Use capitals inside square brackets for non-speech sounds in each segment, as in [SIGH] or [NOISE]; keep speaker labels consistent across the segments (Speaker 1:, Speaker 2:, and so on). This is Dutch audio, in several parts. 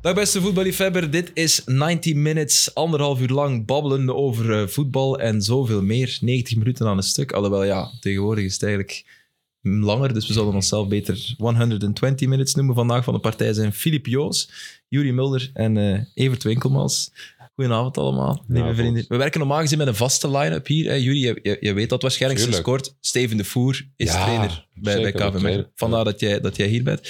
Speaker 1: Dag beste voetballiefhebber, dit is 90 Minutes. Anderhalf uur lang babbelen over eh, voetbal en zoveel meer. 90 minuten aan een stuk. Alhoewel, ja, tegenwoordig is het eigenlijk langer, dus we zullen onszelf beter 120 Minutes noemen. Vandaag van de partij zijn Filip Joos, Juri Mulder en eh, Evert Winkelmans. Goedenavond allemaal, lieve
Speaker 2: Goedenavond.
Speaker 1: vrienden. We werken normaal gezien met een vaste line-up hier. Hè. Juri, je, je, je weet dat waarschijnlijk sinds
Speaker 2: Tuurlijk.
Speaker 1: kort. Steven de Voer is
Speaker 2: Ja,
Speaker 1: trainer bij, bij
Speaker 2: zeker,
Speaker 1: KV Mechelen.
Speaker 2: trainer.
Speaker 1: Vandaar dat jij, dat jij hier bent.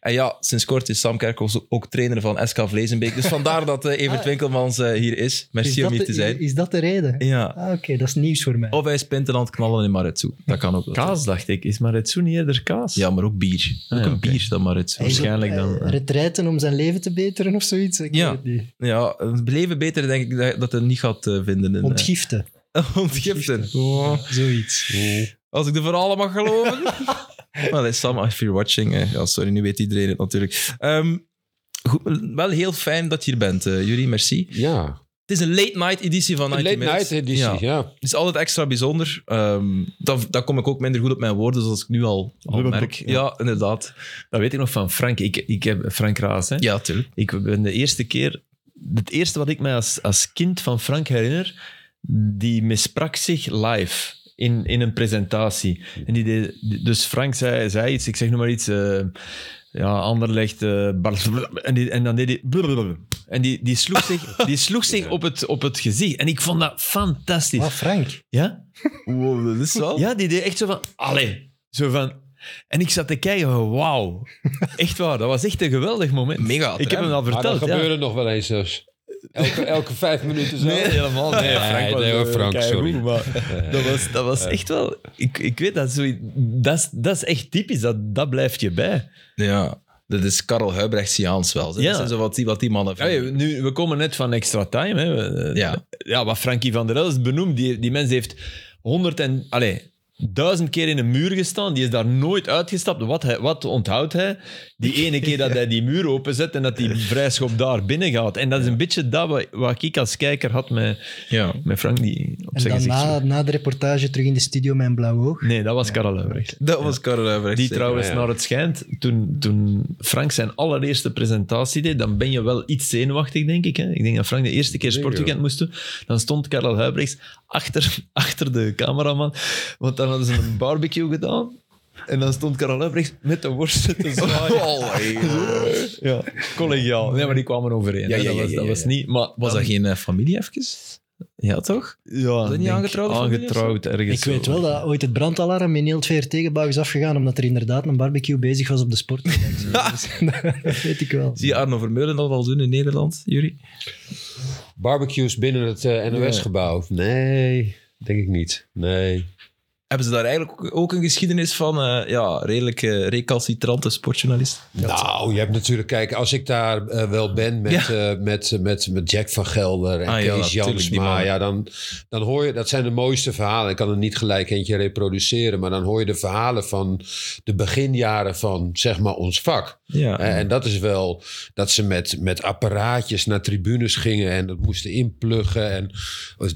Speaker 1: En ja, sinds kort is Sam Kerkhoff ook trainer van SK Vlezenbeek. Dus vandaar dat eh, Evert
Speaker 3: [LAUGHS]
Speaker 4: Ah.
Speaker 1: Winkelmans eh, hier is. Merci om
Speaker 4: dat
Speaker 1: hier
Speaker 4: de-
Speaker 1: te zijn.
Speaker 4: Is dat de reden?
Speaker 1: Ja. Oh,
Speaker 4: Ah, Oké, dat is nieuws voor mij.
Speaker 1: Of hij is Pinteland knallen in Maretsu. Dat kan ook wel.
Speaker 3: Kaas, dacht ik. Is Maretsu niet eerder kaas?
Speaker 1: Ja, maar ook bier.
Speaker 3: Ah,
Speaker 1: ook
Speaker 3: ja,
Speaker 1: een
Speaker 3: oké.
Speaker 1: bier dan Maretsu.
Speaker 4: Hij is
Speaker 3: waarschijnlijk
Speaker 4: op, eh,
Speaker 3: dan, eh.
Speaker 4: Retreiten om zijn leven te beteren of zoiets. Ik eh,
Speaker 1: Ja.
Speaker 4: weet het niet.
Speaker 1: Ja, het leven beter denk ik dat- dat hij niet gaat eh, vinden. In, eh,
Speaker 4: Ontgiften,
Speaker 1: [LAUGHS] Ontgiften. Oh.
Speaker 4: zoiets.
Speaker 1: Als ik de verhalen mag
Speaker 3: [LAUGHS]
Speaker 1: geloven. well, hey, Sam, if you're watching. eh, ja, sorry, nu weet iedereen het natuurlijk. Ehm, goed, wel heel fijn dat je hier bent, eh Jury. Merci.
Speaker 2: Ja,
Speaker 1: Het is een late night editie van
Speaker 2: een
Speaker 1: 90
Speaker 2: late night
Speaker 1: Minutes.
Speaker 2: editie, ja.
Speaker 1: Ja. Het is altijd extra bijzonder. Ehm dan, dan kom ik ook minder goed op mijn woorden, zoals ik nu al, al
Speaker 3: Blub, blub,
Speaker 1: merk.
Speaker 3: ja.
Speaker 1: Ja, inderdaad.
Speaker 3: Dat weet ik nog van Frank. Ik, ik heb Frank Raas. Hè?
Speaker 1: Ja, tuurlijk.
Speaker 3: Ik ben de eerste keer... Het eerste wat ik mij als, als kind van Frank herinner, die misprak zich live in, in een presentatie. En die deed- dus Frank zei, zei iets, ik zeg nog maar iets... eh, ja, Anderlecht... eh, blablabla. en, die- en dan deed hij... blablabla. En die, die sloeg zich, die sloeg zich op, het, op het gezicht. En ik vond dat fantastisch.
Speaker 4: Maar Ah, Frank,
Speaker 3: Ja?
Speaker 1: dat is
Speaker 2: Oh.
Speaker 1: wel...
Speaker 3: Ja, die deed echt zo van, allee. Zo van, en ik zat te kijken,
Speaker 2: [LAUGHS]
Speaker 3: van, wauw. Echt waar, dat was echt een geweldig moment.
Speaker 1: Mega
Speaker 3: Ik heb hem al
Speaker 2: Maar dat
Speaker 3: verteld, ja.
Speaker 2: gebeurde nog wel eens dus. Elke, elke vijf minuten zo.
Speaker 3: Nee, helemaal niet.
Speaker 2: Nee, nee, hoor,
Speaker 3: eh,
Speaker 2: Frank,
Speaker 3: keigoed,
Speaker 2: sorry.
Speaker 3: maar dat was, dat was echt wel... Ik, ik weet dat, zo, dat, is, dat is echt typisch. Dat, dat blijft je bij.
Speaker 1: Ja, dat is Karel Huibrecht-Siaans wel. hè.
Speaker 3: Ja.
Speaker 1: Dat is zo wat die, wat die mannen
Speaker 3: Ja,
Speaker 1: vinden.
Speaker 3: nu, we komen net van extra time. Hè. We- eh,
Speaker 1: Ja.
Speaker 3: ja, wat Frankie van der Elst benoemt, die, die mens heeft honderd en... Allez, duizend keer in een muur gestaan. Die is daar nooit uitgestapt. Wat, hij, wat onthoudt hij? Die ene keer dat hij die muur openzet en dat die vrijschop daar binnen gaat. En dat is een beetje dat wat, wat ik als kijker had met,
Speaker 1: Ja.
Speaker 3: met Frank die op
Speaker 4: en
Speaker 3: zijn
Speaker 4: dan
Speaker 3: gezicht
Speaker 4: na,
Speaker 3: sloeg.
Speaker 4: na de reportage terug in de studio mijn blauw oog.
Speaker 3: Nee, dat was Karel Huibrecht.
Speaker 1: Dat was Karel Huibrecht.
Speaker 3: Die
Speaker 1: zeker.
Speaker 3: trouwens,
Speaker 2: ja.
Speaker 3: naar het schijnt, toen, toen Frank zijn allereerste presentatie deed, dan ben je wel iets zenuwachtig, denk ik. Hè? Ik denk dat Frank de eerste keer
Speaker 2: Denk
Speaker 3: sportweekend moest doen. Dan stond Karel Huibrechts achter, [LAUGHS] achter de cameraman, want dan hadden ze een barbecue gedaan. En dan stond Karel Huibrechts met de worsten
Speaker 1: [LAUGHS]
Speaker 3: te zwaaien.
Speaker 1: Oh, hey, joh.
Speaker 3: Ja, collegiaal. Nee, maar die kwamen overeen.
Speaker 1: Ja, ja,
Speaker 3: hè. dat
Speaker 1: ja,
Speaker 3: was,
Speaker 1: ja,
Speaker 3: dat
Speaker 1: ja.
Speaker 3: was niet... Maar
Speaker 1: Was dat geen eh, familie even? Ja, toch?
Speaker 3: Ja,
Speaker 1: dat niet
Speaker 3: denk
Speaker 1: aangetrouwd of familie of zo?
Speaker 3: Aangetrouwd, ergens.
Speaker 4: Ik weet
Speaker 3: zo.
Speaker 4: wel dat ooit het brandalarm in heel het VRT-gebouw is afgegaan omdat er inderdaad een barbecue bezig was op de
Speaker 1: [LAUGHS]
Speaker 4: sport. dat weet ik wel.
Speaker 1: Zie je Arno Vermeulen dat al doen in Nederland, Jury?
Speaker 2: Barbecues binnen het eh, NOS-gebouw. Nee, denk ik niet. Nee.
Speaker 1: Hebben ze daar eigenlijk ook- ook een geschiedenis van eh, ja, redelijk eh, recalcitrante sportjournalisten?
Speaker 2: Nou, je hebt natuurlijk, kijk, als ik daar eh, wel ben met, eh, met, met, met Jack van Gelder en
Speaker 1: Ah, ja,
Speaker 2: Kees
Speaker 1: natuurlijk, die
Speaker 2: Jansma,
Speaker 1: mannen.
Speaker 2: ja, dan, dan hoor je, dat zijn de mooiste verhalen. Ik kan er niet gelijk eentje reproduceren, maar dan hoor je de verhalen van de beginjaren van, zeg maar, ons vak.
Speaker 1: Ja.
Speaker 2: Eh, En dat is wel dat ze met, met apparaatjes naar tribunes gingen en dat moesten inpluggen. En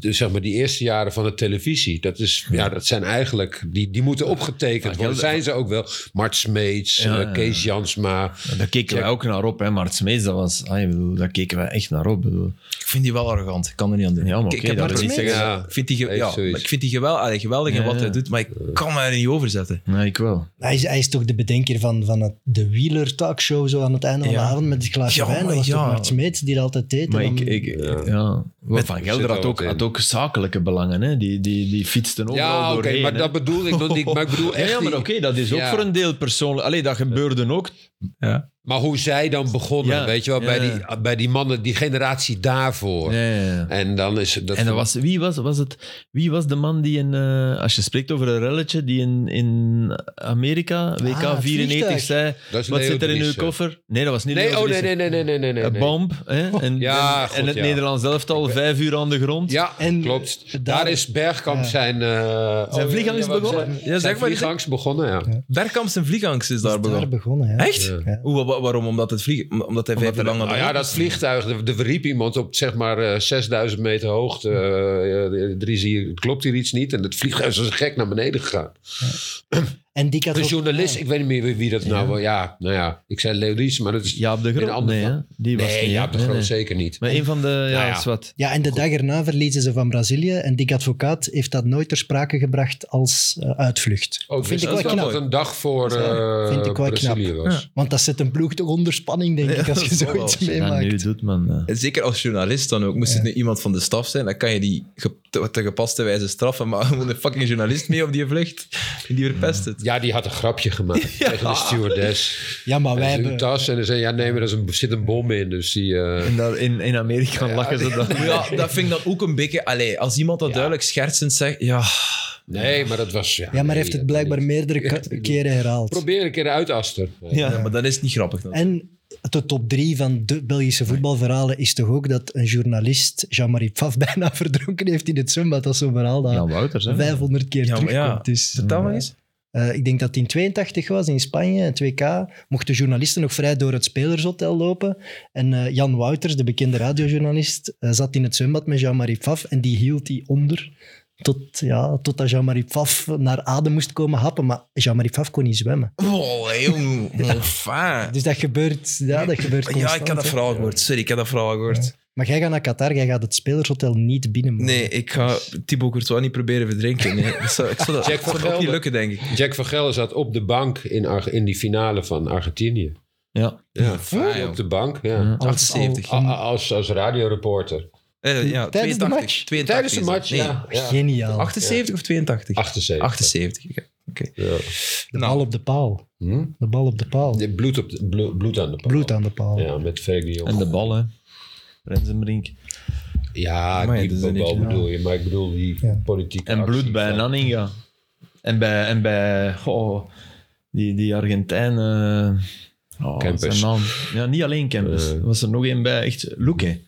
Speaker 2: dus zeg maar die eerste jaren van de televisie, dat, is, ja, dat zijn eigenlijk, die, die moeten opgetekend worden.
Speaker 3: Gelder-
Speaker 2: Zijn ze ook wel. Mart Smeets,
Speaker 3: Ja,
Speaker 2: eh,
Speaker 3: ja,
Speaker 2: Kees Jansma.
Speaker 3: Nou, Daar keken wij ook naar op, hè. Mart Smeets, dat was... Ah, ik bedoel, daar keken wij echt naar op. ik bedoel.
Speaker 1: Ik vind die wel arrogant. Ik kan er niet aan doen.
Speaker 3: Ja, maar
Speaker 1: Ik-
Speaker 3: oké,
Speaker 1: ik, heb
Speaker 3: dat
Speaker 1: Martin
Speaker 3: wil niet
Speaker 1: Smeets.
Speaker 2: zeggen- Ja.
Speaker 1: Ik vind die, ge-
Speaker 2: Heeft
Speaker 1: ja,
Speaker 2: zoiets.
Speaker 1: maar ik vind die gewel, allee, geweldig in
Speaker 3: Ja,
Speaker 1: wat hij
Speaker 3: ja.
Speaker 1: doet, maar ik kan mij er niet over zetten.
Speaker 3: Nee, ik wel.
Speaker 4: Hij is, hij is toch de bedenker van, van het, de wieler-talkshow zo aan het einde van
Speaker 1: Ja.
Speaker 4: de avond met het glaasje
Speaker 1: Ja,
Speaker 4: wijn. Dat was
Speaker 1: ja.
Speaker 4: toch Mart Smeets die dat altijd deed. en
Speaker 3: Maar ik,
Speaker 4: dan-
Speaker 3: ik, eh, ja. Met Van
Speaker 2: zit
Speaker 3: Gelder
Speaker 2: er
Speaker 3: had
Speaker 2: wat
Speaker 3: ook,
Speaker 2: in.
Speaker 3: had ook zakelijke belangen. Hè? Die, die, die fietsten overal
Speaker 2: Ja, oké,
Speaker 3: doorheen.
Speaker 2: maar
Speaker 3: hè.
Speaker 2: dat bedoel ik nog niet. Maar ik bedoel
Speaker 3: [LAUGHS] Ja,
Speaker 2: echt
Speaker 3: ja, maar
Speaker 2: die-
Speaker 3: oké, dat is ook
Speaker 2: Ja.
Speaker 3: voor een deel persoonlijk. Allee, dat gebeurde ook.
Speaker 1: Ja.
Speaker 2: Maar hoe zij dan begonnen,
Speaker 3: Ja,
Speaker 2: weet je wel,
Speaker 3: ja,
Speaker 2: bij,
Speaker 3: ja.
Speaker 2: die, bij die mannen, die generatie daarvoor.
Speaker 3: Ja, ja, ja.
Speaker 2: En dan is het- dat.
Speaker 3: En dat was, wie, was, was het, wie was de man die in... eh, als je spreekt over een relletje die in, in Amerika, WK
Speaker 4: Ah, het
Speaker 3: 94,
Speaker 4: vliegtuig.
Speaker 3: zei...
Speaker 2: Dat is
Speaker 3: Wat
Speaker 2: Leo
Speaker 3: zit er in uw
Speaker 2: Driessen.
Speaker 3: koffer? Nee, dat was niet
Speaker 2: Nee, oh
Speaker 3: Leo
Speaker 2: nee,
Speaker 3: Driessen.
Speaker 2: nee, nee, nee, nee, nee. nee.
Speaker 3: Een bomb. Hè?
Speaker 2: [LAUGHS]
Speaker 3: En,
Speaker 2: Ja,
Speaker 3: en,
Speaker 2: goed,
Speaker 3: en het
Speaker 2: ja.
Speaker 3: Nederlands elftal vijf uur aan de grond.
Speaker 2: Ja,
Speaker 4: En
Speaker 2: klopt. Daar,
Speaker 4: daar-
Speaker 2: is Bergkamp
Speaker 4: ja.
Speaker 2: zijn... eh
Speaker 3: Zijn
Speaker 2: oh,
Speaker 3: vliegang is
Speaker 2: ja, wat-
Speaker 3: begonnen.
Speaker 2: Zijn,
Speaker 1: Ja, zeg
Speaker 2: zijn
Speaker 1: maar,
Speaker 2: vliegangs begonnen, ja.
Speaker 1: Bergkamps en Vliegangst is
Speaker 4: is
Speaker 1: daar begonnen.
Speaker 4: begonnen. ja.
Speaker 1: Echt?
Speaker 4: Ja.
Speaker 1: Hoe, wa- wa- waarom? Omdat, het vlieg... Omdat hij Ah, vijf jaar lang aan de
Speaker 2: Nou ja,
Speaker 1: hand
Speaker 2: dat vliegtuig, er- er riep iemand op zeg maar eh, 6000 meter hoogte. eh, eh, er is hier, klopt hier iets niet? En het vliegtuig is als een gek naar beneden gegaan.
Speaker 4: En die had
Speaker 2: Een
Speaker 4: ook-
Speaker 2: journalist, ik weet niet meer wie- wie dat nou was. Ja, nou ja, ik zei Leo Ries, maar dat is...
Speaker 3: Jaap de
Speaker 2: Een
Speaker 3: Groot?
Speaker 2: ander
Speaker 3: Nee, hè?
Speaker 2: vlak.
Speaker 3: die was
Speaker 2: nee,
Speaker 3: niet, hè?
Speaker 2: Jaap de
Speaker 3: Nee,
Speaker 2: Groot
Speaker 3: nee.
Speaker 2: zeker niet.
Speaker 3: Maar een van de... Ja,
Speaker 2: ja.
Speaker 3: is wat.
Speaker 4: Ja, en de dag erna verliezen ze van Brazilië. En Dick Advocaat heeft dat nooit ter sprake gebracht als eh, uitvlucht.
Speaker 2: Ook
Speaker 4: vind
Speaker 2: wist
Speaker 4: ik
Speaker 2: dat
Speaker 4: wel knap.
Speaker 2: dat een dag voor
Speaker 4: Dat is waar.
Speaker 2: eh,
Speaker 4: Vind ik wel knap.
Speaker 2: Brazilië was.
Speaker 4: Want dat zet een ploeg toch onder spanning, denk ik, als je
Speaker 1: dat zal
Speaker 4: zoiets
Speaker 1: wel.
Speaker 3: Als je dat
Speaker 4: meemaakt.
Speaker 3: nu doet, man. eh.
Speaker 1: En zeker als journalist dan ook. Moest het nu iemand van de staf zijn, dan kan je die ge- te, te gepaste wijze straffen. Maar [LAUGHS] er moet een fucking journalist mee op die vlucht. En die verpest het.
Speaker 2: Ja, die had een grapje gemaakt tegen de stewardess.
Speaker 4: Ja, maar
Speaker 2: Wij
Speaker 4: wij
Speaker 2: hebben...
Speaker 4: hebben...
Speaker 2: tas en dan zei ja nee, maar er is een- zit een bom [LAUGHS] in, dus die... eh,
Speaker 3: En daar in, in Amerika lachen ze dan. [LAUGHS]
Speaker 1: Ja, dat vind ik dan ook een beetje... Allee, als iemand dat duidelijk schertsend zegt, ja...
Speaker 2: nee, maar dat was... Ja,
Speaker 4: Ja, maar
Speaker 2: nee,
Speaker 4: hij heeft
Speaker 2: dat
Speaker 4: het blijkbaar
Speaker 2: niet. [LAUGHS]
Speaker 4: meerdere ka- keren herhaald.
Speaker 2: Probeer een keer uit, Aster.
Speaker 1: Ja, maar dat is niet grappig dan.
Speaker 4: En de top drie van de Belgische voetbalverhalen is toch ook dat een journalist Jean-Marie Pfaff [LAUGHS] bijna verdronken heeft in het zwembad. Dat is zo'n verhaal dat
Speaker 3: Jan Nou, Wouters, hè?
Speaker 4: 500 keer
Speaker 1: Ja, maar
Speaker 4: terugkomt.
Speaker 1: ja,
Speaker 4: Dus,
Speaker 1: dat dan
Speaker 4: eh,
Speaker 1: maar eens?
Speaker 4: eh, ik denk dat het in 82 was, in Spanje, het WK, mochten journalisten nog vrij door het spelershotel lopen. En eh, Jan Wouters, de bekende radiojournalist, eh, zat in het zwembad met Jean-Marie Pfaff en die hield die onder tot, ja, totdat Jean-Marie Pfaff naar adem moest komen happen. Maar Jean-Marie Pfaff kon niet zwemmen.
Speaker 1: Oh, jong. Enfin.
Speaker 4: Dus dat gebeurt, ja, dat gebeurt constant.
Speaker 1: Ja, ik had dat
Speaker 4: hè.
Speaker 1: verhaal gehoord. Sorry, ik had dat verhaal gehoord.
Speaker 4: Maar jij gaat naar Qatar, jij gaat het spelershotel niet binnen. mogen.
Speaker 1: Nee, ik ga Thibaut Courtois niet proberen verdrinken. Nee. Dat zou, ik zou dat,
Speaker 2: Jack
Speaker 1: ik zou
Speaker 2: van
Speaker 1: dat ook niet
Speaker 2: Gelder.
Speaker 1: lukken, denk ik.
Speaker 2: Jack van Gelder zat op de bank in, Ar- in die finale van Argentinië.
Speaker 3: Ja.
Speaker 2: Ja,
Speaker 1: fijn, joh.
Speaker 2: op de bank, ja.
Speaker 3: Ja.
Speaker 4: Als-
Speaker 1: 78.
Speaker 2: A- a- Als, als radioreporter.
Speaker 1: Eh, ja,
Speaker 4: Tijdens de
Speaker 1: 82.
Speaker 4: match?
Speaker 1: 82
Speaker 2: Tijdens de
Speaker 1: is dat.
Speaker 2: match,
Speaker 1: Nee,
Speaker 2: ja.
Speaker 4: al-
Speaker 2: ja.
Speaker 4: Geniaal.
Speaker 1: 78 of 82?
Speaker 2: 78.
Speaker 1: 78. ja. Oké.
Speaker 2: Ja.
Speaker 4: de
Speaker 1: nou.
Speaker 4: bal op de paal.
Speaker 2: Hm?
Speaker 4: De bal op de paal.
Speaker 2: De Bloed, op de, blo- bloed aan de paal.
Speaker 4: Bloed aan de paal.
Speaker 2: Ja, met Fergie. Jong.
Speaker 3: En de bal, hè. Rensenbrink.
Speaker 2: Ja,
Speaker 1: Maar ja, dat is
Speaker 2: die
Speaker 1: een
Speaker 2: bal
Speaker 1: beetje-
Speaker 2: bedoel je, maar ik bedoel die
Speaker 4: Ja.
Speaker 2: politieke
Speaker 3: En bloed
Speaker 2: actie
Speaker 3: bij
Speaker 2: van-
Speaker 3: Nanninga. En bij, en bij goh, die, die Argentijn. eh, oh,
Speaker 2: Kempers.
Speaker 3: zijn naam. Ja, niet alleen Kempers.
Speaker 2: Eh.
Speaker 3: Er was er nog één bij, echt Luque.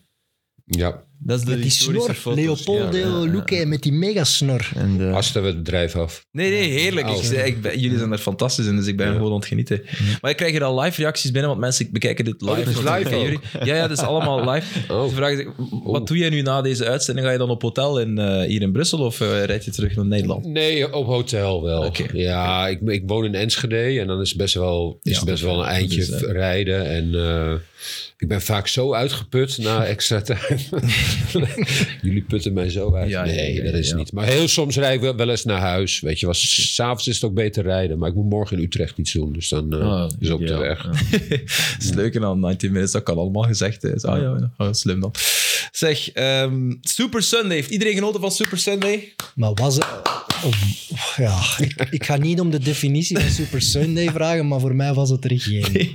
Speaker 2: Ja,
Speaker 3: Dat is de
Speaker 4: Met die
Speaker 3: historische
Speaker 4: snor,
Speaker 3: foto's.
Speaker 4: Leopoldo
Speaker 3: Ja, ja, ja.
Speaker 4: Luque, met die megasnor.
Speaker 3: En de-
Speaker 2: Aster we het drijf af.
Speaker 1: Nee, nee, heerlijk. Ik,
Speaker 2: Oh.
Speaker 1: zei- ik ben- jullie zijn er fantastisch in, dus ik ben gewoon aan het genieten. Maar ik krijg hier al live reacties binnen, want mensen bekijken dit live.
Speaker 2: Oh, dit is
Speaker 1: natuurlijk
Speaker 2: live
Speaker 1: bij
Speaker 2: ook.
Speaker 1: jullie. Ja, ja, dit is allemaal
Speaker 2: [LAUGHS]
Speaker 1: live. Dus
Speaker 2: Oh.
Speaker 1: Ze vragen zich, wat doe jij nu na deze uitzending? Ga je dan op hotel in, eh, hier in Brussel of eh, rijd je terug naar Nederland?
Speaker 2: Nee, op hotel wel.
Speaker 1: Oké.
Speaker 2: Ja, ik, ik woon in Enschede en dan is best wel, is
Speaker 1: Ja,
Speaker 2: best wel een
Speaker 1: dat
Speaker 2: eindje
Speaker 1: is, eh,
Speaker 2: rijden. En eh, ik ben vaak zo uitgeput na extra [LAUGHS]
Speaker 1: [LAUGHS]
Speaker 2: tijd. Jullie putten mij zo uit.
Speaker 1: Ja, ja,
Speaker 2: nee,
Speaker 1: ja,
Speaker 2: dat is
Speaker 1: ja.
Speaker 2: niet. Maar heel soms rijd ik wel, wel eens naar huis. Weet je, wel. S- s'avonds is het ook beter rijden. Maar ik moet morgen in Utrecht iets doen. Dus dan eh,
Speaker 1: Oh,
Speaker 3: Ah,
Speaker 2: is ook de
Speaker 3: ideaal.
Speaker 2: weg.
Speaker 3: Ja.
Speaker 1: Dat is leuk en aan 19 minutes, dat kan allemaal gezegd. hè. Is, ah ja, ja, ah, slim dan. Zeg, ehm, Super Sunday. Heeft iedereen genoten van Super Sunday?
Speaker 4: Maar was het... of- of- ja, ik, ik ga niet om de definitie van Super Sunday [LAUGHS] vragen, maar voor mij was het er geen.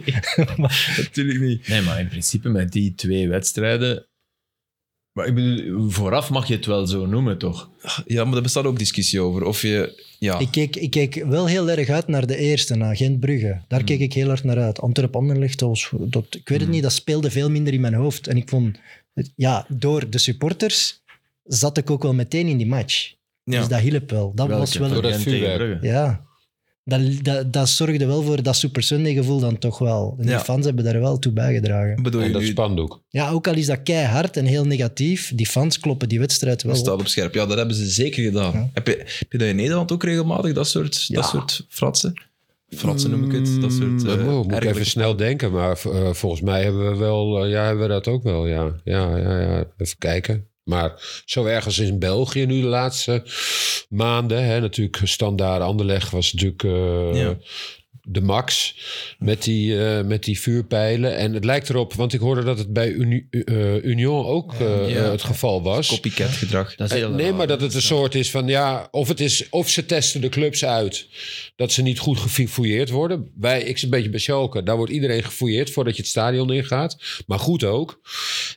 Speaker 1: Natuurlijk niet.
Speaker 3: Nee, maar in principe met die twee wedstrijden. Maar ik bedoel, vooraf mag je het wel zo noemen, toch?
Speaker 1: Ja, maar daar bestaat ook discussie over. Of je... Ja.
Speaker 4: Ik, keek, ik keek wel heel erg uit naar de eerste, naar Gent-Brugge. Daar
Speaker 3: Hmm.
Speaker 4: keek ik heel hard naar uit. Antwerp-Anderlecht, dat was- dat, ik weet het niet, dat speelde veel minder in mijn hoofd. En ik vond, het- ja, door de supporters zat ik ook wel meteen in die match.
Speaker 1: ja.
Speaker 4: Dus dat hielp wel. Dat was
Speaker 3: Welke?
Speaker 4: wel...
Speaker 2: Door dat
Speaker 3: Gent tegen
Speaker 2: vuurwerk.
Speaker 3: Brugge.
Speaker 4: Ja. Dat, dat, dat zorgde wel voor dat Super Sunday-gevoel dan toch wel. En
Speaker 1: Ja.
Speaker 4: die fans hebben daar wel toe bijgedragen.
Speaker 1: Bedoel
Speaker 2: En
Speaker 1: je
Speaker 2: dat
Speaker 1: nu
Speaker 2: spandoek.
Speaker 4: Ja, ook al is dat keihard en heel negatief, die fans kloppen die wedstrijd wel.
Speaker 1: Dat
Speaker 4: op.
Speaker 1: staat op scherp. Ja, dat hebben ze zeker gedaan.
Speaker 4: Ja.
Speaker 1: Heb, je, heb je dat in Nederland ook regelmatig, dat soort, dat soort fratsen? Fratsen noem ik het. Dat soort eh,
Speaker 2: Oh, moet ik
Speaker 1: ergerlijke-
Speaker 2: even snel denken, maar eh, volgens mij hebben we wel, eh, ja, hebben we dat ook wel, ja. Ja, ja, ja. Even kijken. Maar zo ergens in België nu de laatste maanden, hè, natuurlijk standaard Anderleg was natuurlijk eh,
Speaker 1: Ja.
Speaker 2: de max met die, eh, met die vuurpijlen. En het lijkt erop, want ik hoorde dat het bij Uni- eh, Union ook eh,
Speaker 1: Ja.
Speaker 2: het geval was.
Speaker 1: [LAUGHS] copycat gedrag. Eh,
Speaker 3: Dat is heel
Speaker 2: Eh, Nee,
Speaker 3: raar.
Speaker 2: maar dat het een soort is van ja, of het is of ze testen de clubs uit dat ze niet goed gefouilleerd worden. Wij, ik zit een beetje bij Schalke, daar wordt iedereen gefouilleerd voordat je het stadion ingaat, maar goed ook.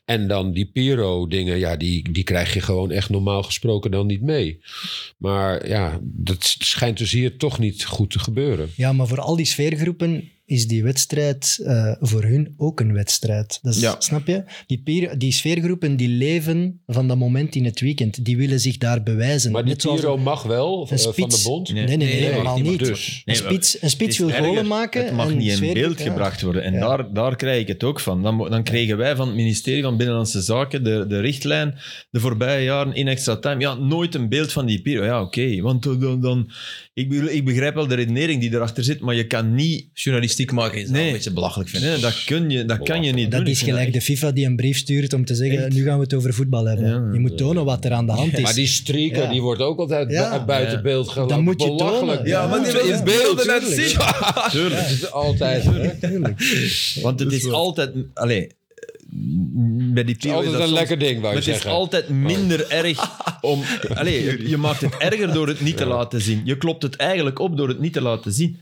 Speaker 2: En dan die Piro dingen, ja, die, die krijg je gewoon echt normaal gesproken dan niet mee. Maar ja, dat schijnt dus hier toch niet goed te gebeuren.
Speaker 4: Ja, maar voor al die sfeergroepen is die wedstrijd eh, voor hun ook een wedstrijd. Dat is,
Speaker 3: Ja.
Speaker 4: Snap je? Die, peer- die sfeergroepen die leven van dat moment in het weekend. Die willen zich daar bewijzen.
Speaker 2: Maar die
Speaker 4: Net zoals
Speaker 2: Piro mag wel eh, van de
Speaker 4: spits.
Speaker 2: bond.
Speaker 4: Nee, nee, nee,
Speaker 1: Nee, nee,
Speaker 4: helemaal
Speaker 2: die mag
Speaker 4: niet.
Speaker 2: dus.
Speaker 4: Een
Speaker 3: Nee, maar
Speaker 4: spits, een spits
Speaker 3: het
Speaker 4: wil
Speaker 3: is
Speaker 4: golen
Speaker 3: erger.
Speaker 4: maken.
Speaker 3: Het mag
Speaker 4: en
Speaker 3: niet in
Speaker 4: sfeergroep,
Speaker 3: beeld
Speaker 4: ja.
Speaker 3: gebracht worden. En
Speaker 4: Ja.
Speaker 3: daar, daar krijg ik het ook van. Dan, mo- dan kregen wij van het ministerie van Binnenlandse Zaken de, de richtlijn de voorbije jaren in extra time. Ja, nooit een beeld van die Piro. Ja, oké. Want dan, dan, dan- ik, bedoel, ik begrijp wel de redenering die erachter zit, maar je kan niet...
Speaker 1: Journalistiek maken is
Speaker 3: Nee.
Speaker 1: wel een beetje belachelijk, vind ik.
Speaker 3: Nee, dat, kun je, dat kan je niet
Speaker 4: Dat
Speaker 3: doen.
Speaker 4: is
Speaker 3: Ik vind
Speaker 4: gelijk de
Speaker 3: echt-
Speaker 4: FIFA die een brief stuurt om te zeggen:
Speaker 3: Echt?
Speaker 4: nu gaan we het over voetbal hebben.
Speaker 3: Ja.
Speaker 4: je moet tonen wat er aan de hand is.
Speaker 2: Maar die streaker,
Speaker 4: Ja.
Speaker 2: die wordt ook altijd bu-
Speaker 4: Ja.
Speaker 2: buiten
Speaker 3: Ja.
Speaker 2: beeld gehaald.
Speaker 4: Dan moet je
Speaker 2: Belachelijk.
Speaker 4: tonen.
Speaker 1: Ja, maar die
Speaker 4: Ja,
Speaker 1: wil
Speaker 4: ja.
Speaker 1: je beelden net
Speaker 2: Tuurlijk.
Speaker 1: zien.
Speaker 3: Tuurlijk.
Speaker 2: Het is altijd,
Speaker 1: [LAUGHS]
Speaker 2: het
Speaker 3: Want het is altijd... Allee, bij die
Speaker 2: is
Speaker 3: Piro is
Speaker 2: altijd
Speaker 3: dat
Speaker 2: een
Speaker 3: soms-
Speaker 2: lekker ding, wou
Speaker 3: Maar
Speaker 2: je
Speaker 3: het is
Speaker 2: zeggen. Oh.
Speaker 3: altijd minder
Speaker 2: [LAUGHS]
Speaker 3: erg om... Allee, je- je maakt het erger door het niet te laten zien. Je klopt het eigenlijk op door het niet te laten zien.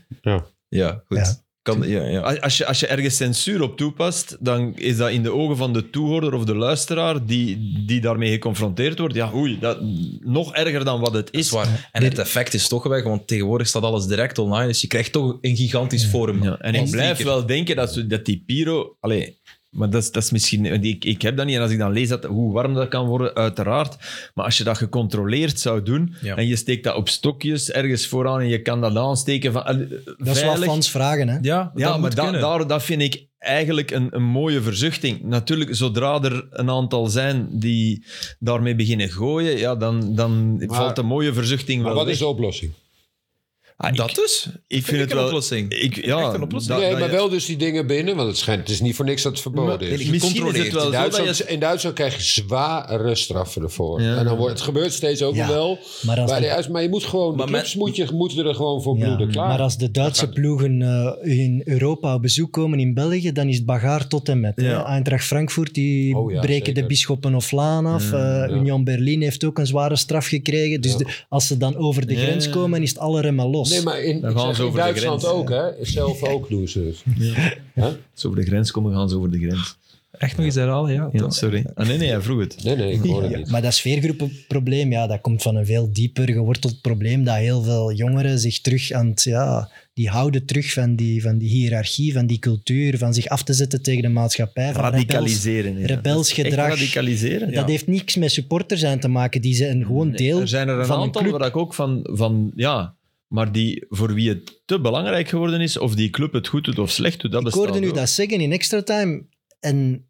Speaker 1: Ja, goed.
Speaker 4: Ja.
Speaker 1: Kan, ja, ja.
Speaker 3: Als als je, als je ergens censuur op toepast, dan is dat in de ogen van de toehoorder of de luisteraar die, die daarmee geconfronteerd wordt. Ja, oei, dat, nog erger dan wat het
Speaker 1: Is
Speaker 3: is.
Speaker 1: waar. En het effect is toch weg, want tegenwoordig staat alles direct online, dus je krijgt toch een gigantisch forum.
Speaker 3: Ja, en ik
Speaker 1: Als
Speaker 3: blijf
Speaker 1: speaker.
Speaker 3: wel denken dat, ze- dat die Piro. Allee, maar dat is, dat is misschien. want Ik, ik heb dat niet. En als ik dan lees dat, hoe warm dat kan worden, uiteraard. Maar als je dat gecontroleerd zou doen.
Speaker 1: Ja.
Speaker 3: en je steekt dat op stokjes ergens vooraan. en je kan dat aansteken. Van, eh,
Speaker 4: Dat is wat fans vragen. Hè?
Speaker 1: Ja,
Speaker 3: Ja, maar da-
Speaker 1: daar...
Speaker 3: daar, dat vind ik eigenlijk een, een mooie verzuchting. Natuurlijk, zodra er een aantal zijn die daarmee beginnen gooien. Ja, dan, dan valt de mooie verzuchting
Speaker 2: Maar
Speaker 3: wel
Speaker 2: wat is de oplossing?
Speaker 3: weg. Ah,
Speaker 1: Dat dus?
Speaker 3: ik, ik vind het
Speaker 1: een
Speaker 3: wel.
Speaker 1: oplossing.
Speaker 3: Ik, ja,
Speaker 1: Echt een oplossing.
Speaker 3: dat-
Speaker 2: nee,
Speaker 3: dat
Speaker 2: maar
Speaker 3: je-
Speaker 2: wel dus die dingen binnen, want het, schijnt, het is niet voor niks dat het verboden is.
Speaker 1: nee,
Speaker 3: Misschien is het
Speaker 1: gecontroleerd.
Speaker 3: wel
Speaker 2: In
Speaker 3: zo dat je
Speaker 2: Duitsland, in Duitsland krijg je zware straffen ervoor.
Speaker 3: Ja.
Speaker 2: En dan wordt, het gebeurt steeds ook
Speaker 4: Ja.
Speaker 2: wel.
Speaker 4: Maar als
Speaker 2: Maar,
Speaker 4: de-
Speaker 2: die uit- maar je moet gewoon,
Speaker 1: Maar
Speaker 2: de clubs moet je, moeten er gewoon voor
Speaker 4: Ja,
Speaker 2: bloeden. Klaar.
Speaker 4: Maar als de Duitse ploegen eh, in Europa op bezoek komen in België, dan is het bagaar tot en met. hè.
Speaker 3: Ja.
Speaker 4: Eintracht Frankfurt, die
Speaker 2: Oh ja,
Speaker 4: breken de
Speaker 2: zeker.
Speaker 4: bisschoppen of Laan af. Eh,
Speaker 2: ja.
Speaker 4: Union Berlin heeft ook een zware straf gekregen. Dus
Speaker 2: Ja.
Speaker 4: de- als ze dan over de
Speaker 3: Ja,
Speaker 4: grens
Speaker 3: ja.
Speaker 4: komen, is het alle remmen los.
Speaker 2: Nee, maar in,
Speaker 3: Dan
Speaker 2: ik
Speaker 3: gaan
Speaker 2: zeg,
Speaker 3: ze
Speaker 2: in
Speaker 3: over de
Speaker 2: Duitsland
Speaker 3: grens,
Speaker 2: ook, hè? Zelf ook doen ze het.
Speaker 3: Als ze over de grens komen, gaan ze over de grens.
Speaker 1: Echt nog eens herhalen, ja.
Speaker 3: Ja, sorry. Ah, nee, nee, hij vroeg het.
Speaker 2: Nee, nee, ik hoor het
Speaker 4: Ja,
Speaker 2: niet.
Speaker 4: Maar dat sfeergroepenprobleem, ja, dat komt van een veel dieper geworteld probleem dat heel veel jongeren zich terug aan het... Ja, die houden terug van die, van die hiërarchie, van die cultuur, van zich af te zetten tegen de maatschappij. Van rebels.
Speaker 3: Radicaliseren. ja.
Speaker 4: rebels
Speaker 3: Dat is echt
Speaker 4: gedrag.
Speaker 3: Radicaliseren.
Speaker 4: Dat heeft niks met supporter zijn te maken. Die zijn gewoon
Speaker 3: Nee,
Speaker 4: deel
Speaker 3: Er zijn er een
Speaker 4: van een
Speaker 3: aantal
Speaker 4: club.
Speaker 3: waar ik ook van, van... Ja, maar die, voor wie het te belangrijk geworden is, of die club het goed doet of slecht doet, dat
Speaker 4: ik
Speaker 3: bestaat
Speaker 4: hoorde nu
Speaker 3: ook.
Speaker 4: dat zeggen in extra time. En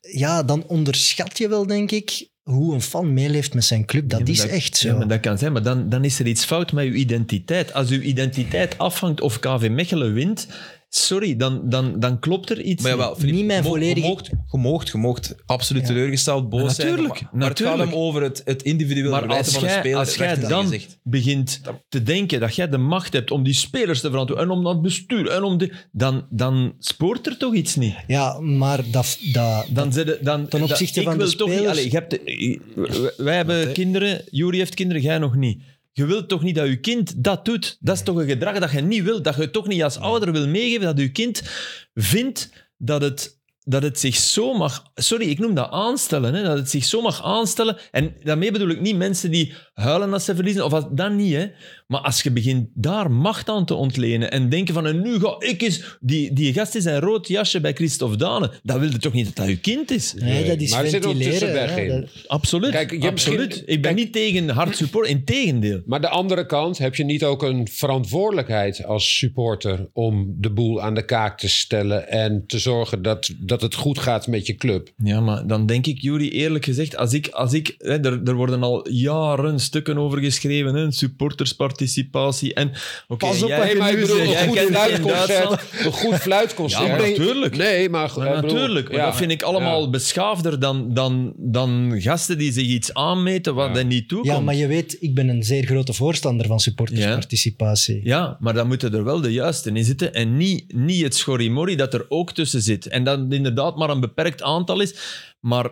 Speaker 4: ja, dan onderschat je wel, denk ik, hoe een fan meeleeft met zijn club. Dat
Speaker 3: Ja, maar
Speaker 4: is echt zo.
Speaker 3: Ja, maar dat kan zijn, maar dan, dan is er iets fout met uw identiteit. Als uw identiteit afhangt of KV Mechelen wint, sorry, dan, dan, dan klopt er iets
Speaker 1: Maar
Speaker 3: niet.
Speaker 1: jawel, Filip,
Speaker 4: Niet mijn
Speaker 1: je mo- je
Speaker 4: volledige-
Speaker 1: moogt- Je moogt, je moogt absoluut
Speaker 4: Ja.
Speaker 1: teleurgesteld, boos
Speaker 3: Maar
Speaker 1: zijn.
Speaker 3: natuurlijk,
Speaker 1: Maar, maar het gaat
Speaker 3: natuurlijk.
Speaker 1: hem over het, het individuele
Speaker 3: Maar
Speaker 1: verwijten
Speaker 3: als
Speaker 1: van een
Speaker 3: jij,
Speaker 1: speler.
Speaker 3: als jij
Speaker 1: recht in
Speaker 3: dan
Speaker 1: het gezicht.
Speaker 3: begint te denken dat jij de macht hebt om die spelers te verantwoorden en om dat bestuur en om de, dan, dan spoort er toch iets niet.
Speaker 4: Ja, maar dat... dat
Speaker 3: Dan zit het- dan,
Speaker 4: Ten
Speaker 3: dat-
Speaker 4: opzichte
Speaker 3: ik
Speaker 4: van
Speaker 3: wil
Speaker 4: de
Speaker 3: toch niet-
Speaker 4: spelers-
Speaker 3: allee, je hebt de- wij hebben kinderen, Juri heeft kinderen, jij nog niet. Je wilt toch niet dat je kind dat doet? Dat is toch een gedrag dat je niet wilt, dat je toch niet als ouder wil meegeven, dat je kind vindt dat het, dat het zich zo mag... Sorry, ik noem dat aanstellen. Hè, dat het zich zo mag aanstellen. En daarmee bedoel ik niet mensen die huilen als ze verliezen. Of als, dat niet, hè. Maar als je begint daar macht aan te ontlenen en denken van... En nu ga ik eens... Die, die gast is een rood jasje bij Christophe Dane. Dat wilde toch niet dat dat je kind is?
Speaker 4: nee, dat is
Speaker 2: maar er zit ook
Speaker 4: ventileren.
Speaker 2: tussenweg
Speaker 4: hè.
Speaker 2: in.
Speaker 4: Dat-
Speaker 3: Absoluut.
Speaker 2: Kijk, je hebt
Speaker 3: absoluut.
Speaker 2: geen-
Speaker 3: Ik ben niet tegen hard support. Integendeel.
Speaker 2: Maar de andere kant, heb je niet ook een verantwoordelijkheid als supporter om de boel aan de kaak te stellen en te zorgen dat, dat het goed gaat met je club?
Speaker 3: Ja, maar dan denk ik, Juri, eerlijk gezegd, als ik, als ik hè, er, er worden al jaren stukken over geschreven, hè, supportersparticipatie en... oké,
Speaker 4: Pas op
Speaker 3: jij-
Speaker 4: wat
Speaker 2: Nee, maar ik bedoel, een
Speaker 3: jij
Speaker 2: goed
Speaker 3: kent het in Duitsland.
Speaker 2: fluitconcert. Een goed fluitconcert.
Speaker 3: Ja, maar natuurlijk.
Speaker 2: Nee, maar,
Speaker 3: Maar
Speaker 2: ik bedoel,
Speaker 3: natuurlijk, maar
Speaker 2: ja.
Speaker 3: dat vind ik allemaal
Speaker 2: Ja.
Speaker 3: beschaafder dan, dan, dan gasten die zich iets aanmeten wat
Speaker 2: Ja.
Speaker 3: er niet toe
Speaker 4: Ja,
Speaker 3: komt.
Speaker 4: maar je weet, ik ben een zeer grote voorstander van supportersparticipatie.
Speaker 3: Ja, maar dan moeten er wel de juiste in zitten en niet, niet het schorrimorri dat er ook tussen zit. En dat het inderdaad maar een beperkt aantal is. Maar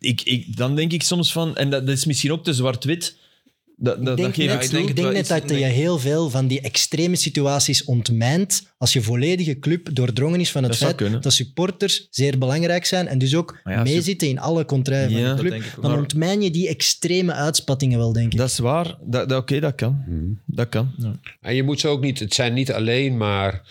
Speaker 3: ik, ik, dan denk ik soms van, en dat, dat is misschien ook te zwart-wit, dat, dat,
Speaker 4: Ik
Speaker 3: dat
Speaker 4: denk
Speaker 3: geef
Speaker 4: net,
Speaker 3: ik
Speaker 1: ik
Speaker 3: toe.
Speaker 1: denk
Speaker 4: ik
Speaker 1: het
Speaker 4: denk
Speaker 1: wel
Speaker 4: net
Speaker 1: iets-
Speaker 4: dat je heel veel van die extreme situaties ontmijnt als je volledige club doordrongen is van het
Speaker 3: Dat zou
Speaker 4: feit
Speaker 3: kunnen.
Speaker 4: dat supporters zeer belangrijk zijn en dus ook
Speaker 3: Maar ja,
Speaker 4: meezitten in alle contraien van
Speaker 3: Ja,
Speaker 4: de
Speaker 3: dat
Speaker 4: club.
Speaker 1: denk ik ook.
Speaker 4: Dan
Speaker 3: Maar-
Speaker 4: ontmijn je die extreme uitspattingen wel, denk ik.
Speaker 3: Dat is waar,
Speaker 2: Mhm.
Speaker 3: dat, dat, oké, dat kan. Dat kan.
Speaker 2: En je moet ze ook niet, het zijn niet alleen maar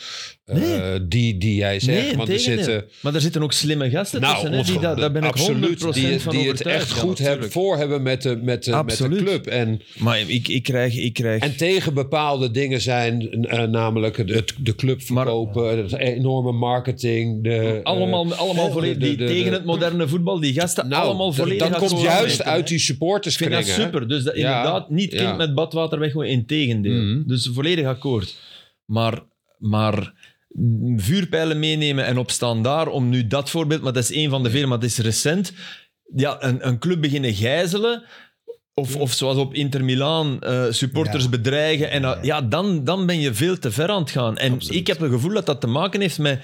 Speaker 2: eh, die, die jij zegt.
Speaker 3: Nee,
Speaker 2: want er
Speaker 3: integendeel.
Speaker 2: zitten.
Speaker 3: Maar er zitten ook slimme gasten tussen. hè, die,
Speaker 2: onge-
Speaker 3: daar, daar ben ik
Speaker 2: absoluut,
Speaker 3: 100%
Speaker 2: die,
Speaker 3: van
Speaker 2: die het
Speaker 3: overtuigd.
Speaker 2: echt
Speaker 3: Ja,
Speaker 2: goed hebben,
Speaker 3: natuurlijk.
Speaker 2: voor hebben met de, met de, met de
Speaker 3: Absoluut.
Speaker 2: club. En,
Speaker 3: Maar ik, ik krijg... Ik krijg
Speaker 2: en tegen bepaalde dingen zijn, eh, namelijk het, de club verkopen, het enorme marketing. De,
Speaker 3: allemaal allemaal
Speaker 2: eh,
Speaker 3: volledig,
Speaker 2: de-
Speaker 3: die,
Speaker 2: de- de-
Speaker 3: tegen het moderne voetbal, die gasten
Speaker 2: Nou,
Speaker 3: allemaal
Speaker 2: d-
Speaker 3: volledig...
Speaker 2: dat
Speaker 3: aan
Speaker 2: komt
Speaker 3: het voetbal
Speaker 2: juist
Speaker 3: denken,
Speaker 2: uit
Speaker 3: hè.
Speaker 2: die
Speaker 3: Ik vind
Speaker 2: supporterskringen.
Speaker 3: dat super. Dus dat,
Speaker 2: Ja.
Speaker 3: inderdaad, niet kind
Speaker 2: Ja.
Speaker 3: met badwater weggooien, in tegendeel.
Speaker 2: Mhm.
Speaker 3: Dus volledig akkoord. Maar, maar mm, vuurpijlen meenemen en opstaan daar, om nu dat voorbeeld, maar dat is één van de vele, maar het is recent. Ja, een, een club beginnen gijzelen. Of, of zoals op Inter Milaan, eh, supporters
Speaker 4: Ja.
Speaker 3: bedreigen. En dat- ja, dan, dan ben je veel te ver aan het gaan. En ik heb het gevoel dat dat te maken heeft met...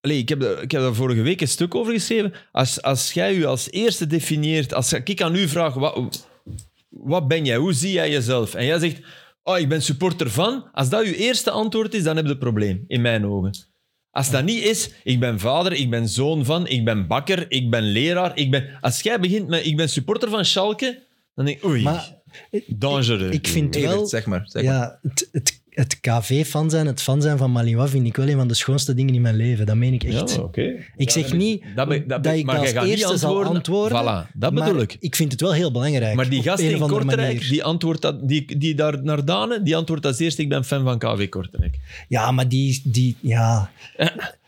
Speaker 3: Allee, ik, heb er- ik heb daar vorige week een stuk over geschreven. Als, als jij je als eerste definieert... Als ik aan u vraag, wat, wat ben jij? Hoe zie jij jezelf? En jij zegt, oh, ik ben supporter van. Als dat je eerste antwoord is, dan heb je een probleem, in mijn ogen. Als dat niet is, ik ben vader, ik ben zoon van, ik ben bakker, ik ben leraar, ik ben... Als jij begint met, ik ben supporter van Schalke, dan denk ik, oei,
Speaker 4: Maar
Speaker 3: dangereux.
Speaker 4: ik vind wel...
Speaker 1: Evert, zeg maar. Zeg maar.
Speaker 4: Ja, het, het, het KV-fan zijn, het fan zijn van Malinois vind ik wel een van de schoonste dingen in mijn leven. Dat meen ik echt.
Speaker 3: Ja, oké.
Speaker 4: Ik zeg niet
Speaker 3: Dat
Speaker 4: dat,
Speaker 3: be- dat be-
Speaker 4: ik
Speaker 3: maar
Speaker 4: dat
Speaker 3: jij
Speaker 4: als
Speaker 3: gaat niet
Speaker 4: eerste zal
Speaker 3: antwoorden.
Speaker 4: antwoorden.
Speaker 3: Voilà, dat bedoel
Speaker 4: maar
Speaker 3: ik.
Speaker 4: vind het wel heel belangrijk.
Speaker 3: Maar die
Speaker 4: op
Speaker 3: gast
Speaker 4: een
Speaker 3: in
Speaker 4: of andere
Speaker 3: Kortrijk,
Speaker 4: manier.
Speaker 3: die, antwoordt dat, die, die daar naar Danen, die antwoordt als eerste, ik ben fan van KV Kortrijk.
Speaker 4: Ja, maar die... die ja.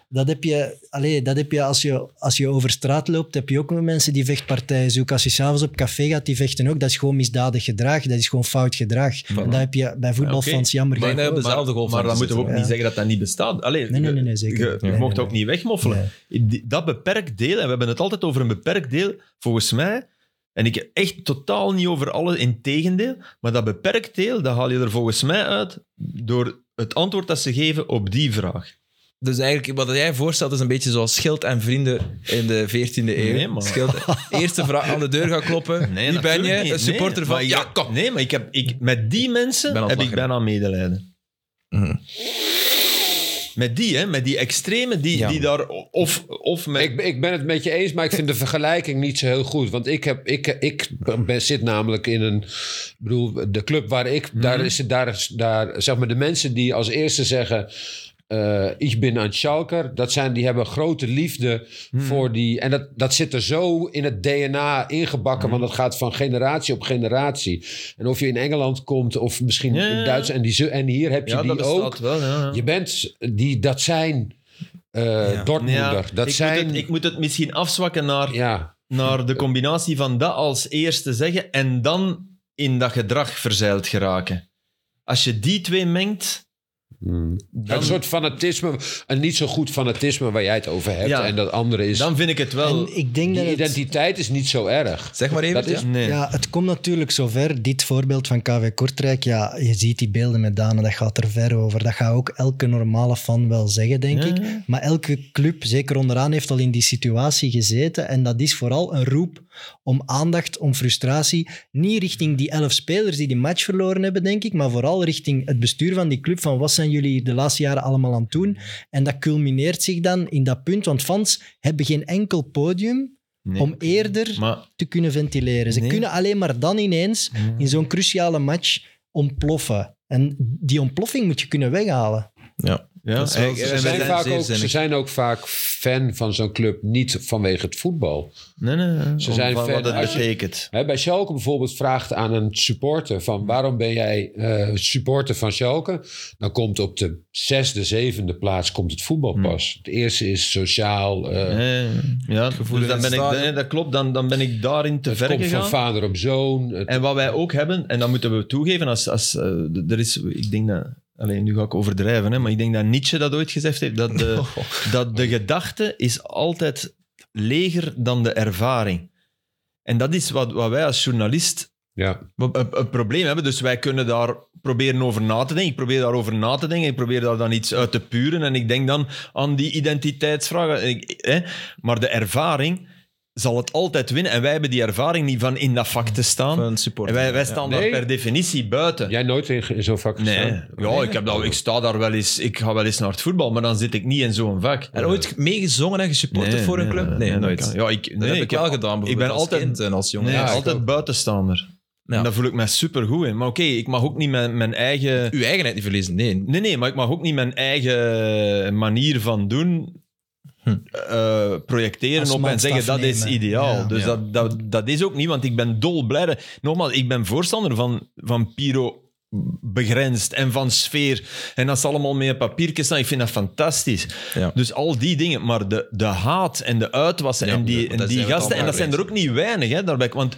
Speaker 4: Dat heb je, allee, dat heb je, als, je als je over straat loopt, heb je ook mensen die vechtpartijen zoeken. Als je s'avonds op café gaat, die vechten ook. Dat is gewoon misdadig gedrag, dat is gewoon fout gedrag. En dat heb je bij voetbalfans
Speaker 3: Oké.
Speaker 4: jammer
Speaker 1: Maar
Speaker 4: genoeg
Speaker 1: nee, op
Speaker 4: ook.
Speaker 1: dezelfde golf.
Speaker 3: Maar dan moeten we ook
Speaker 4: zitten, ja.
Speaker 3: niet zeggen dat dat niet bestaat. Allee,
Speaker 4: Nee, nee, nee, nee,
Speaker 3: je-
Speaker 4: zeker niet.
Speaker 3: Je,
Speaker 4: Nee, nee,
Speaker 3: mocht
Speaker 4: nee.
Speaker 3: ook niet wegmoffelen. Die- Dat beperkt deel, en we hebben het altijd over een beperkt deel, volgens mij, en ik echt totaal niet over alles, in tegendeel, maar dat beperkt deel, dat haal je er volgens mij uit door het antwoord dat ze geven op die vraag.
Speaker 1: Dus eigenlijk, wat jij voorstelt, is een beetje zoals Schild en Vrienden in de 14e eeuw.
Speaker 3: Nee,
Speaker 1: [LAUGHS]
Speaker 3: man.
Speaker 1: Schild, eerste vraag aan de deur gaan kloppen. Wie ben je? Een supporter van...
Speaker 3: Maar,
Speaker 1: ja,
Speaker 3: ja,
Speaker 1: kom.
Speaker 3: Nee, maar ik heb, ik, met die mensen
Speaker 1: Ben aan
Speaker 3: heb
Speaker 1: het
Speaker 3: ik
Speaker 1: lachen.
Speaker 3: bijna medelijden.
Speaker 1: Mhm.
Speaker 3: Met die, hè, met die extremen die,
Speaker 1: Ja.
Speaker 3: die daar... Of, of met,
Speaker 2: Ik, ik ben het met je eens, maar ik vind de vergelijking niet zo heel goed. Want ik, heb, ik, ik ben, zit namelijk in een. Ik bedoel, de club waar ik. Daar,
Speaker 3: Mhm.
Speaker 2: is, daar, is- daar zeg maar de mensen die als eerste zeggen. eh ik ben een Schalker. Dat zijn, die hebben grote liefde
Speaker 3: Mhm.
Speaker 2: voor die. En dat, dat zit er zo in het DNA ingebakken,
Speaker 3: Mhm.
Speaker 2: want dat gaat van generatie op generatie. En of je in Engeland komt of misschien
Speaker 3: Ja, ja, ja.
Speaker 2: in Duitsland. En, die, zu- en hier heb je
Speaker 3: ja,
Speaker 2: die
Speaker 3: dat
Speaker 2: ook.
Speaker 3: bestaat wel. ja, ja.
Speaker 2: Je bent die, dat zijn eh Dortmunder. Dat
Speaker 3: ik,
Speaker 2: zijn.
Speaker 3: moet het, ik moet het misschien afzwakken naar,
Speaker 2: ja,
Speaker 3: naar de combinatie van dat als eerste zeggen en dan in dat gedrag verzeild geraken. Als je die twee mengt, dan,
Speaker 2: een soort fanatisme, een niet zo goed fanatisme waar jij het over hebt.
Speaker 3: Ja.
Speaker 2: En dat andere is.
Speaker 3: dan vind ik het wel...
Speaker 4: En ik denk
Speaker 2: die
Speaker 4: dat het-
Speaker 2: identiteit is niet zo erg.
Speaker 1: Zeg maar even.
Speaker 2: Dat is-
Speaker 3: nee.
Speaker 4: Ja, het komt natuurlijk zover. Dit voorbeeld van KV Kortrijk, ja, je ziet die beelden met Dana, dat gaat er ver over. Dat gaat ook elke normale fan wel zeggen, denk
Speaker 3: Ja,
Speaker 4: ik.
Speaker 3: ja.
Speaker 4: Maar elke club, zeker onderaan, heeft al in die situatie gezeten. En dat is vooral een roep om aandacht, om frustratie. Niet richting die elf spelers die die match verloren hebben, denk ik, maar vooral richting het bestuur van die club. Van wat zijn jullie hier de laatste jaren allemaal aan het doen? En dat culmineert zich dan in dat punt, want fans hebben geen enkel podium
Speaker 3: Nee.
Speaker 4: om eerder
Speaker 3: Maar
Speaker 4: te kunnen ventileren. Ze
Speaker 3: Nee.
Speaker 4: kunnen alleen maar dan ineens in zo'n cruciale match ontploffen. En die ontploffing moet je kunnen weghalen.
Speaker 1: Ja.
Speaker 3: ja,
Speaker 1: Dat is wel-
Speaker 3: en- en
Speaker 1: ze
Speaker 3: we
Speaker 2: Ze zijn,
Speaker 1: zijn
Speaker 2: vaak
Speaker 1: zeer
Speaker 2: ook, ze
Speaker 1: zinnig.
Speaker 2: zijn ook vaak fan van zo'n club, niet vanwege het voetbal.
Speaker 3: Nee, nee, nee.
Speaker 2: Ze
Speaker 3: Om
Speaker 2: zijn
Speaker 3: van
Speaker 2: fan.
Speaker 3: wat het
Speaker 2: Als je-
Speaker 3: betekent.
Speaker 2: Hè, bij Schalke bijvoorbeeld vraagt aan een supporter van waarom ben jij eh, supporter van Schalke? Dan komt op de zesde, zevende plaats komt het voetbal pas. Het eerste is sociaal, eh,
Speaker 3: Nee, Hmm. ja, dus
Speaker 1: in
Speaker 3: dan
Speaker 1: het
Speaker 3: ben ik,
Speaker 1: stadion.
Speaker 3: nee, dat klopt, dan, dan ben ik daarin te ver
Speaker 2: komt
Speaker 3: gegaan.
Speaker 2: van vader op zoon. Het-
Speaker 3: En wat wij ook hebben, en dat moeten we toegeven, als, als, eh, d- er is, ik denk dat, alleen nu ga ik overdrijven, hè, maar ik denk dat Nietzsche dat ooit gezegd heeft, dat de, dat de gedachte is altijd leger dan de ervaring. En dat is wat, wat wij als journalist
Speaker 2: ja.
Speaker 3: een, een- een probleem hebben. Dus wij kunnen daar proberen over na te denken. Ik probeer daarover na te denken. Ik probeer daar dan iets uit te puren. En ik denk dan aan die identiteitsvragen. En ik- hè. Maar de ervaring zal het altijd winnen. En wij hebben die ervaring niet van in dat vak te staan.
Speaker 1: Van een supporter.
Speaker 3: En wij, wij staan
Speaker 2: Nee.
Speaker 3: daar per definitie buiten.
Speaker 2: Jij nooit in, in zo'n vak
Speaker 3: Nee,
Speaker 2: gestaan?
Speaker 3: ja, ik, heb dat, ik sta daar wel eens, ik ga wel eens naar het voetbal, maar dan zit ik niet in zo'n vak.
Speaker 1: En ooit meegezongen en gesupporterd
Speaker 3: Nee,
Speaker 1: voor een
Speaker 3: nee,
Speaker 1: club? Nee,
Speaker 3: dat
Speaker 1: nooit.
Speaker 3: kan- Ja, ik, nee,
Speaker 1: dat heb ik, wel gedaan,
Speaker 3: ik ben
Speaker 1: bijvoorbeeld als
Speaker 3: altijd-
Speaker 1: kind en als jongen.
Speaker 3: Nee,
Speaker 2: Ja, ik
Speaker 3: altijd
Speaker 2: ook.
Speaker 3: buitenstaander.
Speaker 1: Ja.
Speaker 3: En daar voel ik mij supergoed in. Maar oké, ik mag ook niet mijn, mijn eigen...
Speaker 1: Uw eigenheid niet verliezen, nee.
Speaker 3: Nee, nee, maar ik mag ook niet mijn eigen manier van doen
Speaker 1: Hm.
Speaker 3: eh, projecteren
Speaker 4: Als
Speaker 3: op en
Speaker 4: maatstaf
Speaker 3: zeggen dat is
Speaker 4: nemen.
Speaker 3: ideaal.
Speaker 4: Ja.
Speaker 3: dus
Speaker 1: Ja.
Speaker 3: Dat, dat, dat is ook niet, want ik ben dolblij. dat- Nogmaals, ik ben voorstander van, van Piro begrensd en van sfeer. En dat ze allemaal met een papiertje staan. Ik vind dat fantastisch.
Speaker 1: Ja.
Speaker 3: Dus al die dingen, maar de, de haat en de uitwassen
Speaker 1: Ja,
Speaker 3: en die,
Speaker 1: want daar
Speaker 3: en die
Speaker 1: zijn we het
Speaker 3: gasten, en dat
Speaker 1: allemaal
Speaker 3: zijn er ook niet weinig, hè, daarbij. Want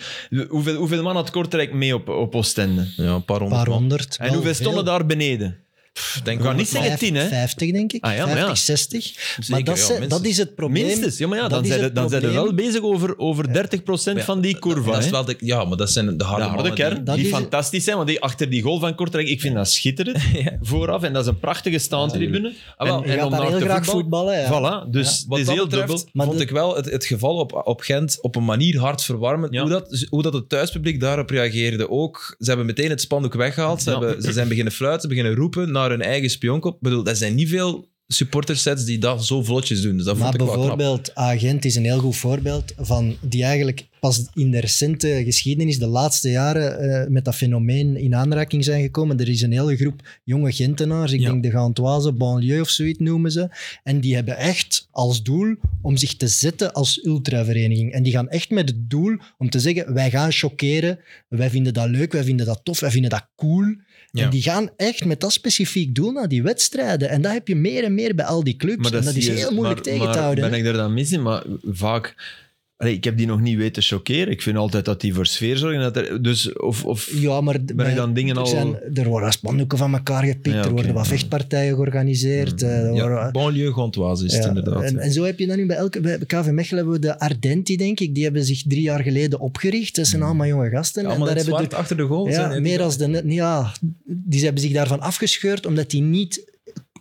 Speaker 3: hoeveel, hoeveel man had Kortrijk mee op, op Oostende?
Speaker 1: Ja, een paar honderd
Speaker 4: paar
Speaker 1: man.
Speaker 4: honderd.
Speaker 3: En hoeveel stonden daar beneden?
Speaker 1: Denk
Speaker 3: We gaan
Speaker 1: honderd
Speaker 3: niet
Speaker 1: man.
Speaker 3: zeggen tien, hè?
Speaker 4: 50, denk ik.
Speaker 3: Ah, ja, maar ja.
Speaker 4: 50, 60. maar dat,
Speaker 1: ja,
Speaker 4: is- dat
Speaker 1: minstens.
Speaker 4: is het probleem.
Speaker 3: Minstens. Ja, maar ja,
Speaker 4: Dat
Speaker 3: dan
Speaker 4: is
Speaker 3: zijn
Speaker 4: het
Speaker 3: we- dan zijn we
Speaker 4: probleem.
Speaker 3: wel bezig over, over 30% van die curva.
Speaker 1: Dat is
Speaker 3: hè.
Speaker 1: wel de, ja, maar dat zijn de harde,
Speaker 3: de harde
Speaker 1: mannen die-
Speaker 3: kern,
Speaker 4: Dat
Speaker 3: die
Speaker 4: is-
Speaker 3: fantastisch zijn. Want die, achter die goal van Kortrijk, ik vind
Speaker 4: [LAUGHS]
Speaker 3: dat schitterend. Vooraf, en dat is een prachtige staantribune.
Speaker 1: Ah, wel,
Speaker 3: en
Speaker 4: Je gaat daar heel graag voetballen. Ja.
Speaker 3: Voilà, dus
Speaker 1: Wat
Speaker 3: het is
Speaker 1: dat
Speaker 3: heel
Speaker 1: betreft
Speaker 3: dubbel.
Speaker 4: Maar
Speaker 1: vond
Speaker 4: de-
Speaker 1: ik wel het, het geval op, op Gent op een manier hard verwarmend.
Speaker 3: Ja.
Speaker 1: Hoe, dat, hoe dat het thuispubliek daarop reageerde ook. Ze hebben meteen het spandoek weggehaald. Ze,
Speaker 3: Ja.
Speaker 1: hebben, ze zijn beginnen fluiten, beginnen roepen naar hun eigen spionkop. Ik bedoel, dat zijn niet veel supportersets die dat zo vlotjes doen. Dus dat
Speaker 4: Maar
Speaker 1: vond ik wel knap.
Speaker 4: bijvoorbeeld Agent is een heel goed voorbeeld van die eigenlijk pas in de recente geschiedenis, de laatste jaren, eh, met dat fenomeen in aanraking zijn gekomen. Er is een hele groep jonge Gentenaars, ik
Speaker 1: Ja.
Speaker 4: denk de Gantoise, banlieue of zoiets noemen ze. En die hebben echt als doel om zich te zetten als ultravereniging. En die gaan echt met het doel om te zeggen, wij gaan choqueren, wij vinden dat leuk, wij vinden dat tof, wij vinden dat cool.
Speaker 1: Ja.
Speaker 4: En die gaan echt met dat specifiek doel naar die wedstrijden. En dat heb je meer en meer bij al die clubs. en dat
Speaker 3: zie
Speaker 4: is
Speaker 3: je-
Speaker 4: heel moeilijk
Speaker 3: maar-
Speaker 4: tegen
Speaker 3: maar
Speaker 4: te houden. hè.
Speaker 3: Ben ik daar dan mis in? Maar vaak... Allee, ik heb die nog niet weten choqueren. Ik vind altijd dat die voor sfeer zorgen. Dat er, dus, of, of,
Speaker 4: Ja, maar
Speaker 3: Ben ik dan dingen
Speaker 4: er,
Speaker 3: al-
Speaker 4: zijn, er worden spandoeken van elkaar gepikt,
Speaker 3: Ja, Mm.
Speaker 4: er worden
Speaker 3: oké.
Speaker 4: wat vechtpartijen georganiseerd. eh, er
Speaker 1: Ja,
Speaker 4: worden-
Speaker 1: banlieue Gantoise is het
Speaker 4: ja,
Speaker 1: inderdaad.
Speaker 4: en, en zo heb je dan nu bij elke... Bij KV Mechelen hebben we de Ardenti, denk ik. Die hebben zich drie jaar geleden opgericht. Dat
Speaker 3: Hmm.
Speaker 4: zijn allemaal jonge gasten.
Speaker 1: Ja,
Speaker 4: en
Speaker 1: allemaal in
Speaker 4: daar
Speaker 1: het
Speaker 4: hebben
Speaker 1: zwart achter de goal.
Speaker 4: de,
Speaker 1: zijn
Speaker 4: ja,
Speaker 1: en-
Speaker 4: meer als de... Ja, die hebben zich daarvan afgescheurd, omdat die niet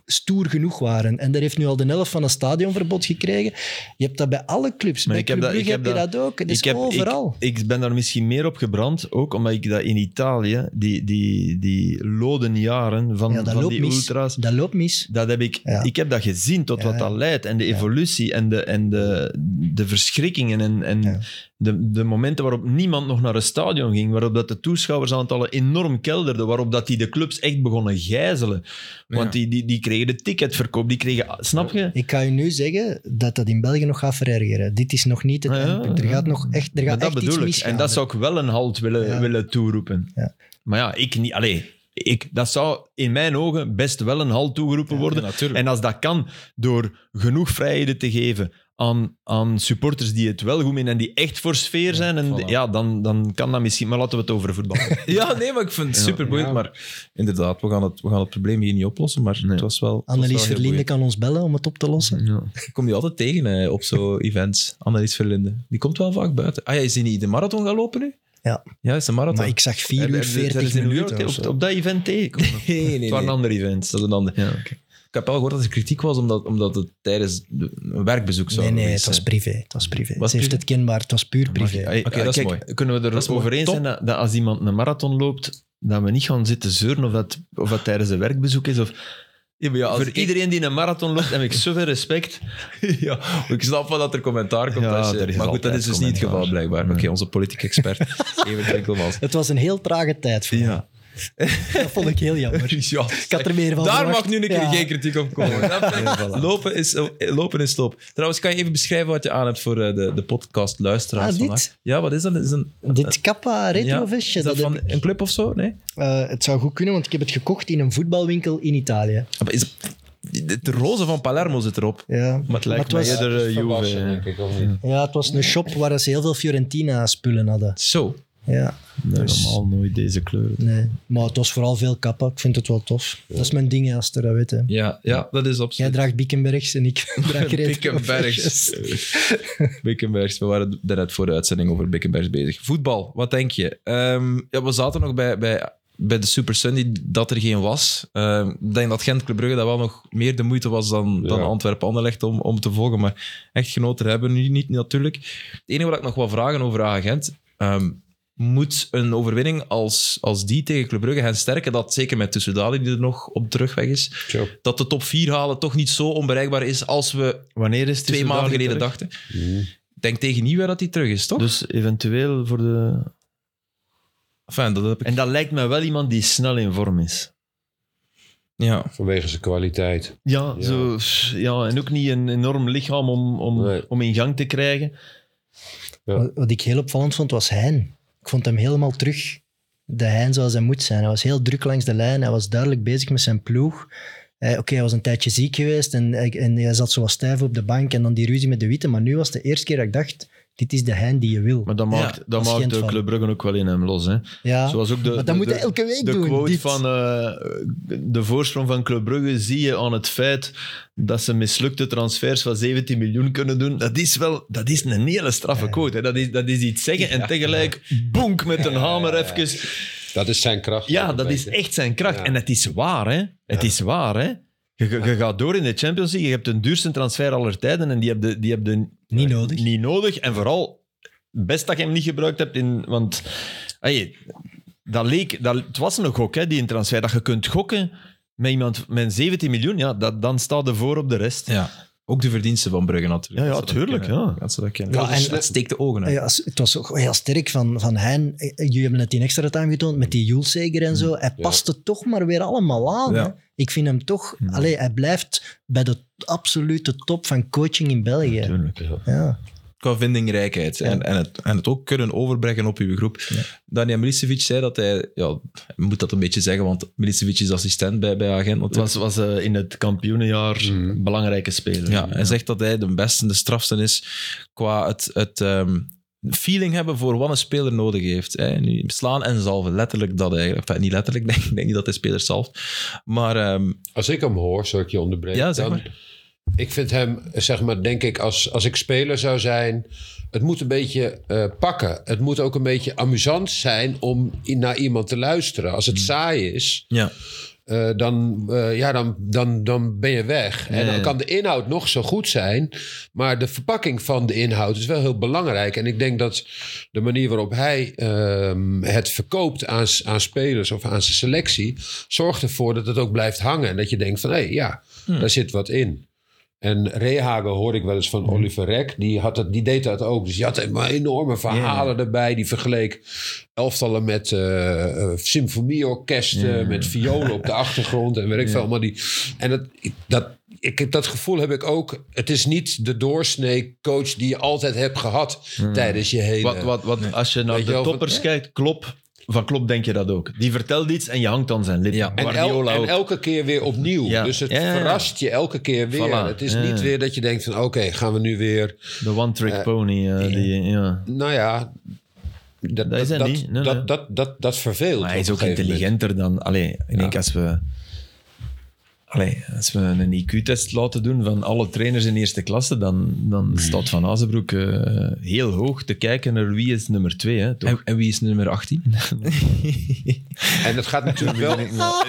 Speaker 4: stoer genoeg waren. En daar heeft nu al de helft van een stadionverbod gekregen. Je hebt dat bij alle clubs.
Speaker 3: Maar
Speaker 4: bij
Speaker 3: ik heb
Speaker 4: Club
Speaker 3: dat- ik
Speaker 4: Brugge heb
Speaker 3: heb
Speaker 4: je dat ook. Het is overal.
Speaker 3: Ik, ik ben daar misschien meer op gebrand, ook omdat ik dat in Italië, die, die, die loden jaren van,
Speaker 4: ja, dat
Speaker 3: van
Speaker 4: loopt
Speaker 3: die
Speaker 4: mis.
Speaker 3: ultra's,
Speaker 4: Dat loopt mis.
Speaker 3: dat heb ik,
Speaker 4: Ja.
Speaker 3: ik heb dat gezien tot
Speaker 4: Ja,
Speaker 3: wat
Speaker 4: ja.
Speaker 3: dat leidt en de evolutie en de, en de, de verschrikkingen en, en
Speaker 4: Ja.
Speaker 3: de, de momenten waarop niemand nog naar een stadion ging, waarop dat de toeschouwersaantallen enorm kelderden, waarop dat die de clubs echt begonnen gijzelen. Want
Speaker 1: Ja.
Speaker 3: die, die, die kregen de ticketverkoop, die kregen, snap je?
Speaker 4: Ik ga je nu zeggen dat dat in België nog gaat verergeren. Dit is nog niet het
Speaker 3: Ah Ja,
Speaker 4: eindpunt. Er
Speaker 3: ja.
Speaker 4: gaat nog echt, er gaat
Speaker 3: Maar dat
Speaker 4: echt iets
Speaker 3: bedoel ik.
Speaker 4: misgaan.
Speaker 3: En dat zou ik wel een halt willen,
Speaker 4: Ja.
Speaker 3: willen toeroepen.
Speaker 4: Ja.
Speaker 3: Maar ja, ik niet. Allee, ik, dat zou in mijn ogen best wel een halt toegeroepen
Speaker 1: Ja,
Speaker 3: worden.
Speaker 1: natuurlijk.
Speaker 3: En als dat kan, door genoeg vrijheden te geven aan, aan supporters die het wel goed menen en die echt voor sfeer zijn, en,
Speaker 1: voilà.
Speaker 3: ja, dan, dan kan dat misschien. Maar laten we het
Speaker 4: [LAUGHS]
Speaker 3: over voetbal hebben.
Speaker 1: Ja, nee, maar ik vind het
Speaker 3: Ja.
Speaker 1: super boeiend.
Speaker 2: Ja.
Speaker 1: Maar inderdaad, we gaan, het, we gaan het probleem hier niet oplossen. Maar
Speaker 3: Nee.
Speaker 1: het was wel. het was wel
Speaker 4: Annelies
Speaker 1: heel
Speaker 4: Verlinde
Speaker 1: boeiend.
Speaker 4: kan ons bellen om het op te
Speaker 1: Mm.
Speaker 4: lossen.
Speaker 3: Ja.
Speaker 1: Ik kom die altijd tegen eh, op
Speaker 4: [LAUGHS]
Speaker 1: zo'n events. Annelies Verlinde. Die komt wel vaak buiten. Ah ja, is die niet de marathon gaan lopen nu?
Speaker 4: Ja.
Speaker 1: Ja, is de marathon.
Speaker 4: Maar ik zag 4
Speaker 1: Heb-
Speaker 4: uur
Speaker 1: heb- zijn
Speaker 4: 40
Speaker 1: ze in New York
Speaker 4: minuten. of
Speaker 3: Op,
Speaker 4: zo.
Speaker 3: op dat event tegenkomen.
Speaker 1: [LAUGHS] Nee, nee,
Speaker 3: Het
Speaker 1: nee.
Speaker 3: was een ander event.
Speaker 1: Dat is een ander.
Speaker 3: Ja,
Speaker 1: Ik heb wel gehoord dat er kritiek was omdat, omdat het tijdens de- een werkbezoek zou
Speaker 4: Nee, nee,
Speaker 1: geweest
Speaker 4: het was
Speaker 1: zijn.
Speaker 4: privé. Het was privé.
Speaker 1: Was Ah,
Speaker 4: Ze heeft
Speaker 1: privé?
Speaker 4: het kenbaar. Het was puur privé.
Speaker 3: Hey,
Speaker 1: Oké, dat is
Speaker 3: eh, kijk,
Speaker 1: mooi.
Speaker 3: Kunnen we
Speaker 1: Dat is mooi.
Speaker 3: erover eens
Speaker 1: Top.
Speaker 3: zijn dat, dat als iemand een marathon loopt, dat we niet gaan zitten zeuren of dat, of dat tijdens een werkbezoek is? Of, Voor iedereen die een marathon loopt, heb ik zoveel respect.
Speaker 1: [LAUGHS] ja, ik snap wel dat er commentaar komt.
Speaker 3: Ja,
Speaker 1: als
Speaker 3: er
Speaker 1: je,
Speaker 3: is
Speaker 1: maar goed, dat
Speaker 3: altijd
Speaker 1: is dus niet het
Speaker 3: commentaar.
Speaker 1: geval blijkbaar. Oké,
Speaker 3: Nee.
Speaker 1: onze politiek expert, [LAUGHS] Evert Winkelmans.
Speaker 4: Het was een heel trage tijd voor
Speaker 1: Ja.
Speaker 4: mij. Dat vond ik heel
Speaker 1: [LAUGHS]
Speaker 4: jammer.
Speaker 1: Ja,
Speaker 4: Ik had er meer van
Speaker 1: Daar
Speaker 4: verwacht.
Speaker 1: mag nu een keer
Speaker 4: Ja.
Speaker 1: geen kritiek op komen. lopen, is, eh, lopen is loop. Trouwens, kan je even beschrijven wat je aan hebt voor eh, de, de podcast luisteraars
Speaker 4: Ah, dit?
Speaker 1: vandaag? Ja, wat is dat? Is een,
Speaker 4: Dit kappa retrofestje.
Speaker 1: is dat
Speaker 4: dat
Speaker 1: van
Speaker 4: heb ik-
Speaker 1: een club of zo? Nee?
Speaker 4: eh, het zou goed kunnen, want ik heb het gekocht in een voetbalwinkel in Italië.
Speaker 1: Maar is, de roze van Palermo zit erop.
Speaker 4: Ja,
Speaker 3: Maar het lijkt
Speaker 4: Maar het
Speaker 3: mij
Speaker 4: was-
Speaker 3: eerder eh, Juve.
Speaker 2: Verbassen, denk
Speaker 3: ja.
Speaker 2: ik, of niet?
Speaker 4: ja, het was een shop waar ze heel veel Fiorentina-spullen hadden.
Speaker 1: Zo.
Speaker 4: Ja.
Speaker 3: Nee,
Speaker 4: Dus-
Speaker 3: normaal nooit deze kleuren.
Speaker 4: Nee, maar het was vooral veel kappa. Ik vind het wel tof. Dat is mijn ding, Aster, dat weet je.
Speaker 1: Ja, ja dat is
Speaker 4: Jij
Speaker 1: absoluut.
Speaker 4: draagt Biekenbergs en ik draag Reet.
Speaker 1: Bickenbergs. [LAUGHS] Bickenbergs. We waren daarnet voor de uitzending over Bickenbergs bezig. Voetbal, wat denk je? Ehm, ja, we zaten nog bij, bij, bij de Super Sunday dat er geen was. Ehm, ik denk dat Gent Club Brugge dat wel nog meer de moeite was dan,
Speaker 2: Ja.
Speaker 1: dan Antwerpen Anderlecht om, om te volgen. Maar echt genoten hebben we nu niet natuurlijk. Het enige wat ik nog wil vragen over Agent. ehm moet een overwinning als, als die tegen Club Brugge hen sterken, dat zeker met Tussendali die er nog op terugweg is,
Speaker 2: Zo.
Speaker 1: dat de top 4 halen toch niet zo onbereikbaar is als we
Speaker 3: Wanneer is het? dus
Speaker 1: twee
Speaker 3: Is het
Speaker 1: maanden
Speaker 3: dadelijk
Speaker 1: geleden
Speaker 3: terug?
Speaker 1: dachten.
Speaker 2: Mm.
Speaker 1: Ik denk tegen Nieuwjaar dat hij terug is, toch?
Speaker 3: Dus eventueel voor de...
Speaker 1: Enfin, dat heb ik...
Speaker 3: En dat lijkt mij wel iemand die snel in vorm is.
Speaker 1: Ja.
Speaker 2: Vanwege zijn kwaliteit.
Speaker 3: Ja,
Speaker 2: Ja.
Speaker 3: Zo, ja en ook niet een enorm lichaam om, om,
Speaker 2: Nee.
Speaker 3: om in gang te krijgen.
Speaker 2: Ja.
Speaker 4: Wat- Wat ik heel opvallend vond, was Hein. Ik vond hem helemaal terug de Hein zoals hij moet zijn. Hij was heel druk langs de lijn. Hij was duidelijk bezig met zijn ploeg. Eh, Oké, hij was een tijdje ziek geweest en, hij- en hij zat zo wat stijf op de bank en dan die ruzie met de witte. Maar nu was het de eerste keer dat ik dacht, dit is de Hein die je wil.
Speaker 3: Maar dat
Speaker 1: Ja,
Speaker 3: maakt, dat
Speaker 4: is
Speaker 3: maakt
Speaker 4: Gent
Speaker 3: de
Speaker 4: van.
Speaker 3: Club Brugge ook wel in hem los. Hè.
Speaker 4: ja,
Speaker 3: Zoals ook de,
Speaker 4: maar dat
Speaker 3: de,
Speaker 4: moet
Speaker 3: de-
Speaker 4: hij elke week
Speaker 3: de
Speaker 4: doen.
Speaker 3: quote
Speaker 4: dit.
Speaker 3: van eh, de voorsprong van Club Brugge zie je aan het feit dat ze mislukte transfers van 17 miljoen kunnen doen. Dat is wel dat is een hele straffe quote. Hè. Dat, is, dat is iets zeggen en tegelijk boenk met een hamer even.
Speaker 2: Dat is zijn kracht.
Speaker 3: Ja,
Speaker 2: een
Speaker 3: dat is
Speaker 2: beetje.
Speaker 3: echt zijn kracht.
Speaker 2: Ja.
Speaker 3: En het is waar, hè. Het is waar, hè. Je, je- je gaat door in de Champions League. Je hebt de duurste transfer aller tijden en die heb je, die heb je
Speaker 4: Niet nodig.
Speaker 3: niet nodig. En vooral, best dat je hem niet gebruikt hebt. In, want hey, dat leek, dat, het was een gok, hè, die een transfer. Dat je kunt gokken met iemand met 17 miljoen, ja, dat, dan staat er voor op de rest.
Speaker 1: ja. Ook de verdiensten van Brugge natuurlijk.
Speaker 3: Ja, ja,
Speaker 1: Dat ze dat
Speaker 3: tuurlijk,
Speaker 1: kennen.
Speaker 3: ja.
Speaker 1: Dat ze dat kennen.
Speaker 4: Ja,
Speaker 1: Dat
Speaker 4: en-
Speaker 1: is- dat steekt de ogen uit.
Speaker 4: Ah Ja, als- het was ook heel sterk van, van Hein. Eh, Jullie hebben het in extra time getoond met die Jules zeker en zo. Hij
Speaker 2: Ja.
Speaker 4: paste toch maar weer allemaal aan.
Speaker 1: Ja.
Speaker 4: hè. Ik vind hem toch...
Speaker 3: Hmm.
Speaker 4: Allee, hij blijft bij de absolute top van coaching in België.
Speaker 3: Tuurlijk.
Speaker 4: Ja.
Speaker 1: qua vindingrijkheid en, en, het, en het ook kunnen overbrengen op uw groep. Daniel Milicevic zei dat hij, ja, hij moet dat een beetje zeggen, want Milicevic is assistent bij, bij agent.
Speaker 3: Het
Speaker 1: natuurlijk.
Speaker 3: was, was eh, in het kampioenenjaar
Speaker 2: Mm.
Speaker 3: een belangrijke speler.
Speaker 1: ja, hij zegt dat hij de beste en de strafste is qua het, het ehm, feeling hebben voor wat een speler nodig heeft. Hè. Nu, slaan en zalven, letterlijk dat eigenlijk. Enfin, niet letterlijk, [LAUGHS] denk, ik denk niet dat hij spelers zalft. Maar ehm,
Speaker 2: Als ik hem hoor, zou ik je onderbreken.
Speaker 1: Ja, zeg
Speaker 2: dan- Ik vind hem, zeg maar, denk ik, als, als ik speler zou zijn. Het moet een beetje eh, pakken. Het moet ook een beetje amusant zijn om i- naar iemand te luisteren. Als het saai is,
Speaker 1: ja,
Speaker 2: eh, dan, eh, ja, dan, dan, dan ben je weg. En dan
Speaker 3: ja.
Speaker 2: kan de inhoud nog zo goed zijn. Maar de verpakking van de inhoud is wel heel belangrijk. En ik denk dat de manier waarop hij ehm, het verkoopt aan, s- aan spelers of aan zijn selectie... zorgt ervoor dat het ook blijft hangen. En dat je denkt van, hé, ja, daar zit wat in. En Rehagen hoor ik wel eens
Speaker 3: Mhm.
Speaker 2: van Oliver Reck. Die, had het, die deed dat ook. Dus die had helemaal enorme verhalen erbij. Die vergeleek elftallen met eh, eh, symfonieorkesten, met violen op de achtergrond en weet ik veel. allemaal die, en dat, dat, ik, heb- dat gevoel heb ik ook. Het is niet de doorsnee coach die je altijd hebt gehad tijdens je hele...
Speaker 3: Mhm. Wat, wat, wat, als je naar
Speaker 2: Weet je
Speaker 3: de
Speaker 2: wel, van-
Speaker 3: toppers kijkt, Klop, van Klop denk je dat ook. Die vertelt iets en je hangt aan zijn lip.
Speaker 1: Ja.
Speaker 2: En, el-
Speaker 3: Guardiola
Speaker 2: en
Speaker 3: ook.
Speaker 2: elke keer weer opnieuw.
Speaker 3: Ja.
Speaker 2: Dus het
Speaker 3: Ja, ja, ja.
Speaker 2: verrast je elke keer weer.
Speaker 3: Voilà.
Speaker 2: Het is
Speaker 3: Ja.
Speaker 2: niet weer dat je denkt van oké, gaan we nu weer...
Speaker 3: De one-trick
Speaker 2: Eh,
Speaker 3: pony. eh, die, ja.
Speaker 2: Nou ja, dat,
Speaker 3: Dat is hij
Speaker 2: dat,
Speaker 3: niet. Nee,
Speaker 2: dat,
Speaker 3: nee.
Speaker 2: Dat, dat, dat verveelt.
Speaker 3: Maar hij is
Speaker 2: op
Speaker 3: ook
Speaker 2: een gegeven moment.
Speaker 3: intelligenter dan... Allee, ik denk als we... Allee, als we een IQ-test laten doen van alle trainers in eerste klasse, dan, dan staat Van Azenbroek eh, heel hoog te kijken naar wie is nummer twee. Hè, toch?
Speaker 1: en, en wie is nummer 18?
Speaker 2: En dat gaat natuurlijk
Speaker 3: [LAUGHS]
Speaker 2: wel.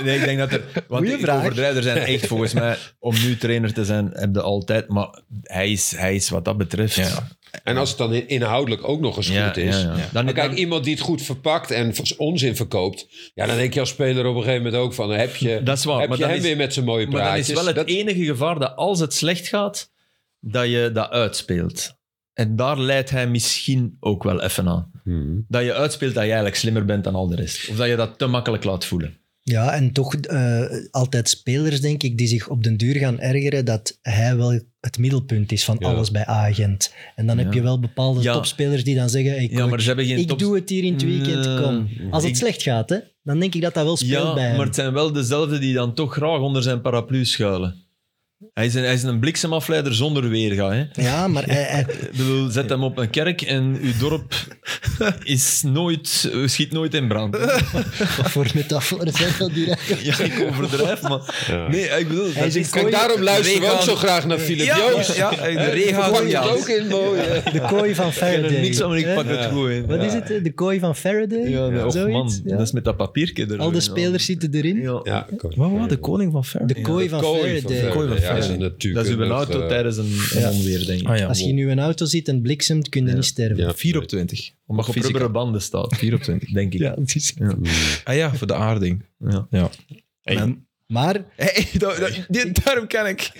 Speaker 3: Nee, ik denk dat er... Want
Speaker 4: Goeie
Speaker 3: ik
Speaker 4: vraag.
Speaker 3: overdrijf, er zijn echt volgens mij... Om nu trainer te zijn, heb je altijd... Maar hij is, hij is wat dat betreft...
Speaker 1: Ja.
Speaker 2: En als het dan in- inhoudelijk ook nog eens
Speaker 3: Ja,
Speaker 2: goed is.
Speaker 3: ja, ja. Dan-
Speaker 2: maar kijk,
Speaker 3: dan-
Speaker 2: iemand die het goed verpakt en v- onzin verkoopt. Ja, dan denk je als speler op een gegeven moment ook van... Heb je,
Speaker 3: Dat is waar,
Speaker 2: heb
Speaker 3: maar
Speaker 2: je
Speaker 3: dan
Speaker 2: hem
Speaker 3: is-
Speaker 2: weer met zijn mooie
Speaker 3: Maar dan is
Speaker 2: praatjes.
Speaker 3: wel het e-
Speaker 2: dat,
Speaker 3: enige gevaar dat als het slecht gaat, dat je dat uitspeelt. En daar leidt hij misschien ook wel even aan.
Speaker 2: Hmm.
Speaker 3: Dat je uitspeelt dat je eigenlijk slimmer bent dan al de rest. Of dat je dat te makkelijk laat voelen.
Speaker 4: ja, en toch eh, altijd spelers, denk ik, die zich op den duur gaan ergeren dat hij wel het middelpunt is van
Speaker 2: Ja.
Speaker 4: alles bij agent. En dan heb
Speaker 3: Ja.
Speaker 4: je wel bepaalde
Speaker 3: Ja.
Speaker 4: topspelers die dan zeggen... Hey,
Speaker 3: Ja, maar
Speaker 4: coach,
Speaker 3: ze hebben geen
Speaker 4: ik
Speaker 3: top-
Speaker 4: doe het hier in het weekend,
Speaker 3: Nee.
Speaker 4: kom. Als het
Speaker 3: Ik-
Speaker 4: slecht gaat, hè, dan denk ik dat dat wel speelt
Speaker 3: Ja,
Speaker 4: bij hem.
Speaker 3: maar het zijn wel dezelfde die dan toch graag onder zijn paraplu schuilen. Hij is een, hij is een bliksemafleider zonder weerga. Hè?
Speaker 4: Ja,
Speaker 3: [LAUGHS]
Speaker 4: maar hij, hij-
Speaker 3: Ik bedoel, zet hem op een kerk en uw [LAUGHS] dorp is nooit, schiet nooit in [LAUGHS] brand.
Speaker 4: wat voor metaforen zijn dat die?
Speaker 3: Ja, ik overdrijf, maar... Nee, ik bedoel...
Speaker 4: Hij is een
Speaker 2: kijk,
Speaker 4: kooi-
Speaker 2: daarom luisteren we ook
Speaker 3: Regaan-
Speaker 2: zo graag naar Philip Joost.
Speaker 1: ja, de
Speaker 2: Pak
Speaker 1: Rehagen,
Speaker 2: het
Speaker 1: ja.
Speaker 2: ook in mooi.
Speaker 3: [LAUGHS]
Speaker 2: hè.
Speaker 4: De kooi van
Speaker 3: Ik ken
Speaker 4: Faraday.
Speaker 3: er niks aan, maar ik
Speaker 4: Hè?
Speaker 3: pak het goed in.
Speaker 4: Wat is het? hè? De kooi van Faraday?
Speaker 3: Ja, nee, och
Speaker 4: Zoiets?
Speaker 3: man,
Speaker 4: Ja.
Speaker 3: dat is met dat papiertje erin.
Speaker 4: Al de spelers zitten erin.
Speaker 3: Ja.
Speaker 2: Ja, kom.
Speaker 1: Wat, wat, de koning van Fair.
Speaker 4: De kooi van
Speaker 2: Kooi van
Speaker 4: Faraday.
Speaker 1: Kooi van
Speaker 2: Verde, ja,
Speaker 1: Verde.
Speaker 2: is een
Speaker 3: Dat is uw
Speaker 2: natuurkundig,
Speaker 3: auto
Speaker 2: eh,
Speaker 3: tijdens een, een onweer, denk ik.
Speaker 1: Ah ja,
Speaker 4: Als je nu een auto ziet en bliksemt, kun je niet sterven.
Speaker 2: Ja.
Speaker 1: 4 op 20.
Speaker 3: Omdat je op
Speaker 1: Fysica.
Speaker 3: rubberen banden staat, [LAUGHS]
Speaker 1: 4 op 20.
Speaker 3: denk ik.
Speaker 4: dat is...
Speaker 1: Ah ja, voor de aarding.
Speaker 3: Ja.
Speaker 1: Ja.
Speaker 3: Hey.
Speaker 4: Maar Maar [LAUGHS]
Speaker 1: Hey, dat- dat- dit, daarom ken ik.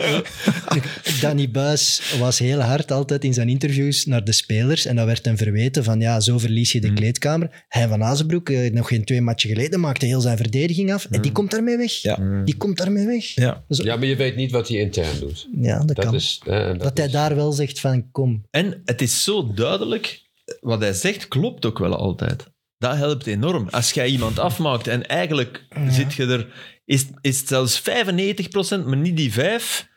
Speaker 4: Danny Buis was heel hard altijd in zijn interviews naar de spelers. En dat werd hem verweten van, ja, zo verlies je de kleedkamer. Hij van Azenbroek, eh, nog geen twee matchen geleden, maakte heel zijn verdediging af. En die komt daarmee weg.
Speaker 1: Ja.
Speaker 4: Die komt daarmee weg.
Speaker 1: Ja.
Speaker 4: Zo- ja,
Speaker 2: Ja, maar je weet niet wat hij intern doet.
Speaker 4: dat,
Speaker 2: Dat
Speaker 4: kan.
Speaker 2: is, eh, dat
Speaker 4: dat hij
Speaker 2: is-
Speaker 4: daar wel zegt van, kom.
Speaker 3: En het is zo duidelijk, wat hij zegt klopt ook wel altijd. Dat helpt enorm. Als jij iemand afmaakt en eigenlijk zit je er, is, is het zelfs 95%, maar niet die 5.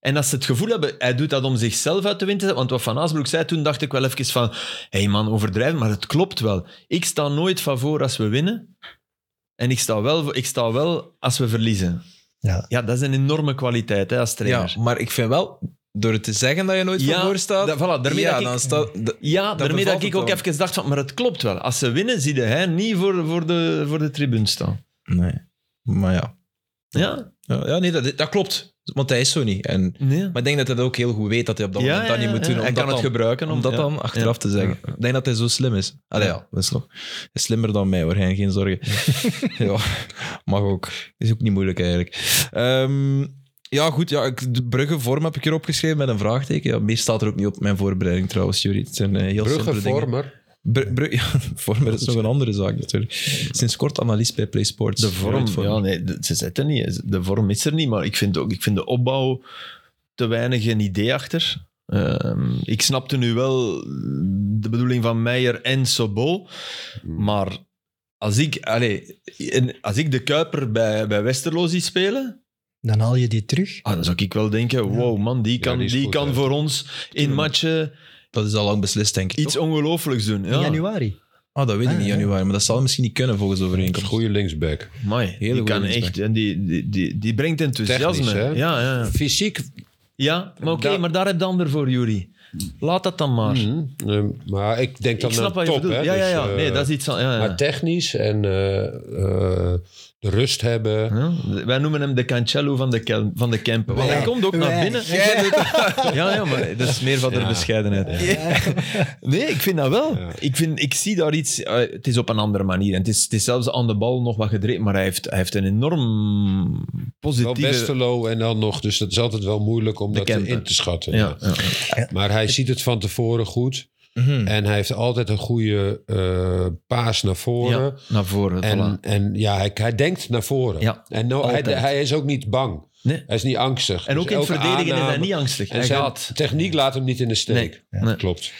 Speaker 3: En als ze het gevoel hebben, hij doet dat om zichzelf uit de wind te zetten. Want wat Van Asbroek zei toen, dacht ik wel even van, hé hey man, overdrijven, maar het klopt wel. Ik sta nooit van voor als we winnen. En ik sta wel, voor- ik sta wel als we verliezen.
Speaker 4: Ja.
Speaker 3: Ja, dat is een enorme kwaliteit hè, als trainer.
Speaker 1: ja, maar ik vind wel, door het te zeggen dat je nooit
Speaker 3: Ja,
Speaker 1: van voor staat,
Speaker 3: dat- voilà, daarmee
Speaker 1: ja,
Speaker 3: dat ik-
Speaker 1: dan staat... dat-
Speaker 3: Ja, daarmee dat
Speaker 1: bevalt
Speaker 3: ik
Speaker 1: het
Speaker 3: ook
Speaker 1: dan.
Speaker 3: even dacht van, maar het klopt wel. Als ze winnen, zie je hè, niet voor, voor, de, voor de tribune staan.
Speaker 1: Nee, maar ja.
Speaker 3: Ja?
Speaker 1: Ja, ja, nee, dat, dat klopt. Want hij is zo niet. En,
Speaker 3: Nee.
Speaker 1: maar ik denk dat hij dat ook heel goed weet dat hij op dat
Speaker 3: Ja,
Speaker 1: moment dat
Speaker 3: ja,
Speaker 1: niet
Speaker 3: ja,
Speaker 1: moet doen.
Speaker 3: ja.
Speaker 1: Om
Speaker 3: Hij
Speaker 1: dat
Speaker 3: kan het
Speaker 1: dan-
Speaker 3: gebruiken
Speaker 1: om dat
Speaker 3: ja.
Speaker 1: dan achteraf te zeggen. Ik denk dat hij zo slim is. Allee, ja, dat is nog. Hij is slimmer dan mij hoor, Hein, geen
Speaker 3: [LAUGHS]
Speaker 1: zorgen. ja, mag ook. Is ook niet moeilijk eigenlijk. Ehm, ja, goed. Ja, ik, de bruggenvorm heb ik erop geschreven met een vraagteken. Ja, meer staat er ook niet op mijn voorbereiding trouwens, Jury. Het zijn eh, heel simpele dingen.
Speaker 2: Bruggenvormer.
Speaker 1: Br- [LAUGHS] br- ja, vormer is nog een andere zaak natuurlijk. Sinds kort analist bij PlaySports.
Speaker 3: De vorm, ja, nee, de- ze zetten niet. De vorm is er niet, maar ik vind, ook, ik vind de opbouw te weinig een idee achter. Ehm, ik snapte nu wel de bedoeling van Meijer en Sobol, maar als ik, allez, en als ik de Kuiper bij, bij Westerlo zie spelen,
Speaker 4: Dan haal je die terug.
Speaker 3: Ah, dan zou ik wel denken, wow man, die kan,
Speaker 2: die
Speaker 3: die
Speaker 2: is goed,
Speaker 3: kan
Speaker 2: hè.
Speaker 3: voor ons in matchen
Speaker 1: Dat is al lang beslist, denk ik.
Speaker 3: iets ongelooflijks doen.
Speaker 4: In
Speaker 3: Ja.
Speaker 4: januari.
Speaker 1: Ah, dat weet ik
Speaker 4: Ah,
Speaker 1: niet,
Speaker 4: ja.
Speaker 1: januari. Maar dat zal misschien niet kunnen volgens de
Speaker 2: Dat is een
Speaker 1: overeenkomst.
Speaker 2: goede linksback.
Speaker 3: Amai, die
Speaker 1: goede
Speaker 3: kan
Speaker 1: linksback.
Speaker 3: echt, en die, die, die, die brengt
Speaker 2: Technisch,
Speaker 3: enthousiasme.
Speaker 2: hè?
Speaker 3: Ja, ja, ja.
Speaker 2: Fysiek,
Speaker 3: ja, maar oké,
Speaker 2: Da-
Speaker 3: maar daar heb je ander voor, Juri. Laat dat dan maar.
Speaker 2: hm, eh, maar ik denk dan
Speaker 3: Ik snap
Speaker 2: aan
Speaker 3: wat je
Speaker 2: top.
Speaker 3: bedoelt.
Speaker 2: hè,
Speaker 3: Ja, ja,
Speaker 2: dus,
Speaker 3: ja.
Speaker 2: eh,
Speaker 3: Nee, dat is iets van... Ja, ja.
Speaker 2: Maar technisch en eh, eh, de rust hebben.
Speaker 3: Ja, Wij noemen hem de Cancello van de, Kel- van de Kempen. Want hij
Speaker 4: Wij.
Speaker 3: komt ook naar
Speaker 4: Wij.
Speaker 3: binnen. Ja, ja, maar dat is meer van de bescheidenheid. Nee, ik vind dat wel. Ik, vind, ik zie daar iets... eh, het is op een andere manier. En het, is, het is zelfs aan de bal nog wat gedreven, maar hij heeft, hij heeft een enorm
Speaker 2: Wel
Speaker 3: positieve...
Speaker 2: Westerlo en dan nog. Dus dat is altijd wel moeilijk om
Speaker 3: De
Speaker 2: dat
Speaker 3: Kempen.
Speaker 2: in te schatten.
Speaker 3: Ja, ja.
Speaker 2: Maar hij ziet het van tevoren goed.
Speaker 1: Mhm.
Speaker 2: En hij heeft altijd een goede eh, paas naar voren.
Speaker 3: Ja, naar voren.
Speaker 2: En,
Speaker 3: voilà.
Speaker 2: en ja, hij, hij denkt naar voren.
Speaker 3: Ja,
Speaker 2: en no- hij,
Speaker 3: altijd.
Speaker 2: hij is ook niet bang.
Speaker 3: Nee.
Speaker 2: Hij is niet angstig.
Speaker 3: En
Speaker 2: Dus
Speaker 3: ook in het
Speaker 2: elke
Speaker 3: verdedigen is hij
Speaker 2: aanname-
Speaker 3: niet angstig.
Speaker 2: En
Speaker 3: Hij
Speaker 2: zijn
Speaker 3: gaat.
Speaker 2: techniek laat hem niet in de steek.
Speaker 3: Nee. Nee.
Speaker 2: Klopt.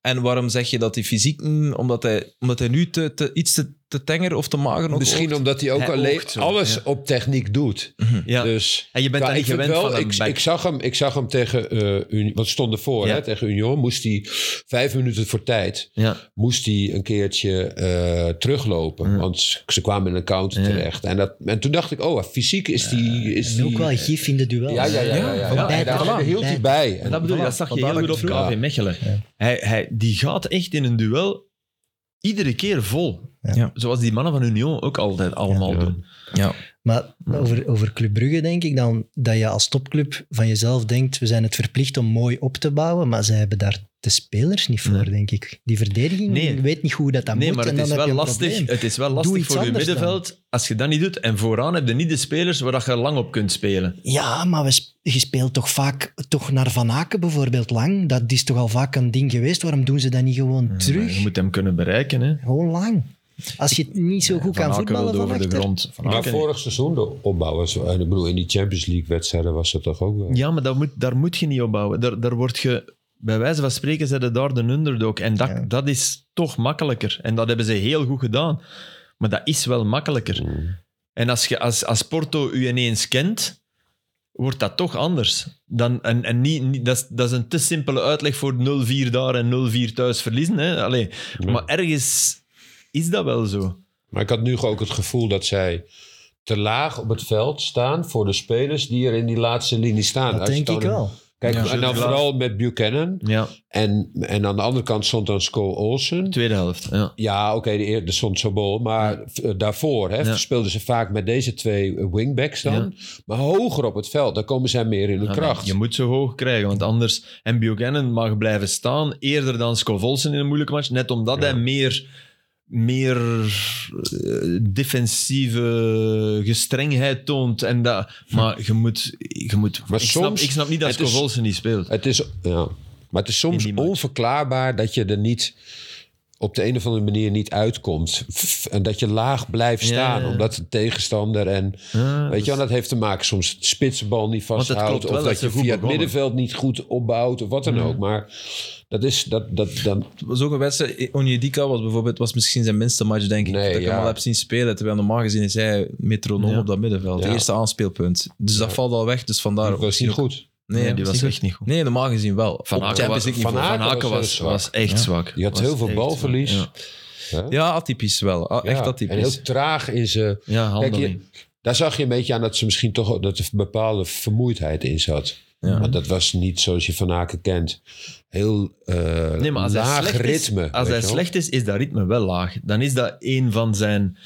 Speaker 1: En waarom zeg je dat die fysiek... mm, Omdat hij, omdat hij nu te, te, iets te, te tenger of te mager nog
Speaker 2: Misschien
Speaker 1: oogt?
Speaker 2: omdat hij ook
Speaker 3: Hij
Speaker 2: alleen
Speaker 3: oogt zo,
Speaker 2: alles
Speaker 3: ja.
Speaker 2: op techniek doet.
Speaker 3: Ja.
Speaker 2: Dus
Speaker 3: En je bent
Speaker 2: Ja,
Speaker 3: daar niet
Speaker 2: ik vind
Speaker 3: gewend
Speaker 2: wel,
Speaker 3: van een
Speaker 2: ik,
Speaker 3: back.
Speaker 2: ik, zag hem, ik zag hem tegen eh Union, wat stond ervoor,
Speaker 3: Ja.
Speaker 2: hè, tegen Union, moest hij vijf minuten voor tijd,
Speaker 3: Ja.
Speaker 2: moest hij een keertje eh, teruglopen.
Speaker 3: Ja.
Speaker 2: Want ze- ze kwamen in een counter
Speaker 3: Ja. Eh,
Speaker 2: terecht. En, dat, en toen dacht ik, oh, fysiek is die... Is
Speaker 4: En
Speaker 3: Dus
Speaker 4: ook
Speaker 2: die
Speaker 4: wel gif in de duel.
Speaker 2: ja, ja, ja. ja,
Speaker 1: Ja,
Speaker 2: ja, ja.
Speaker 1: van
Speaker 2: En
Speaker 4: bij-
Speaker 2: daar
Speaker 4: voilà.
Speaker 2: hield hij bij.
Speaker 3: En
Speaker 2: En,
Speaker 3: dat bedoel ik, dat zag je heel goed op
Speaker 2: het vroeg.
Speaker 3: KV Mechelen. Hij, hij, die gaat echt in een duel iedere keer vol.
Speaker 4: Ja.
Speaker 1: Ja.
Speaker 3: Zoals die mannen van Union ook altijd allemaal
Speaker 2: Ja.
Speaker 3: doen.
Speaker 1: Ja.
Speaker 4: Maar over, over Club Brugge denk ik dan dat je als topclub van jezelf denkt, we zijn het verplicht om mooi op te bouwen, maar ze hebben daar de spelers niet voor,
Speaker 3: Nee.
Speaker 4: denk ik. Die verdediging,
Speaker 3: Nee.
Speaker 4: ik weet niet hoe dat, dat
Speaker 3: nee,
Speaker 4: moet.
Speaker 3: maar
Speaker 4: en
Speaker 3: het
Speaker 4: dan
Speaker 3: is,
Speaker 4: heb
Speaker 3: wel
Speaker 4: je een
Speaker 3: lastig,
Speaker 4: probleem.
Speaker 3: het is wel
Speaker 4: Doe
Speaker 3: lastig
Speaker 4: iets
Speaker 3: voor je
Speaker 4: anders dan.
Speaker 3: middenveld als je dat niet doet. En vooraan heb je niet de spelers waar dat je lang op kunt spelen.
Speaker 4: Ja, maar we sp- je speelt toch vaak toch naar Van Aken bijvoorbeeld lang. Dat is toch al vaak een ding geweest. Waarom doen ze dat niet gewoon terug?
Speaker 3: Maar Je moet hem kunnen bereiken. Hè.
Speaker 4: Gewoon lang. Als je het niet zo goed
Speaker 3: Van
Speaker 4: kan
Speaker 3: Aken
Speaker 4: voetballen
Speaker 3: wilde
Speaker 4: van
Speaker 3: over de
Speaker 4: achter.
Speaker 3: grond. Van
Speaker 2: Maar
Speaker 3: Aken-
Speaker 2: vorig seizoen de opbouw was... en Ik bedoel, in die Champions League wedstrijden was dat toch ook wel...
Speaker 3: Ja, maar dat moet, daar moet je niet op bouwen. Daar, daar word je, bij wijze van spreken, zetten daar de underdog. En dat,
Speaker 4: Ja.
Speaker 3: dat is toch makkelijker. En dat hebben ze heel goed gedaan. Maar dat is wel makkelijker. En als, je, als, als Porto u ineens kent, wordt dat toch anders. Dan, en en niet, niet, dat, is, dat is een te simpele uitleg voor 0-4 daar en 0-4 thuis verliezen. Hè? Allee,
Speaker 2: Nee.
Speaker 3: Maar ergens is dat wel zo.
Speaker 2: Maar ik had nu ook het gevoel dat zij te laag op het veld staan voor de spelers die er in die laatste linie staan.
Speaker 4: Dat
Speaker 2: Als je
Speaker 4: denk
Speaker 2: dan
Speaker 4: ik
Speaker 2: een-
Speaker 4: wel.
Speaker 2: Kijk,
Speaker 1: Ja.
Speaker 2: en dan vooral met Buchanan.
Speaker 3: Ja,
Speaker 2: En, en aan de andere kant stond dan Sko Olsen.
Speaker 3: tweede helft. Ja.
Speaker 2: Ja, oké, de eer- er stond Sobol. Maar eh, daarvoor hè,
Speaker 3: Ja.
Speaker 2: speelden ze vaak met deze twee eh, wingbacks dan.
Speaker 3: Ja.
Speaker 2: Maar hoger op het veld, dan komen zij meer in hun
Speaker 3: Ja,
Speaker 2: kracht.
Speaker 3: Je moet ze hoog krijgen, want anders... En Buchanan mag blijven staan, eerder dan Scovolsen in een moeilijke match, net omdat hij meer meer eh, defensieve gestrengheid toont. En dat, maar je moet... Je moet
Speaker 2: Maar
Speaker 3: ik, snap,
Speaker 2: soms-
Speaker 3: ik snap niet dat
Speaker 2: het is-
Speaker 3: Scovolsen niet speelt.
Speaker 2: Het is, ja. Maar het is
Speaker 3: In
Speaker 2: soms
Speaker 3: die match.
Speaker 2: onverklaarbaar dat je er niet op de een of andere manier niet uitkomt. Ff, En dat je laag blijft
Speaker 3: Ja,
Speaker 2: staan.
Speaker 3: ja.
Speaker 2: Omdat de tegenstander en...
Speaker 3: Ah,
Speaker 2: weet je nou- wel, dat heeft te maken soms het spitsenbal niet
Speaker 3: het klopt
Speaker 2: vasthoudt.
Speaker 3: wel
Speaker 2: Of
Speaker 3: dat
Speaker 2: dat
Speaker 3: ze
Speaker 2: je
Speaker 3: goed
Speaker 2: via het
Speaker 3: begonnen.
Speaker 2: middenveld niet goed opbouwt. Of wat dan ook. Maar dat is... Dat, dat, dan,
Speaker 1: Het was ook een wedstrijd. Onyedika E, was bijvoorbeeld was misschien zijn minste match, denk ik.
Speaker 2: Nee,
Speaker 1: dat ik
Speaker 2: ja.
Speaker 1: hem al heb zien spelen. Terwijl normaal gezien is hij metronoom
Speaker 3: Ja.
Speaker 1: op dat middenveld.
Speaker 2: Ja.
Speaker 1: Het eerste aanspeelpunt. Dus dat valt al weg. Dus vandaar.
Speaker 2: dat was
Speaker 1: misschien
Speaker 2: niet
Speaker 1: ook-
Speaker 2: goed.
Speaker 1: Nee,
Speaker 3: nee, die was echt niet goed.
Speaker 1: Nee, normaal gezien wel.
Speaker 3: Van
Speaker 1: Op
Speaker 3: Aken
Speaker 1: Champions
Speaker 3: was,
Speaker 1: League
Speaker 2: Van
Speaker 1: niveau.
Speaker 2: Aken
Speaker 3: Van Aken
Speaker 2: was
Speaker 3: was,
Speaker 2: heel
Speaker 3: was echt
Speaker 1: Ja.
Speaker 3: zwak.
Speaker 2: Die had
Speaker 3: Was
Speaker 2: heel veel
Speaker 3: echt
Speaker 2: balverlies.
Speaker 3: zwak,
Speaker 2: Hè?
Speaker 1: Ja, atypisch wel. A- Echt
Speaker 2: Ja. En
Speaker 1: atypisch.
Speaker 2: heel traag in zijn...
Speaker 3: Ja, ja
Speaker 2: Kijk, je-
Speaker 3: handeling.
Speaker 2: daar zag je een beetje aan dat ze misschien toch dat er bepaalde vermoeidheid in zat.
Speaker 1: Ja.
Speaker 2: Want dat was niet zoals je Van Aken kent. Heel eh
Speaker 3: Nee, maar als hij
Speaker 2: laag
Speaker 3: slecht
Speaker 2: ritme. weet
Speaker 3: Is, als hij
Speaker 2: je wel.
Speaker 3: slecht is, is dat ritme wel laag. Dan is dat een van zijn...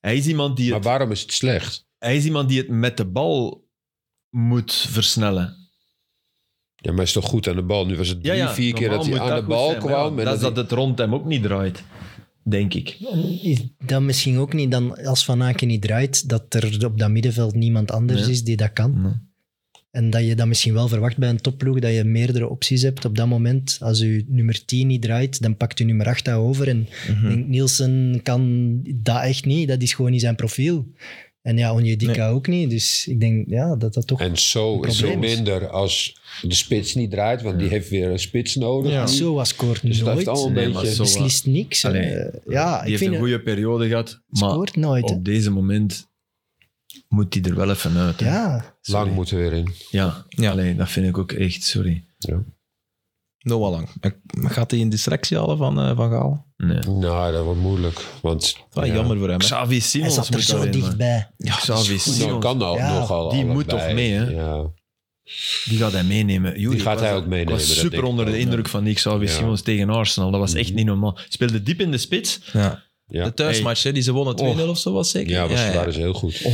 Speaker 3: Hij is iemand die
Speaker 2: Maar
Speaker 3: het,
Speaker 2: waarom is het slecht?
Speaker 3: hij is iemand die het met de bal moet versnellen.
Speaker 2: Ja, maar hij is toch goed aan de bal? Nu was het drie, vier keer
Speaker 3: normaal
Speaker 2: dat hij
Speaker 3: moet
Speaker 2: aan de
Speaker 3: goed
Speaker 2: bal
Speaker 3: zijn, maar
Speaker 2: kwam.
Speaker 3: ja,
Speaker 2: en
Speaker 3: dat is
Speaker 2: dat
Speaker 3: dat het rond hem ook niet draait, denk ik.
Speaker 4: Ehm, Is dat misschien ook niet dan, als Van Aken niet draait, dat er op dat middenveld niemand anders
Speaker 3: Nee.
Speaker 4: is die dat kan? En dat je dat misschien wel verwacht bij een topploeg, dat je meerdere opties hebt op dat moment. Als je nummer 10 niet draait, dan pakt je nummer 8 dat over. En
Speaker 3: Mhm.
Speaker 4: ik denk, Nielsen kan dat echt niet, dat is gewoon niet zijn profiel. En ja, Onjedika ook niet. Dus ik denk ja, dat dat toch...
Speaker 2: En zo is het
Speaker 4: Probleem is-
Speaker 2: minder als de spits niet draait. Want die heeft weer een spits nodig.
Speaker 1: Ja.
Speaker 2: Die-
Speaker 4: Zo was scoort
Speaker 2: Dus dat heeft
Speaker 4: nooit.
Speaker 2: al een
Speaker 3: Nee, maar
Speaker 2: beetje...
Speaker 3: zo-
Speaker 4: Beslist niks. hè.
Speaker 3: Allee,
Speaker 4: ja,
Speaker 3: die
Speaker 4: ik
Speaker 3: heeft
Speaker 4: vind
Speaker 3: een
Speaker 4: het
Speaker 3: goede periode gehad, maar
Speaker 4: scoort nooit. hè.
Speaker 3: op deze moment moet hij er wel even uit. hè.
Speaker 4: Ja,
Speaker 3: Sorry.
Speaker 2: Lang moet er weer in.
Speaker 3: Ja,
Speaker 1: Ja.
Speaker 3: Allee, dat vind ik ook echt, sorry.
Speaker 1: Noah Lang. Gaat hij een distractie halen van, eh, van Gaal?
Speaker 3: Nee.
Speaker 2: Nou, dat wordt moeilijk. Want
Speaker 1: Ah,
Speaker 2: ja.
Speaker 1: Jammer voor hem. hè.
Speaker 3: Xavi
Speaker 4: hij
Speaker 3: Simons
Speaker 4: zat er
Speaker 3: moet
Speaker 4: zo
Speaker 3: alleen maar.
Speaker 4: dichtbij.
Speaker 3: Xavi
Speaker 2: Nou,
Speaker 3: Simons,
Speaker 2: kan al,
Speaker 4: Ja,
Speaker 2: nogal
Speaker 3: die moet
Speaker 2: allebei.
Speaker 3: toch mee, hè?
Speaker 2: Ja.
Speaker 3: die gaat hij meenemen. Joeri,
Speaker 2: Die gaat
Speaker 3: ik
Speaker 2: hij
Speaker 3: was-
Speaker 2: ook meenemen,
Speaker 3: Ik was
Speaker 2: dat
Speaker 3: super
Speaker 2: denk ik
Speaker 3: onder de
Speaker 2: ook,
Speaker 3: indruk van die Xavi
Speaker 2: Ja. Mhm.
Speaker 3: Simons tegen Arsenal. Dat was echt niet normaal. Speelde diep in de spits.
Speaker 1: Ja.
Speaker 2: Ja.
Speaker 1: De thuismatch, hè, die ze wonnen 2-0 of zo, was zeker?
Speaker 2: Ja, was, waren ze heel goed.
Speaker 1: Oh.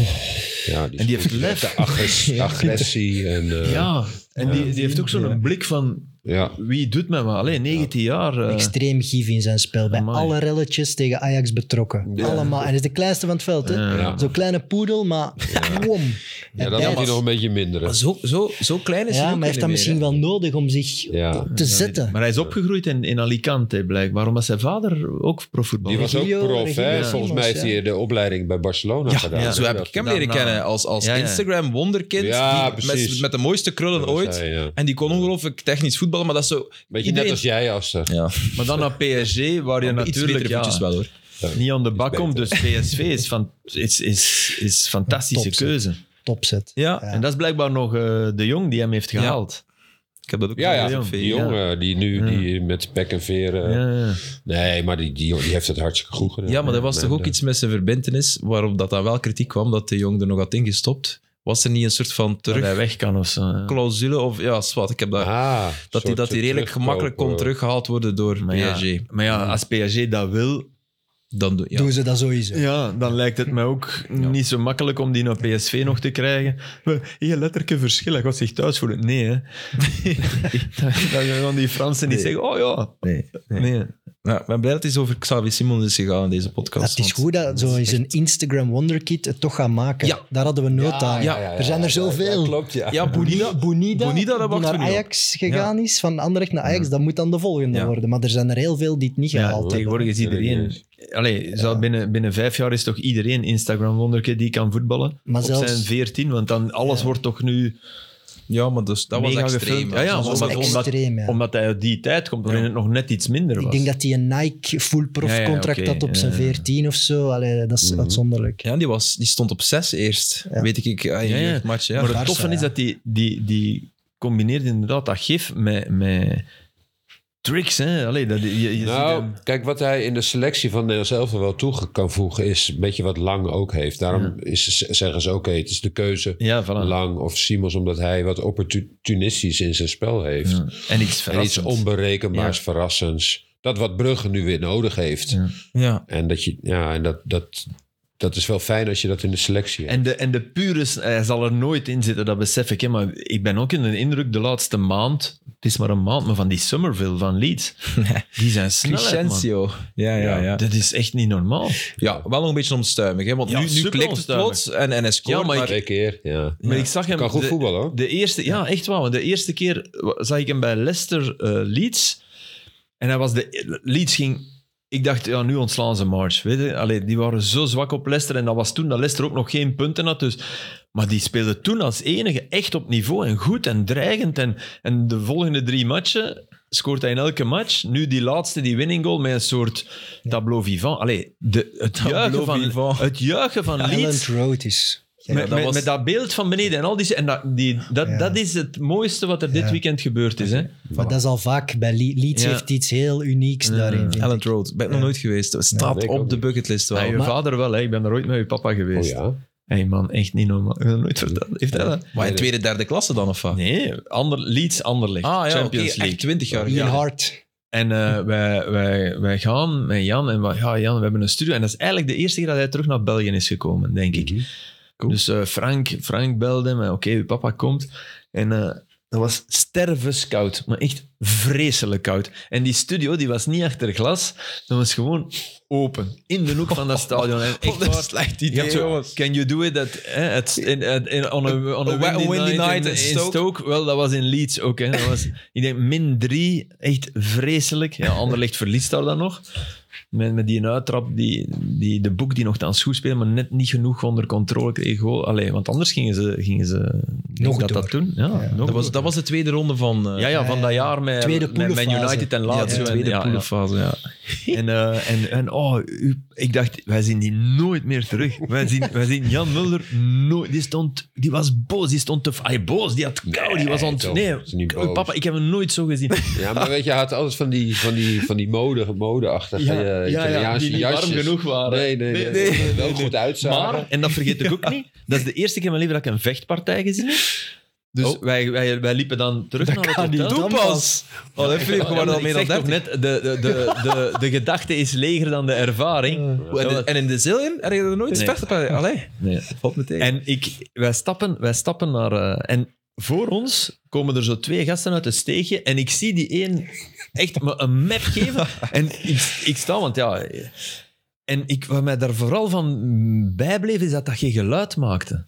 Speaker 2: Ja, die
Speaker 3: En die
Speaker 2: is
Speaker 3: heeft
Speaker 2: goed.
Speaker 3: lef.
Speaker 2: De
Speaker 1: [LAUGHS]
Speaker 3: [LAUGHS]
Speaker 2: agres- agressie en... eh, ja.
Speaker 3: Ja, en Die, die heeft ook zo'n blik van... Wie doet mij maar? Alleen 19 jaar. eh,
Speaker 4: extreem gif in zijn spel. Bij
Speaker 3: Amai.
Speaker 4: alle relletjes tegen Ajax betrokken.
Speaker 2: Ja.
Speaker 4: Allemaal. En hij is de kleinste van het veld. Hè?
Speaker 3: Ja.
Speaker 4: Zo'n kleine poedel, maar wom.
Speaker 2: Ja,
Speaker 4: En
Speaker 2: dat
Speaker 4: bij-
Speaker 2: had hij nog een beetje minder.
Speaker 1: Maar Zo, zo, zo klein is
Speaker 4: Ja,
Speaker 1: hij
Speaker 4: maar
Speaker 1: ook
Speaker 4: hij
Speaker 1: niet
Speaker 4: heeft dat
Speaker 1: meer,
Speaker 4: misschien
Speaker 1: hè.
Speaker 4: wel nodig om zich
Speaker 1: Oh,
Speaker 2: Ja.
Speaker 4: op te zetten.
Speaker 3: Maar hij is opgegroeid in, in Alicante, blijkbaar. Omdat zijn vader ook profvoetbal
Speaker 2: Die was ook
Speaker 4: Regio-
Speaker 2: prof, hè?
Speaker 4: Regio
Speaker 2: Volgens mij heeft
Speaker 4: Simons,
Speaker 2: hij eh, de opleiding bij Barcelona gedaan.
Speaker 3: ja,
Speaker 1: Dus Zo heb ik hem leren
Speaker 3: Daarna.
Speaker 1: kennen als, als
Speaker 3: Ja, ja.
Speaker 1: Instagram-wonderkind.
Speaker 2: Ja,
Speaker 1: die met,
Speaker 2: precies.
Speaker 1: met de mooiste krullen
Speaker 2: Dat was
Speaker 1: ooit.
Speaker 2: hij, eh, ja.
Speaker 1: En die kon ongelooflijk technisch voetballen, maar dat is zo...
Speaker 2: Beetje
Speaker 1: Iedereen-
Speaker 2: net als jij, Aster.
Speaker 1: Ja,
Speaker 3: Maar dan naar PSG, waar je
Speaker 1: maar iets betere
Speaker 3: natuurlijk
Speaker 1: voetjes
Speaker 3: ja,
Speaker 1: wel, hoor.
Speaker 3: niet aan de bak
Speaker 2: beter.
Speaker 3: komt. Dus
Speaker 2: [LAUGHS]
Speaker 3: PSV is, van, is, is, is fantastische
Speaker 4: Top, zeg.
Speaker 3: keuze.
Speaker 4: Topzet.
Speaker 1: Ja,
Speaker 4: Ja.
Speaker 3: En dat is blijkbaar nog eh, de jong die hem heeft
Speaker 1: Ja.
Speaker 3: gehaald.
Speaker 1: ik heb dat ook
Speaker 2: Ja,
Speaker 1: gezien.
Speaker 2: ja, die jongen die nu die met pek en veren...
Speaker 3: Ja, ja.
Speaker 2: Nee, maar die, die, die heeft het hartstikke goed gedaan. eh,
Speaker 1: Ja, maar er was
Speaker 2: Nee,
Speaker 1: toch ook
Speaker 2: nee.
Speaker 1: iets met zijn verbindenis waarop dat dan wel kritiek kwam dat de jong er nog had ingestopt. Was er niet een soort van
Speaker 3: Dat hij
Speaker 1: terugclausule
Speaker 3: weg kan of zo. ja.
Speaker 1: of ja, zwart. Ik heb dat,
Speaker 2: Ah,
Speaker 1: eh, dat hij
Speaker 2: soort
Speaker 1: dat die redelijk
Speaker 2: terugkoop,
Speaker 1: gemakkelijk kon
Speaker 2: eh.
Speaker 1: teruggehaald worden door
Speaker 3: Maar ja,
Speaker 1: PSG.
Speaker 3: Maar ja, als PSG dat wil,
Speaker 1: Dan doe- ja.
Speaker 4: Doen ze dat sowieso.
Speaker 3: ja, dan lijkt het mij ook niet zo makkelijk om die naar PSV nog te krijgen. We- Hier, letterlijk een verschil. Hij gaat zich thuis voelen. Nee, hè. [LAUGHS] dan gaan die Fransen niet
Speaker 1: Nee.
Speaker 3: zeggen, oh ja.
Speaker 1: Nee, nee.
Speaker 3: Nee.
Speaker 1: Ja, ik ben blij dat het over Xavi Simons is gegaan in deze podcast.
Speaker 4: Het is
Speaker 1: want-
Speaker 4: goed dat zo is een Instagram wonderkid het toch gaan maken.
Speaker 1: Ja.
Speaker 4: Daar hadden we nood aan.
Speaker 1: ja,
Speaker 4: er zijn er zoveel.
Speaker 2: klopt, ja.
Speaker 1: Ja, Bonida.
Speaker 4: Bonida,
Speaker 1: Bonida, dat
Speaker 4: die
Speaker 1: wachten
Speaker 4: naar
Speaker 1: we niet op.
Speaker 4: Ajax gegaan is, van Anderlecht naar Ajax, dat moet dan de volgende
Speaker 1: Ja.
Speaker 4: worden. Maar er zijn er heel veel die het niet
Speaker 3: Ja,
Speaker 4: gehaald hebben.
Speaker 3: tegenwoordig is iedereen... Allee, zou binnen, binnen vijf jaar is toch iedereen Instagram-wonderke die kan voetballen?
Speaker 4: Maar
Speaker 3: Op
Speaker 4: zelfs-
Speaker 3: zijn veertien, want dan alles wordt toch nu...
Speaker 1: Ja, maar dus, dat was
Speaker 3: Mega
Speaker 1: extreem.
Speaker 3: gefilmd. Ja, ja,
Speaker 4: Dat was
Speaker 3: omdat- omdat-
Speaker 4: extreem, ja.
Speaker 3: Omdat hij uit die tijd komt, waarin het nog net iets minder was.
Speaker 4: Ik denk dat hij een Nike full prof
Speaker 3: Ja, ja,
Speaker 4: contract
Speaker 3: oké,
Speaker 4: had op
Speaker 3: ja,
Speaker 4: zijn
Speaker 3: ja.
Speaker 4: 14 of zo. Allee, dat is uitzonderlijk.
Speaker 1: Ja, die, was, die stond op zes eerst.
Speaker 4: Ja.
Speaker 1: Weet ik, ik ja,
Speaker 3: Ja, ja.
Speaker 1: match, ja.
Speaker 3: maar het
Speaker 4: Barca,
Speaker 3: toffe is
Speaker 4: ja.
Speaker 3: dat die, die, die combineert inderdaad dat gif met, met tricks. Hè? Allee, dat, je, je ziet
Speaker 2: Nou,
Speaker 3: hem-
Speaker 2: kijk, wat hij in de selectie van Nederlands Elftal wel toe kan voegen... is een beetje wat Lang ook heeft. Daarom is, zeggen ze, oké, het is de keuze
Speaker 3: ja, voilà.
Speaker 2: Lang of Simons... omdat hij wat opportunistisch in zijn spel heeft.
Speaker 3: Ja. En iets
Speaker 2: En iets
Speaker 3: verrassends.
Speaker 2: onberekenbaars,
Speaker 3: Ja.
Speaker 2: verrassends. Dat wat Brugge nu weer nodig heeft.
Speaker 3: Ja.
Speaker 2: [LAUGHS]
Speaker 1: Ja.
Speaker 2: En, dat, je, ja, en dat, dat, dat is wel fijn als je dat in de selectie hebt.
Speaker 3: En de, en de pure, s- hij zal er nooit in zitten, dat besef ik. Hè? Maar ik ben ook in de indruk de laatste maand het is maar een maand, maar van die Somerville van Leeds, die zijn snelheid, man.
Speaker 1: Crescencio. Ja, ja, ja.
Speaker 3: Dat is echt niet normaal.
Speaker 1: Ja, wel nog een beetje onstuimig. Hè? Want
Speaker 3: Ja,
Speaker 1: nu, nu
Speaker 3: super
Speaker 1: klikt het
Speaker 3: onstuimig.
Speaker 1: plots en, en hij scoort.
Speaker 3: Ja, maar ik-
Speaker 2: Twee keer, ja.
Speaker 3: Maar ik zag hem...
Speaker 2: Kan goed
Speaker 3: de-
Speaker 2: voetballen, hoor.
Speaker 3: De eerste, ja, echt waar. want De eerste keer wa- zag ik hem bij Leicester eh, Leeds. En hij was de, Leeds ging... Ik dacht, ja, nu ontslaan ze March. Weet je? Allee, die waren zo zwak op Leicester. En dat was toen dat Leicester ook nog geen punten had. Dus. Maar die speelde toen als enige echt op niveau. En goed en dreigend. En, en de volgende drie matchen scoort hij in elke match. Nu die laatste, die winning goal, met een soort tableau vivant. Allee, de, het, juichen van,
Speaker 1: vivant.
Speaker 3: het juichen van
Speaker 4: Island
Speaker 3: Leeds...
Speaker 4: Road is... Ja,
Speaker 3: Met,
Speaker 1: dat
Speaker 3: met,
Speaker 1: was-
Speaker 3: met dat beeld van beneden en al die... En dat, die, dat,
Speaker 4: Ja.
Speaker 3: dat is het mooiste wat er dit
Speaker 4: Ja.
Speaker 3: weekend gebeurd is. Hè?
Speaker 4: Maar dat is al vaak bij Le- Leeds
Speaker 3: Ja.
Speaker 4: heeft iets heel unieks
Speaker 3: Ja.
Speaker 4: daarin. vind ik.
Speaker 1: Elland Road. Mm. Ben ik nog nooit geweest. Dat staat
Speaker 2: weet ik
Speaker 1: op
Speaker 2: ook
Speaker 1: de
Speaker 2: niet.
Speaker 1: bucketlist wel.
Speaker 3: Ja, je
Speaker 4: maar-
Speaker 3: vader wel, hè? ik ben er ooit met je papa
Speaker 2: Oh
Speaker 3: geweest.
Speaker 2: ja.
Speaker 3: hey man, echt niet normaal. Ik heb dat nooit verteld. Heeft hij dat?
Speaker 1: Maar in tweede, derde klasse dan, of wat?
Speaker 3: Nee, ander, Leeds Anderlecht,
Speaker 1: Ah ja, oké.
Speaker 3: Champions
Speaker 1: Echt
Speaker 3: League.
Speaker 1: 20 jaar.
Speaker 4: Ian
Speaker 1: geleden.
Speaker 4: Hart.
Speaker 3: En eh, wij, wij, wij gaan met Jan en wij- ja, Jan, we hebben een studio. En dat is eigenlijk de eerste keer dat hij terug naar België is gekomen, denk ik.
Speaker 1: Cool.
Speaker 3: Dus eh, Frank, Frank belde me, oké, uw papa komt. En eh, dat was stervenskoud, maar echt vreselijk koud. En die studio, die was niet achter glas, dat was gewoon open, in de hoek van dat stadion.
Speaker 1: [LAUGHS]
Speaker 3: En echt
Speaker 1: Wat een
Speaker 3: waar,
Speaker 1: slecht
Speaker 3: je
Speaker 1: idee,
Speaker 3: had zo,
Speaker 1: jongens.
Speaker 3: Can you do it at, eh, at- in, at- in- on a, on a
Speaker 1: A wet-
Speaker 3: windy,
Speaker 1: windy
Speaker 3: night,
Speaker 1: night in
Speaker 3: in, in
Speaker 1: Stoke?
Speaker 3: Stoke? Wel, dat was in Leeds ook. Hè. Dat was, ik denk min drie, echt vreselijk. Ja, Anderlecht verliest daar dan nog. Met, met die uittrap, die, die, de boek die nog aan schoen speelde, maar net niet genoeg onder controle kreeg. Goal. Allee, want anders gingen ze, gingen ze ik denk
Speaker 4: Nog
Speaker 3: dat,
Speaker 4: door.
Speaker 3: dat doen. Ja, nog
Speaker 1: Dat was,
Speaker 3: door.
Speaker 1: dat was de tweede ronde van... eh,
Speaker 3: ja, ja, van dat jaar met,
Speaker 4: Tweede
Speaker 3: met Man
Speaker 4: poelenfase.
Speaker 3: United en
Speaker 1: ja, Oh,
Speaker 3: Lazio.
Speaker 1: de
Speaker 3: en-
Speaker 1: tweede
Speaker 3: ja, ja.
Speaker 1: poelenfase, ja.
Speaker 3: En, eh, en, en oh, u- ik dacht, wij zien die nooit meer terug. Wij zien, wij zien Jan Mulder nooit. Die, stond, die was boos, die stond te... Ay, boos, die had kou, die was
Speaker 2: Nee,
Speaker 3: aan het...
Speaker 2: toch, is
Speaker 3: Nee,
Speaker 2: niet
Speaker 3: oh,
Speaker 2: boos.
Speaker 3: papa, ik heb hem nooit zo gezien.
Speaker 2: Ja, maar weet je, hij had altijd van die, van die, van die mode, modeachtige eh, Italiaanse
Speaker 3: die niet warm
Speaker 2: jasjes.
Speaker 3: genoeg waren.
Speaker 2: Nee, nee, nee. nee, wel goed uitzagen.
Speaker 3: Maar, en dat vergeet
Speaker 1: [LAUGHS]
Speaker 3: ik ook niet, dat is de eerste keer in mijn leven dat ik een vechtpartij gezien heb. Dus
Speaker 1: Oh.
Speaker 3: wij, wij, wij liepen dan terug naar het hotel.
Speaker 4: Doe pas.
Speaker 1: Oh, dat vind ik
Speaker 3: Ja,
Speaker 1: gewoon
Speaker 3: maar
Speaker 1: al
Speaker 3: ik
Speaker 1: meer dan
Speaker 3: zeg
Speaker 1: 30.
Speaker 3: toch net, de, de, de, de, de gedachte is leger dan de ervaring.
Speaker 1: En in- En in de Zillion? Heb je er nooit
Speaker 3: Nee.
Speaker 1: vechten bij? Allee,
Speaker 3: Nee.
Speaker 1: op meteen.
Speaker 3: En ik, wij, stappen, wij stappen naar. eh, en voor ons komen er zo twee gasten uit het steegje. En ik zie die één echt me een map geven.
Speaker 1: [LAUGHS]
Speaker 3: En ik, ik sta, want ja. En ik, wat mij daar vooral van bijbleef, is dat dat geen geluid maakte.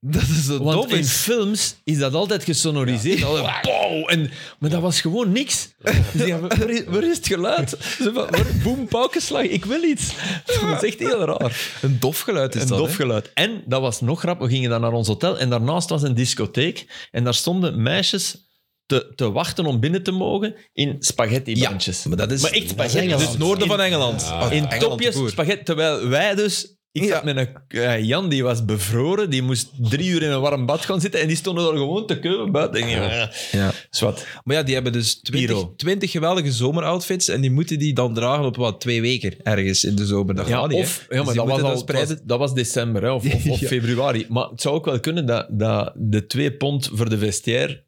Speaker 1: dat is zo
Speaker 3: Want
Speaker 1: dom.
Speaker 3: in
Speaker 1: is.
Speaker 3: films is dat altijd gesonoriseerd. Altijd pow, en, maar dat was gewoon niks. Dus ja, waar, is- waar is het geluid? Zo van, waar- Boem, paukenslag, ik wil iets. [LAUGHS] Dat is echt heel raar
Speaker 1: Een dof geluid is
Speaker 3: een
Speaker 1: dat,
Speaker 3: dof
Speaker 1: hè?
Speaker 3: geluid. En dat was nog grap. We gingen dan naar ons hotel en daarnaast was een discotheek. En daar stonden meisjes te, te wachten om binnen te mogen in spaghettibandjes.
Speaker 1: Ja, maar dat is-
Speaker 3: echt
Speaker 1: dat is
Speaker 3: spaghetti.
Speaker 4: Engeland.
Speaker 3: Dus
Speaker 1: Het noorden
Speaker 3: in-
Speaker 1: van Engeland. Ah,
Speaker 3: In
Speaker 1: Engeland
Speaker 3: topjes
Speaker 1: te koer.
Speaker 3: spaghetti. Terwijl wij dus... Ik
Speaker 1: Ja.
Speaker 3: zat met een... eh, Jan, die was bevroren. Die moest drie uur in een warm bad gaan zitten. En die stonden daar gewoon te keulen buiten. Ik denk, eh,
Speaker 1: Ja.
Speaker 3: Zwat.
Speaker 1: Maar ja, die hebben dus
Speaker 3: Piro.
Speaker 1: 20, 20 geweldige zomeroutfits en die moeten die dan dragen op wat, twee weken ergens in de zomer. Dat
Speaker 3: Ja,
Speaker 1: gaat niet, hè?
Speaker 3: of, ja, maar
Speaker 1: Dus die
Speaker 3: dat was,
Speaker 1: moeten
Speaker 3: al,
Speaker 1: spreiden.
Speaker 3: het was- dat was december hè, of, of, of
Speaker 1: Ja.
Speaker 3: februari. Maar het zou ook wel kunnen dat, dat de twee pond voor de vestiaire,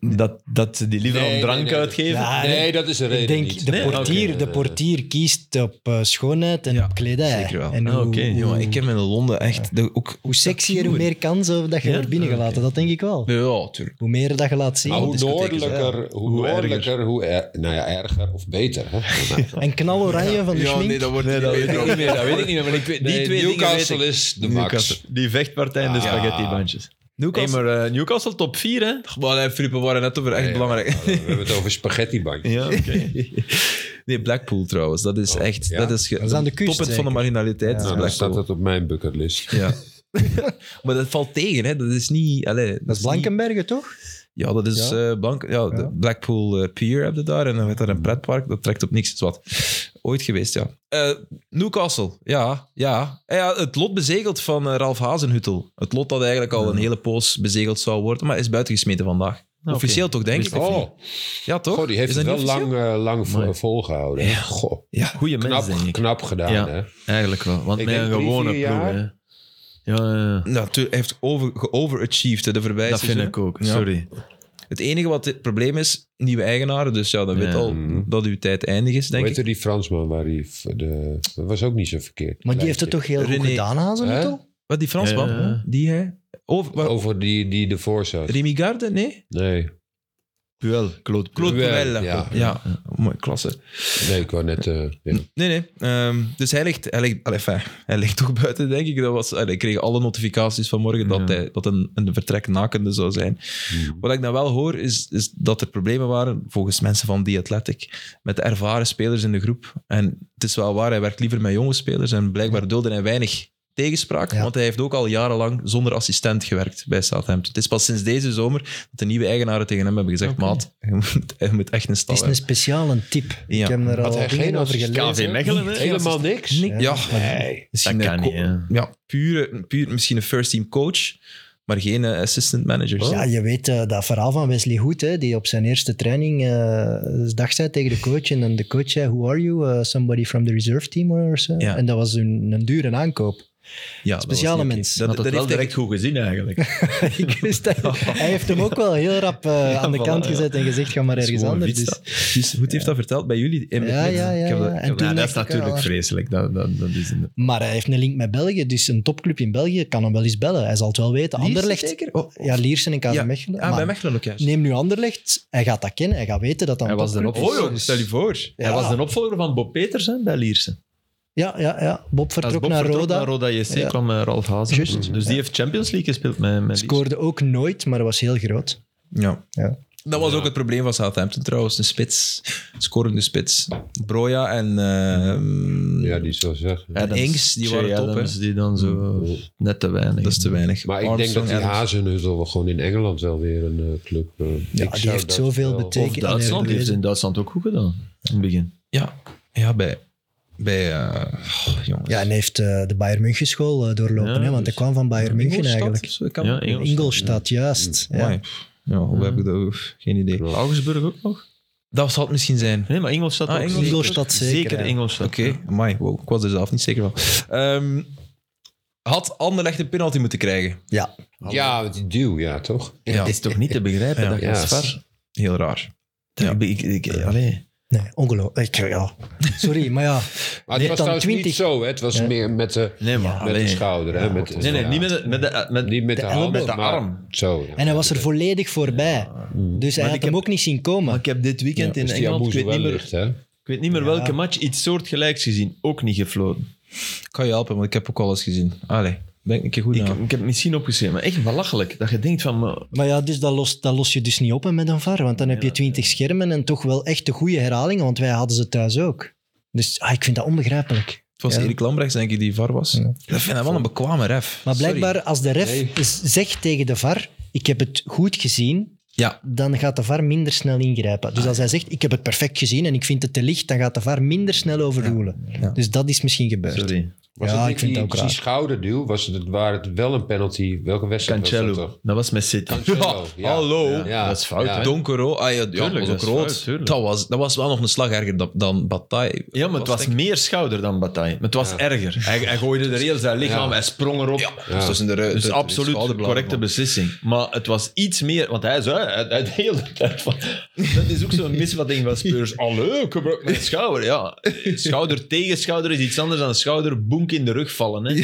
Speaker 3: dat, dat ze die liever
Speaker 2: Nee,
Speaker 3: aan
Speaker 2: nee,
Speaker 3: drank
Speaker 2: nee.
Speaker 3: uitgeven.
Speaker 4: Ja,
Speaker 2: Nee, dat is de reden
Speaker 4: Ik denk,
Speaker 2: niet.
Speaker 4: de,
Speaker 3: Nee,
Speaker 4: portier,
Speaker 2: oké, Nou, nee,
Speaker 4: de
Speaker 2: nee.
Speaker 4: portier kiest op eh, schoonheid en
Speaker 1: Ja,
Speaker 4: op kledij.
Speaker 1: zeker wel.
Speaker 4: En
Speaker 3: Ah,
Speaker 4: hoe,
Speaker 3: oké,
Speaker 4: hoe-
Speaker 1: Jongen, ik heb in Londen echt... de- ook,
Speaker 4: hoe sexier, hoe meer kans over dat je
Speaker 3: Ja?
Speaker 4: wordt binnengelaten. Dat denk ik wel.
Speaker 1: Ja, tuurlijk.
Speaker 4: Hoe meer dat je laat zien.
Speaker 2: Maar hoe
Speaker 1: discotheek is,
Speaker 2: noordelijker, hoe,
Speaker 3: Hoe
Speaker 2: noordelijker, hoe er, nou ja, erger of beter.
Speaker 3: [LAUGHS]
Speaker 2: Hè?
Speaker 4: En knaloranje van de schmink.
Speaker 1: dat wordt nee,
Speaker 3: Dat weet ik niet meer, dat weet ik niet meer. Maar ik weet, die
Speaker 2: Nee,
Speaker 3: twee
Speaker 2: Newcastle
Speaker 3: dingen weet ik.
Speaker 2: is de max.
Speaker 3: Newcastle. Die vechtpartij en de
Speaker 2: Ah.
Speaker 3: spaghettibandjes. Nee,
Speaker 1: Newcastle.
Speaker 3: maar eh, Newcastle top 4, hè?
Speaker 1: Maar nee, Filip, we waren net over echt
Speaker 2: Nee,
Speaker 1: belangrijk.
Speaker 2: We hebben het over Nou, spaghettibandjes. [LAUGHS]
Speaker 3: Ja,
Speaker 1: [LAUGHS] Nee, Blackpool trouwens. Dat is
Speaker 2: Oh,
Speaker 1: echt...
Speaker 2: ja?
Speaker 1: Dat is ge-
Speaker 4: Dat is aan de kust,
Speaker 1: toppunt van de
Speaker 4: zeker?
Speaker 1: marginaliteit.
Speaker 4: Ja.
Speaker 1: is
Speaker 2: Nou, dan staat
Speaker 1: Blackpool.
Speaker 2: dat op mijn bucketlist.
Speaker 1: Ja.
Speaker 3: [LAUGHS]
Speaker 1: [LAUGHS] maar dat valt tegen, hè. Dat is niet... Allee, dat,
Speaker 4: Dat is
Speaker 1: niet-
Speaker 4: Blankenbergen, toch?
Speaker 1: Ja, dat is eh Blank, ja, de
Speaker 4: Ja.
Speaker 1: Blackpool eh, Pier heb je daar. En dan werd daar
Speaker 3: Mm.
Speaker 1: een pretpark. Dat trekt op niks. Het is wat. Ooit geweest, ja. Eh, Newcastle, ja. ja. Eh, ja het lot bezegeld van eh, Ralf Hazenhuttel. Het lot dat eigenlijk al een hele poos bezegeld zou worden, maar is buitengesmeten vandaag.
Speaker 3: Ah, oké.
Speaker 1: Officieel toch, denk ik?
Speaker 2: Oh,
Speaker 1: Ja, toch?
Speaker 2: goh, die heeft
Speaker 1: Is
Speaker 2: het
Speaker 1: dat
Speaker 2: wel
Speaker 1: niet
Speaker 2: lang,
Speaker 1: officieel?
Speaker 2: eh, lang vo-
Speaker 3: Amai.
Speaker 2: volgehouden. Goh,
Speaker 3: goede
Speaker 2: knap,
Speaker 3: mensen, denk ik.
Speaker 2: knap gedaan,
Speaker 3: Ja.
Speaker 2: hè?
Speaker 3: Eigenlijk wel. Want
Speaker 2: Ik
Speaker 3: met
Speaker 2: denk
Speaker 3: een
Speaker 2: drie,
Speaker 3: gewone ploeg,
Speaker 2: vier jaar.
Speaker 3: hè. Ja, ja, ja.
Speaker 1: Ja, tu- hij heeft over, geoverachieved hè, de voorbije
Speaker 3: Dat vind
Speaker 1: seizoen.
Speaker 3: ik ook,
Speaker 1: Ja.
Speaker 3: sorry.
Speaker 1: Het enige wat het probleem is, nieuwe eigenaren. Dus ja, dan weet
Speaker 3: Ja.
Speaker 1: al dat uw tijd eindig is, denk
Speaker 2: Weet je
Speaker 1: ik.
Speaker 2: die Fransman waar hij... v- De, dat was ook niet zo verkeerd.
Speaker 4: Maar die heeft
Speaker 2: Kleintje.
Speaker 4: het toch heel
Speaker 1: René.
Speaker 4: goed gedaan, Hazenhuttel?
Speaker 1: Wat, die Fransman?
Speaker 3: Ja. Oh.
Speaker 1: Die hij... Over, waar-
Speaker 2: Over die, die ervoor zat.
Speaker 1: Remy Garde? Nee?
Speaker 2: Nee.
Speaker 3: Puel, Claude Puel.
Speaker 1: Claude
Speaker 2: Puel,
Speaker 1: Puel.
Speaker 2: ja.
Speaker 1: Ja. ja, mooie klasse.
Speaker 2: Nee, ik wou net... eh, ja.
Speaker 1: Nee, nee. Ehm, dus hij ligt, hij, ligt, allee, enfin, hij ligt toch [LAUGHS] buiten, denk ik. Dat was, allee, ik kreeg alle notificaties vanmorgen dat,
Speaker 3: Ja.
Speaker 1: hij, dat een, een vertrek nakende zou zijn. Wat ik dan wel hoor, is, is dat er problemen waren, volgens mensen van The Athletic, met de ervaren spelers in de groep. En het is wel waar, hij werkt liever met jonge spelers en blijkbaar dulde hij weinig tegenspraak,
Speaker 4: Ja.
Speaker 1: want hij heeft ook al jarenlang zonder assistent gewerkt bij Southampton. Het is pas sinds deze zomer dat de nieuwe eigenaren tegen hem hebben gezegd,
Speaker 3: Oké.
Speaker 1: maat, je moet, je moet echt een stap
Speaker 4: Het is een speciale tip.
Speaker 1: Ja.
Speaker 4: Ik heb er
Speaker 2: Had
Speaker 4: al
Speaker 2: hij
Speaker 4: dingen
Speaker 2: geen
Speaker 4: over
Speaker 2: assist-
Speaker 4: gelezen.
Speaker 3: KV Mechelen, hè?
Speaker 2: Helemaal niks?
Speaker 1: hebben. Ja,
Speaker 2: Nee.
Speaker 1: Misschien
Speaker 3: Dat
Speaker 1: een
Speaker 3: kan
Speaker 1: co-
Speaker 3: niet, hè.
Speaker 1: ja, pure, puur, misschien een first-team coach, maar geen eh, assistant manager.
Speaker 4: Ja, je weet eh, dat verhaal van Wesley Hoed, hè, die op zijn eerste training eh dag zei tegen de coach. En dan de coach zei, who are you? Eh, somebody from the reserve team or zo.
Speaker 1: Ja.
Speaker 4: En dat was een, een dure
Speaker 1: [LAUGHS]
Speaker 4: aankoop.
Speaker 1: Ja, dat
Speaker 4: speciale
Speaker 1: was niet oké.
Speaker 4: mens.
Speaker 1: Dat,
Speaker 3: Dat,
Speaker 1: dat,
Speaker 3: had het wel
Speaker 1: heeft
Speaker 3: direct
Speaker 1: direct...
Speaker 3: goed gezien, eigenlijk.
Speaker 4: Ik wist dat- Hij heeft hem ook wel heel rap eh, aan de
Speaker 3: voilà,
Speaker 4: kant
Speaker 3: ja.
Speaker 4: gezet en gezegd, ga maar
Speaker 1: Dat is
Speaker 4: ergens
Speaker 1: gewoon
Speaker 4: anders.
Speaker 1: een
Speaker 4: Dus,
Speaker 1: fiets, Dus goed heeft dat verteld bij jullie. In-
Speaker 4: Ja, ja, ja,
Speaker 1: Ik heb dat-
Speaker 4: ja.
Speaker 1: ik
Speaker 4: En
Speaker 1: heb
Speaker 4: toen-
Speaker 1: dat-
Speaker 3: Ja, dat is
Speaker 4: lekker
Speaker 3: natuurlijk
Speaker 4: raar.
Speaker 3: vreselijk. Dat, dat, dat is een...
Speaker 4: maar hij heeft een link met België, dus een topclub in België kan hem wel eens bellen. Hij zal het wel weten.
Speaker 1: Lierse
Speaker 4: Anderlecht,
Speaker 1: zeker? Oh,
Speaker 4: ja, Liersen en KV
Speaker 1: Ja.
Speaker 4: Mechelen.
Speaker 1: ah,
Speaker 4: Maar
Speaker 1: bij Mechelen ook juist.
Speaker 4: neem nu Anderlecht, hij gaat dat kennen. Hij gaat weten dat dat een
Speaker 3: Hij was de
Speaker 4: topclub
Speaker 1: Oh
Speaker 4: is.
Speaker 1: joh,
Speaker 4: Dus-
Speaker 1: stel je voor.
Speaker 4: Ja.
Speaker 3: Hij was de opvolger van Bob Peters hè, bij Liersen.
Speaker 4: Ja, ja, ja. Bob
Speaker 3: Als
Speaker 4: vertrok
Speaker 3: Bob
Speaker 4: naar
Speaker 3: vertrok
Speaker 4: Roda.
Speaker 3: naar Roda JC
Speaker 4: Ja.
Speaker 3: kwam eh, Ralf Hazen.
Speaker 4: Juist.
Speaker 3: Dus die heeft Champions League gespeeld met, met Lierse.
Speaker 4: Scoorde ook nooit, maar was heel groot.
Speaker 1: Ja.
Speaker 4: Ja.
Speaker 1: Dat was ook het probleem van Southampton trouwens. Een spits, scorende spits. Broja en ehm
Speaker 2: Ja, die zou zeggen.
Speaker 3: Adams.
Speaker 1: En Ings, die
Speaker 3: Che
Speaker 1: waren top,
Speaker 3: Adams,
Speaker 1: hè.
Speaker 3: die dan zo net te weinig.
Speaker 1: Oh, dat is te weinig.
Speaker 2: Maar ik denk dat die
Speaker 1: Armstrong, Adams.
Speaker 2: Hazenhutel wel gewoon in Engeland wel weer een eh, club... eh, ik
Speaker 4: die
Speaker 2: zou
Speaker 4: heeft
Speaker 2: dat
Speaker 4: zoveel
Speaker 2: wel-
Speaker 4: betekend.
Speaker 3: Of Duitsland die heeft in Duitsland ook goed gedaan. In het begin.
Speaker 1: Ja, ja bij... bij eh, oh, jongens.
Speaker 4: Ja, en heeft eh, de Bayern München school eh, doorlopen,
Speaker 3: Ja,
Speaker 4: hè, want hij
Speaker 3: dus-
Speaker 4: kwam van Bayern München
Speaker 1: Ingolstadt
Speaker 4: eigenlijk.
Speaker 1: of zo, ik kan-
Speaker 3: Ja, Engels.
Speaker 4: Ingolstadt, juist. Ja.
Speaker 1: Amai. Ja, hoe heb ik dat? Oef, Geen idee.
Speaker 3: Augsburg ook nog?
Speaker 1: Dat zal het misschien zijn.
Speaker 3: Nee, maar Ingolstadt
Speaker 1: Ah,
Speaker 3: ook.
Speaker 1: Ingolstadt.
Speaker 4: Ingolstadt zeker,
Speaker 3: Zeker
Speaker 4: ja.
Speaker 3: Ingolstadt.
Speaker 1: Oké, amai, wow, ik was er zelf niet zeker van. Ehm, had Anderlecht een penalty moeten krijgen?
Speaker 4: Ja.
Speaker 2: Ja, met die duw, ja, toch?
Speaker 1: Ja,
Speaker 3: Het is toch niet te begrijpen
Speaker 1: Ja.
Speaker 3: dat
Speaker 2: Ja.
Speaker 3: Gaspar...
Speaker 1: heel raar.
Speaker 3: Ja. Ik, ik, ik- allee.
Speaker 4: Nee, ongelooflijk. Ik- Ja. Sorry, maar ja.
Speaker 2: [LAUGHS] Maar het
Speaker 4: Nee,
Speaker 2: was
Speaker 4: dan
Speaker 2: trouwens
Speaker 4: 20.
Speaker 2: niet zo, hè. Het was
Speaker 4: Ja.
Speaker 2: meer met de,
Speaker 3: Nee, maar
Speaker 2: met de
Speaker 3: allee.
Speaker 2: schouder, hè. Met,
Speaker 3: Nee, nee, niet met de, met de, met,
Speaker 2: Niet met
Speaker 4: De
Speaker 2: de, hand,
Speaker 4: elleboog.
Speaker 2: maar
Speaker 3: arm.
Speaker 2: Zo, ja.
Speaker 4: En hij was er volledig voorbij. Dus hij
Speaker 3: Maar
Speaker 4: had
Speaker 3: ik
Speaker 4: hem
Speaker 3: heb-
Speaker 4: ook niet zien komen.
Speaker 3: Maar ik heb dit weekend
Speaker 2: Dus
Speaker 3: in
Speaker 2: die
Speaker 3: Engeland, ik
Speaker 2: Amoezu
Speaker 3: weet,
Speaker 2: wel
Speaker 3: niet meer,
Speaker 2: licht, hè.
Speaker 3: ik weet niet meer welke match, iets soortgelijks gezien. Ook niet gefloten.
Speaker 1: Ik kan je helpen, want ik heb ook al eens gezien. Allee, ben ik een keer goed
Speaker 3: Ik,
Speaker 1: na.
Speaker 3: ik heb het misschien opgeschreven, maar echt belachelijk. Dat je denkt van... maar-
Speaker 4: Maar ja, dus dat lost, dat los je dus niet op hè, met een VAR. Want dan heb je twintig schermen en toch wel echt de goede herhalingen. Want wij hadden ze thuis ook. Dus ah, ik vind dat onbegrijpelijk.
Speaker 1: Het was
Speaker 4: Ja.
Speaker 1: Erik Lambrechts, denk ik, die VAR was. Dat vind ik wel een bekwame ref.
Speaker 4: Maar
Speaker 1: Sorry.
Speaker 4: blijkbaar, als de ref
Speaker 2: Nee.
Speaker 4: z- zegt tegen de VAR: Ik heb het goed gezien,
Speaker 1: Ja,
Speaker 4: dan gaat de VAR minder snel ingrijpen. Dus als hij zegt: Ik heb het perfect gezien en ik vind het te licht, dan gaat de VAR minder snel overroelen.
Speaker 1: Ja.
Speaker 4: Dus dat is misschien gebeurd.
Speaker 3: Sorry.
Speaker 2: Was
Speaker 4: Ja,
Speaker 2: het
Speaker 4: ik
Speaker 2: niet
Speaker 4: vind
Speaker 2: die,
Speaker 4: het ook
Speaker 2: die
Speaker 4: raar.
Speaker 2: schouderduw? Was het, waar het wel een penalty? Welke wedstrijd was dat
Speaker 3: Cancelo.
Speaker 2: toch?
Speaker 3: Dat was met City.
Speaker 2: Cancelo, ja.
Speaker 1: hallo.
Speaker 2: Ja.
Speaker 3: Dat is fout,
Speaker 2: Ja.
Speaker 3: hè?
Speaker 1: donkerrood. Ah, ja, ja,
Speaker 3: Tuurlijk,
Speaker 1: was
Speaker 3: dat
Speaker 1: ook
Speaker 3: is fout,
Speaker 1: rood.
Speaker 3: tuurlijk.
Speaker 1: dat, was, dat was wel nog een slag erger dan, dan Bataille.
Speaker 3: Ja, maar het was
Speaker 1: denk ik.
Speaker 3: meer schouder dan Bataille. Maar het was
Speaker 2: Ja.
Speaker 3: erger. Hij, hij gooide er heel zijn lichaam,
Speaker 2: Ja.
Speaker 3: hij sprong erop.
Speaker 1: Ja, dus dat is in de
Speaker 3: Dus
Speaker 1: de- de
Speaker 3: absoluut
Speaker 1: schouderbladen,
Speaker 3: correcte
Speaker 1: man.
Speaker 3: beslissing. Maar het was iets meer, want hij zei uit, uit de hele tijd van... Dat is ook
Speaker 2: [LAUGHS]
Speaker 3: zo'n misvatting van Spurs. Allee, ik gebruik mijn schouder. Ja, schouder tegen schouder is iets anders dan schouder bonk in de rug vallen. Hè.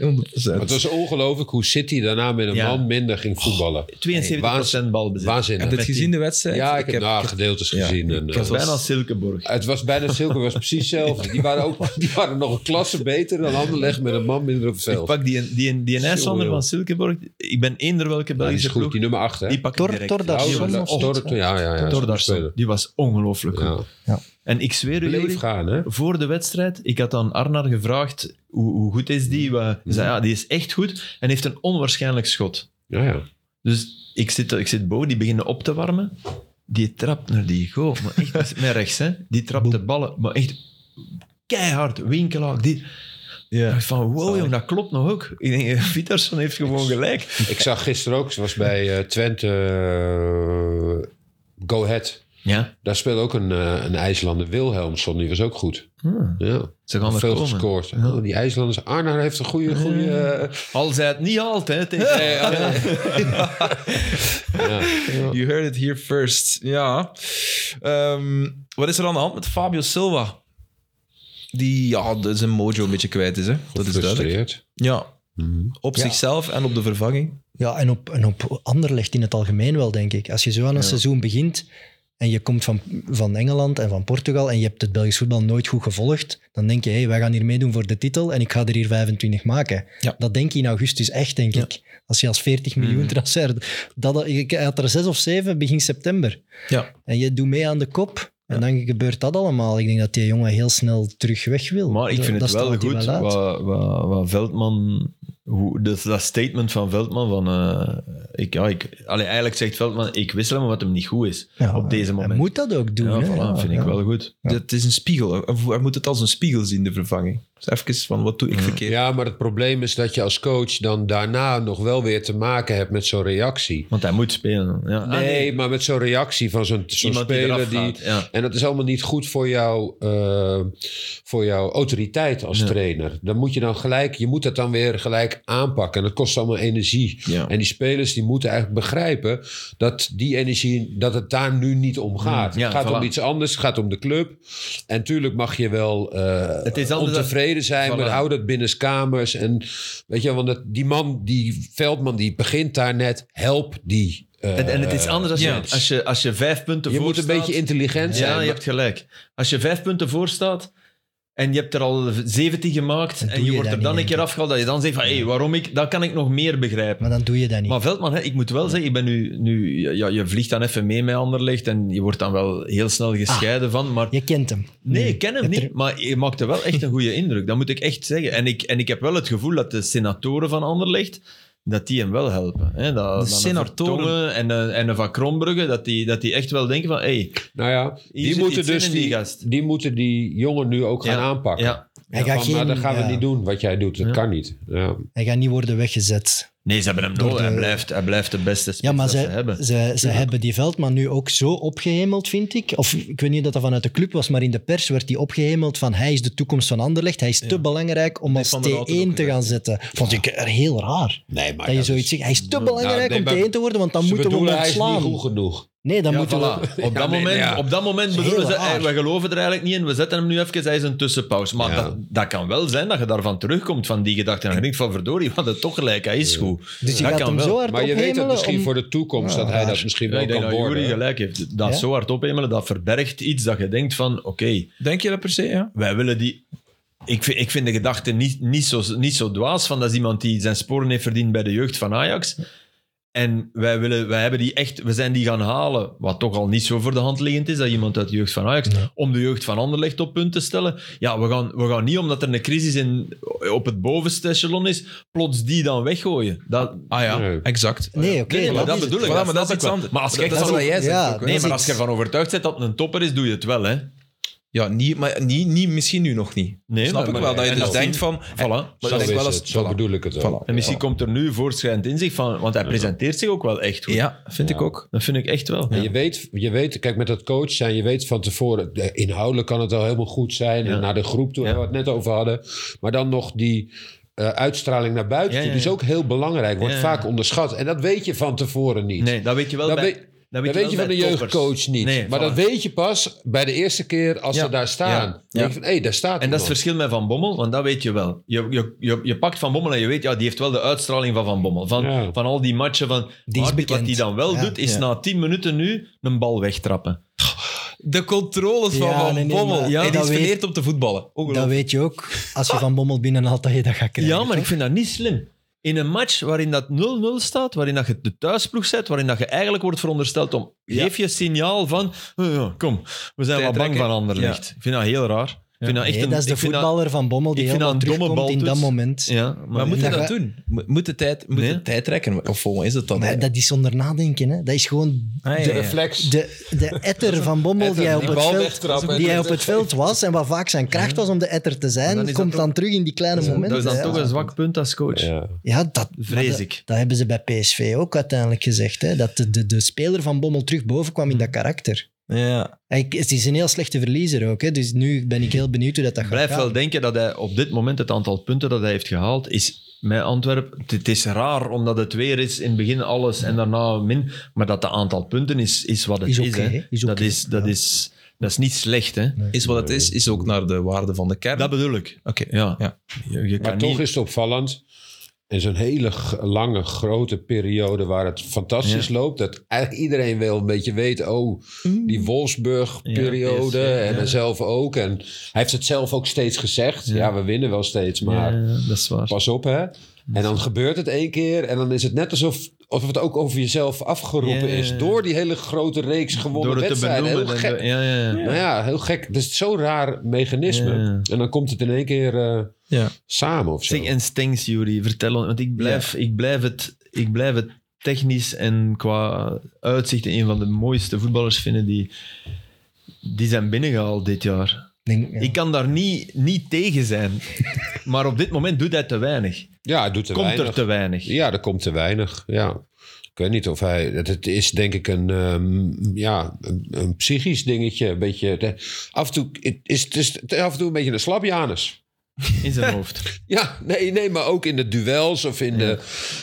Speaker 1: 100%.
Speaker 2: Maar het was ongelooflijk hoe City daarna met een
Speaker 3: Ja.
Speaker 2: man minder ging voetballen.
Speaker 3: 72% balbezit.
Speaker 1: Heb
Speaker 2: Waanzinnig.
Speaker 1: je het gezien, de wedstrijd?
Speaker 2: Ja, ik heb nou, gedeeltes gezien. En,
Speaker 3: Het
Speaker 2: eh,
Speaker 3: was bijna Silkeborg.
Speaker 2: het was bijna Silke, was precies hetzelfde. Die waren, ook, die waren nog een klasse beter dan Anderlecht met een man minder op het
Speaker 3: Ik
Speaker 2: veld.
Speaker 3: pak die, die, die IJslander
Speaker 2: Jongen.
Speaker 3: van Silkeborg. Ik ben eender welke
Speaker 2: Ja, die
Speaker 3: Belgische
Speaker 2: is goed,
Speaker 3: ploeg.
Speaker 2: die nummer 8. Hè?
Speaker 3: Die pak ik
Speaker 4: Tor-
Speaker 3: direct.
Speaker 4: Tordarsson
Speaker 3: Ja,
Speaker 4: of zo.
Speaker 2: Torto, ja, ja, ja.
Speaker 3: Tordarsson.
Speaker 2: speler.
Speaker 3: Die was ongelooflijk goed.
Speaker 2: Ja.
Speaker 3: En ik zweer u,
Speaker 2: Bleef
Speaker 3: jullie,
Speaker 2: gaan, hè?
Speaker 3: voor de wedstrijd, ik had aan Arnar gevraagd hoe, hoe goed is die? We- Hij zei, ja, die is echt goed en heeft een onwaarschijnlijk schot.
Speaker 2: Ja, ja.
Speaker 3: Dus ik zit, ik zit boven, die beginnen op te warmen. Die trapt naar die goal, maar echt met rechts. Hè. Die trapt de ballen, maar echt keihard, winkelaak. Die, Ik dacht van, wow, jong, dat klopt nog ook. Ik denk, [LAUGHS] eh, Vittersson heeft gewoon gelijk.
Speaker 2: Ik zag gisteren ook, ze was bij eh, Twente eh, Go Ahead.
Speaker 3: Ja,
Speaker 2: Daar speelde ook een, eh, een IJslander, Wilhelmsson. Die was ook goed.
Speaker 3: Hmm.
Speaker 2: Ja.
Speaker 3: ze gaan er
Speaker 2: Veel
Speaker 3: komen.
Speaker 2: gescoord. Oh, die IJslanders. Arnar heeft een goede... goede eh,
Speaker 3: Al zei het niet altijd. Tegen...
Speaker 1: You heard it here first. Ja. Ehm, wat is er aan de hand met Fabio Silva? Die ja, de- zijn mojo een beetje kwijt is. Hè? Dat is duidelijk.
Speaker 3: Mhm.
Speaker 2: gefrustreerd.
Speaker 1: Ja. Op zichzelf en op de vervanging.
Speaker 4: Ja, en op, en op Anderlecht in het algemeen wel, denk ik. Als je zo aan een seizoen begint en je komt van, van Engeland en van Portugal en je hebt het Belgisch voetbal nooit goed gevolgd, dan denk je, hé, wij gaan hier meedoen voor de titel en ik ga er hier 25 maken.
Speaker 1: Ja.
Speaker 4: Dat denk je in augustus echt, denk ik. Als je als 40
Speaker 3: Mhm.
Speaker 4: miljoen transfer... Dat, ik had er zes of zeven begin september.
Speaker 1: Ja.
Speaker 4: En je doet mee aan de kop. En dan gebeurt dat allemaal. Ik denk dat die jongen heel snel terug weg wil.
Speaker 3: Maar ik
Speaker 4: Dat-
Speaker 3: vind
Speaker 4: dat
Speaker 3: het wel
Speaker 4: straalt hij
Speaker 3: goed
Speaker 4: uit.
Speaker 3: wat, wat, wat Veldman... Hoe, dat, dat statement van Veldman van... eh, ik, ja, ik, allee, eigenlijk zegt Veldman, ik wissel hem omdat hem niet goed is.
Speaker 4: Ja,
Speaker 3: op deze moment.
Speaker 4: Hij moet dat ook doen.
Speaker 3: ja,
Speaker 4: hè.
Speaker 3: voilà,
Speaker 4: Ja,
Speaker 3: vind
Speaker 4: ja.
Speaker 3: ik wel goed.
Speaker 1: Dat is een spiegel. Of Hij moet het als een spiegel zien, de vervanging. Dus even van, wat doe ik verkeerd?
Speaker 2: Ja, maar het probleem is dat je als coach dan daarna nog wel weer te maken hebt met zo'n reactie.
Speaker 3: Want hij moet spelen. Ja. Ah,
Speaker 2: Nee, maar met zo'n reactie van zo'n zo'n
Speaker 3: Iemand die
Speaker 2: speler
Speaker 3: eraf
Speaker 2: die.
Speaker 3: gaat, ja.
Speaker 2: En dat is allemaal niet goed voor, jou, eh, voor jouw autoriteit als trainer. Dan moet je dan gelijk, je moet dat dan weer gelijk aanpakken. En dat kost allemaal energie.
Speaker 1: Ja.
Speaker 2: En die spelers die moeten eigenlijk begrijpen dat die energie, dat het daar nu niet om gaat.
Speaker 3: Mm, ja,
Speaker 2: het gaat om
Speaker 3: voilà.
Speaker 2: iets anders, het gaat om de club. En tuurlijk mag je wel eh,
Speaker 3: Het is anders dan-
Speaker 2: ontevreden zijn, maar
Speaker 3: Voilà.
Speaker 2: hou dat binnen kamers. En weet je, want dat, die man, die Veldman, die begint daar net, help die. eh,
Speaker 3: En, en het is anders als,
Speaker 1: ja.
Speaker 3: je, als, je, als je vijf punten
Speaker 2: je
Speaker 3: voor
Speaker 2: moet een
Speaker 3: staat.
Speaker 2: beetje intelligent zijn.
Speaker 3: Ja, je hebt gelijk. Als je vijf punten voor staat en je hebt er al 17 gemaakt
Speaker 4: doe
Speaker 3: en je
Speaker 4: je
Speaker 3: wordt
Speaker 4: dat
Speaker 3: er dan
Speaker 4: niet,
Speaker 3: een keer
Speaker 4: denk
Speaker 3: afgehaald, dat je dan zegt van, hé, waarom ik, dat kan ik nog meer begrijpen.
Speaker 4: Maar dan doe je dat niet.
Speaker 3: Maar Veldman, hè, ik moet wel zeggen, ik ben nu, nu ja, ja, je vliegt dan even mee met Anderlecht en je wordt dan wel heel snel gescheiden
Speaker 2: Ah.
Speaker 3: van, maar...
Speaker 4: Je kent hem.
Speaker 3: Nee,
Speaker 4: Nu.
Speaker 3: ik ken
Speaker 4: Je
Speaker 3: hem
Speaker 4: hebt
Speaker 3: niet, maar je maakte wel echt een goede indruk. Dat moet ik echt zeggen. En ik, en ik heb wel het gevoel dat de senatoren van Anderlecht, dat die hem wel helpen. Hè? Dat, dat een
Speaker 1: senatoren?
Speaker 3: Vertongen en, een- en een Van Krombrugge, dat die, dat die echt wel denken van, hey,
Speaker 2: Nou ja,
Speaker 3: zit
Speaker 2: die moeten,
Speaker 3: iets in
Speaker 2: dus
Speaker 3: in
Speaker 2: die,
Speaker 3: die
Speaker 2: die,
Speaker 3: gast.
Speaker 2: moeten die jongen nu ook gaan
Speaker 3: Ja,
Speaker 2: aanpakken.
Speaker 3: ja.
Speaker 4: Hij
Speaker 2: Van,
Speaker 4: gaat geen-
Speaker 2: maar dat gaan we
Speaker 4: ja.
Speaker 2: niet doen, wat jij doet. Dat
Speaker 3: Ja.
Speaker 2: kan niet. Ja.
Speaker 4: Hij gaat niet worden weggezet.
Speaker 3: Nee, ze hebben hem
Speaker 4: Door
Speaker 3: nodig.
Speaker 4: de-
Speaker 3: Hij, blijft, hij blijft de beste spits
Speaker 4: Ja, maar
Speaker 3: dat ze,
Speaker 4: ze,
Speaker 3: hebben.
Speaker 4: ze, ze hebben die Veldman nu ook zo opgehemeld, vind ik. Of ik weet niet dat dat vanuit de club was, maar in de pers werd die opgehemeld van hij is de toekomst van Anderlecht. Hij is te belangrijk om als
Speaker 1: Van der Houten
Speaker 4: T1
Speaker 1: ook,
Speaker 4: te
Speaker 1: ja.
Speaker 4: gaan zetten. Vond ik er heel raar.
Speaker 2: Nee, maar
Speaker 4: dat je zoiets zegt. Hij is te belangrijk
Speaker 2: nee,
Speaker 4: om
Speaker 2: maar-
Speaker 4: T1 te worden, want dan
Speaker 2: Ze
Speaker 4: moeten we hem
Speaker 2: bedoelen, hij is niet
Speaker 4: ontslaan.
Speaker 2: goed genoeg.
Speaker 4: Nee, dan
Speaker 3: Ja,
Speaker 4: moeten
Speaker 3: voilà.
Speaker 4: we... dus
Speaker 3: op, dat
Speaker 2: nee,
Speaker 3: moment,
Speaker 2: ja.
Speaker 3: op dat moment
Speaker 4: is
Speaker 3: bedoelen
Speaker 4: heel
Speaker 3: ze,
Speaker 4: raar.
Speaker 3: hey, we geloven er eigenlijk niet in, we zetten hem nu even, hij is een tussenpauze. Maar
Speaker 2: Ja.
Speaker 3: dat, dat kan wel zijn dat je daarvan terugkomt, van die gedachte. En je denkt van, verdorie, wat het toch gelijk, hij is goed.
Speaker 4: Dus je
Speaker 3: dat
Speaker 4: gaat
Speaker 3: kan
Speaker 4: hem
Speaker 3: wel.
Speaker 4: zo hard
Speaker 2: Maar je weet dat
Speaker 4: ophemelen
Speaker 2: misschien
Speaker 4: om-
Speaker 2: voor de toekomst,
Speaker 4: Ja,
Speaker 2: dat hij dat
Speaker 4: raar.
Speaker 2: misschien
Speaker 3: Ja,
Speaker 2: wel
Speaker 3: ik denk
Speaker 2: kan
Speaker 3: dat Jury
Speaker 2: worden.
Speaker 3: gelijk heeft. Dat
Speaker 4: Ja?
Speaker 3: zo hard ophemelen, dat verbergt iets dat je denkt van, oké,
Speaker 1: Denk je dat per se, ja?
Speaker 3: wij willen die... Ik vind, ik vind de gedachte niet, niet, zo, niet zo dwaas van dat is iemand die zijn sporen heeft verdiend bij de jeugd van Ajax. En wij, willen, wij hebben die echt, we zijn die gaan halen, wat toch al niet zo voor de hand liggend is, dat iemand uit de jeugd van Ajax, om de jeugd van Anderlecht op punt te stellen. Ja, we gaan, we gaan niet, omdat er een crisis in, op het bovenste echelon is, plots die dan weggooien. Dat,
Speaker 1: Ah ja,
Speaker 2: Nee.
Speaker 1: exact.
Speaker 4: Nee, oké.
Speaker 3: Nee, nee, maar dat
Speaker 4: is het.
Speaker 3: bedoel ik.
Speaker 1: Voilà, maar dat
Speaker 3: snap
Speaker 1: is iets
Speaker 3: wel.
Speaker 1: anders.
Speaker 3: Maar als je
Speaker 1: Dat-
Speaker 3: echt
Speaker 1: dat is
Speaker 3: van-
Speaker 1: wat jij zegt
Speaker 4: Ja,
Speaker 1: ook, hè?
Speaker 4: dat
Speaker 3: Nee,
Speaker 4: is
Speaker 3: maar als je
Speaker 4: iets.
Speaker 3: ervan overtuigd bent dat het een topper is, doe je het wel, hè?
Speaker 1: Ja, niet, maar niet, niet, misschien nu nog niet.
Speaker 3: Nee,
Speaker 1: Snap
Speaker 3: maar-
Speaker 1: ik
Speaker 3: maar-
Speaker 1: wel, dat je
Speaker 3: en
Speaker 1: dus
Speaker 3: dat-
Speaker 1: denkt van...
Speaker 3: Voilà.
Speaker 1: Maar
Speaker 2: Zo,
Speaker 1: ik denk
Speaker 2: is
Speaker 1: wel
Speaker 2: het,
Speaker 1: als-
Speaker 2: zo
Speaker 1: voilà.
Speaker 2: bedoel ik het ook.
Speaker 1: Voilà.
Speaker 3: En misschien komt er nu voortschrijdend inzicht van, want hij presenteert zich ook wel echt goed.
Speaker 1: Ja, vind ik ook.
Speaker 3: Dat vind ik echt wel.
Speaker 2: En je weet, je weet, kijk, met dat coach zijn, je weet van tevoren, de- inhoudelijk kan het al helemaal goed zijn. En naar de groep toe, waar we het net over hadden. Maar dan nog die eh, uitstraling naar buiten
Speaker 3: Ja,
Speaker 2: toe,
Speaker 3: ja,
Speaker 2: die is
Speaker 3: ja.
Speaker 2: ook heel belangrijk. Wordt
Speaker 3: Ja, ja.
Speaker 2: vaak onderschat. En dat weet je van tevoren niet.
Speaker 3: Nee, dat weet je wel
Speaker 2: Dat
Speaker 3: bij...
Speaker 2: weet- Dat weet,
Speaker 3: wel
Speaker 2: je van
Speaker 3: bij
Speaker 2: de
Speaker 3: toppers.
Speaker 2: jeugdcoach niet.
Speaker 3: Nee,
Speaker 2: maar
Speaker 3: voilà.
Speaker 2: dat weet je pas bij de eerste keer als
Speaker 1: Ja.
Speaker 2: ze daar staan.
Speaker 1: Ja.
Speaker 2: Dan denk je van, hé, daar staat
Speaker 3: En dat is het
Speaker 2: iemand.
Speaker 3: verschil met Van Bommel, want dat weet je wel. Je, je, je, je pakt Van Bommel en je weet, ja, die heeft wel de uitstraling van Van Bommel. Van,
Speaker 2: Ja.
Speaker 3: van al die matchen. Van,
Speaker 4: Die is
Speaker 3: maar
Speaker 4: bekend.
Speaker 3: Wat hij dan wel
Speaker 4: Ja.
Speaker 3: doet, is
Speaker 1: Ja.
Speaker 3: na 10 minuten nu een bal wegtrappen.
Speaker 1: De controles van
Speaker 4: Ja,
Speaker 1: Van
Speaker 4: nee, nee,
Speaker 1: Bommel.
Speaker 4: maar-
Speaker 1: ja,
Speaker 4: dat
Speaker 1: die is
Speaker 4: weet-
Speaker 1: verleerd om te voetballen.
Speaker 4: Dat
Speaker 1: Ongelooflijk.
Speaker 4: weet je ook. Als je van Bommel binnenhaalt, dat je dat gaat krijgen.
Speaker 3: Ja, maar ik vind dat niet slim. In een match waarin dat 0-0 staat, waarin dat je de thuisploeg zet, waarin dat je eigenlijk wordt verondersteld om...
Speaker 1: Ja.
Speaker 3: Geef je signaal van, "Oh ja, kom, we zijn wel bang
Speaker 1: Tijdrekken.
Speaker 3: van Anderlicht. Ik vind dat heel raar. Ik vind dat echt
Speaker 4: Nee,
Speaker 3: een,
Speaker 4: dat is de
Speaker 3: ik vind dat-
Speaker 4: voetballer van Bommel die
Speaker 3: ik vind dat
Speaker 4: helemaal
Speaker 3: een domme
Speaker 4: terugkomt in dat moment.
Speaker 3: baltoets. Ja,
Speaker 1: Maar
Speaker 3: maar
Speaker 1: moet je
Speaker 4: Ja,
Speaker 1: dat
Speaker 4: ga-
Speaker 1: doen? Mo- Moet de tijd, moet
Speaker 3: Nee.
Speaker 1: de tijd trekken? Of volgens is het dan?
Speaker 4: Maar dat is zonder nadenken. Hè. Dat is gewoon
Speaker 1: Ah, ja,
Speaker 4: de,
Speaker 1: ja.
Speaker 2: Reflex.
Speaker 4: de, de etter van Bommel die hij, op
Speaker 2: die
Speaker 4: het
Speaker 2: bal
Speaker 4: veld,
Speaker 2: wegtrappen.
Speaker 4: die hij op het veld was en wat vaak zijn kracht was om de etter te zijn,
Speaker 3: dan is dat
Speaker 4: komt
Speaker 3: toch-
Speaker 4: dan terug in die kleine
Speaker 3: dat
Speaker 4: momenten.
Speaker 3: is dan
Speaker 4: hè.
Speaker 3: toch een zwak punt als coach.
Speaker 2: Ja.
Speaker 4: Ja, dat,
Speaker 3: Vrees
Speaker 4: maar dat-
Speaker 3: ik.
Speaker 4: Dat hebben ze bij PSV ook uiteindelijk gezegd. Hè. Dat de, de, de speler van Bommel terug boven kwam in
Speaker 3: Hmm.
Speaker 4: dat karakter.
Speaker 1: Ja.
Speaker 4: Hij, het is een heel slechte verliezer ook. Hè. Dus nu ben ik heel benieuwd hoe dat, dat
Speaker 3: Ik
Speaker 4: gaat
Speaker 3: blijf
Speaker 4: gaan.
Speaker 3: Hmm. wel denken dat hij op dit moment het aantal punten dat hij heeft gehaald is met Antwerpen. Het- Het is raar omdat het weer is in het begin alles en daarna min. Maar dat de aantal punten is, is wat het
Speaker 4: Is
Speaker 3: is.
Speaker 4: oké,
Speaker 3: hè.
Speaker 4: hè? Is
Speaker 3: dat,
Speaker 4: oké,
Speaker 3: is, dat,
Speaker 4: ja.
Speaker 3: is, dat is niet slecht. Hè?
Speaker 1: Is wat het is, is ook naar de waarde van de kern.
Speaker 3: Dat bedoel ik.
Speaker 1: Oké.
Speaker 3: Ja.
Speaker 1: Ja.
Speaker 3: Je, je
Speaker 2: Maar
Speaker 3: kan
Speaker 2: toch
Speaker 3: niet-
Speaker 2: is het opvallend En zo'n hele g- lange, grote periode waar het fantastisch loopt. Dat eigenlijk iedereen wel een beetje weet. Oh, die Wolfsburg-periode.
Speaker 3: Mm. Ja, yes, ja,
Speaker 2: en
Speaker 3: ja.
Speaker 2: zelf ook. En hij heeft het zelf ook steeds gezegd. Ja,
Speaker 3: Ja.
Speaker 2: we winnen wel steeds, maar
Speaker 3: Ja, dat is waar.
Speaker 2: pas op hè. En dan gebeurt het één keer. En dan is het net alsof, alsof het ook over jezelf afgeroepen
Speaker 3: Ja.
Speaker 2: is. Door die hele grote reeks gewonnen
Speaker 3: Door het te
Speaker 2: wedstrijden.
Speaker 3: benoemen.
Speaker 2: Heel gek.
Speaker 3: en door- ja, ja, ja.
Speaker 2: Nou ja, heel gek. Dus het is zo'n raar mechanisme.
Speaker 3: Ja.
Speaker 2: En dan komt het in één keer eh,
Speaker 1: Ja.
Speaker 2: samen of zo.
Speaker 3: Zeg, en Stengs, Jury, vertel ons. Want ik blijf, ik, blijf het, ik blijf het technisch en qua uitzicht een van de mooiste voetballers vinden die, die zijn binnengehaald dit jaar.
Speaker 4: Denk, ja.
Speaker 3: Ik kan daar niet, niet tegen zijn. [LAUGHS] maar op dit moment doet hij te weinig.
Speaker 2: Ja, het doet te
Speaker 3: Komt
Speaker 2: weinig.
Speaker 3: er te weinig.
Speaker 2: Ja, er komt te weinig. Ja. Ik weet niet of hij... Het, het is denk ik een, ehm, ja, een, een psychisch dingetje. Een beetje, de- af, en toe, het is, het is af en toe een beetje een slapjanus.
Speaker 3: In zijn hoofd.
Speaker 2: Ja, nee, nee, maar ook in de duels of in de...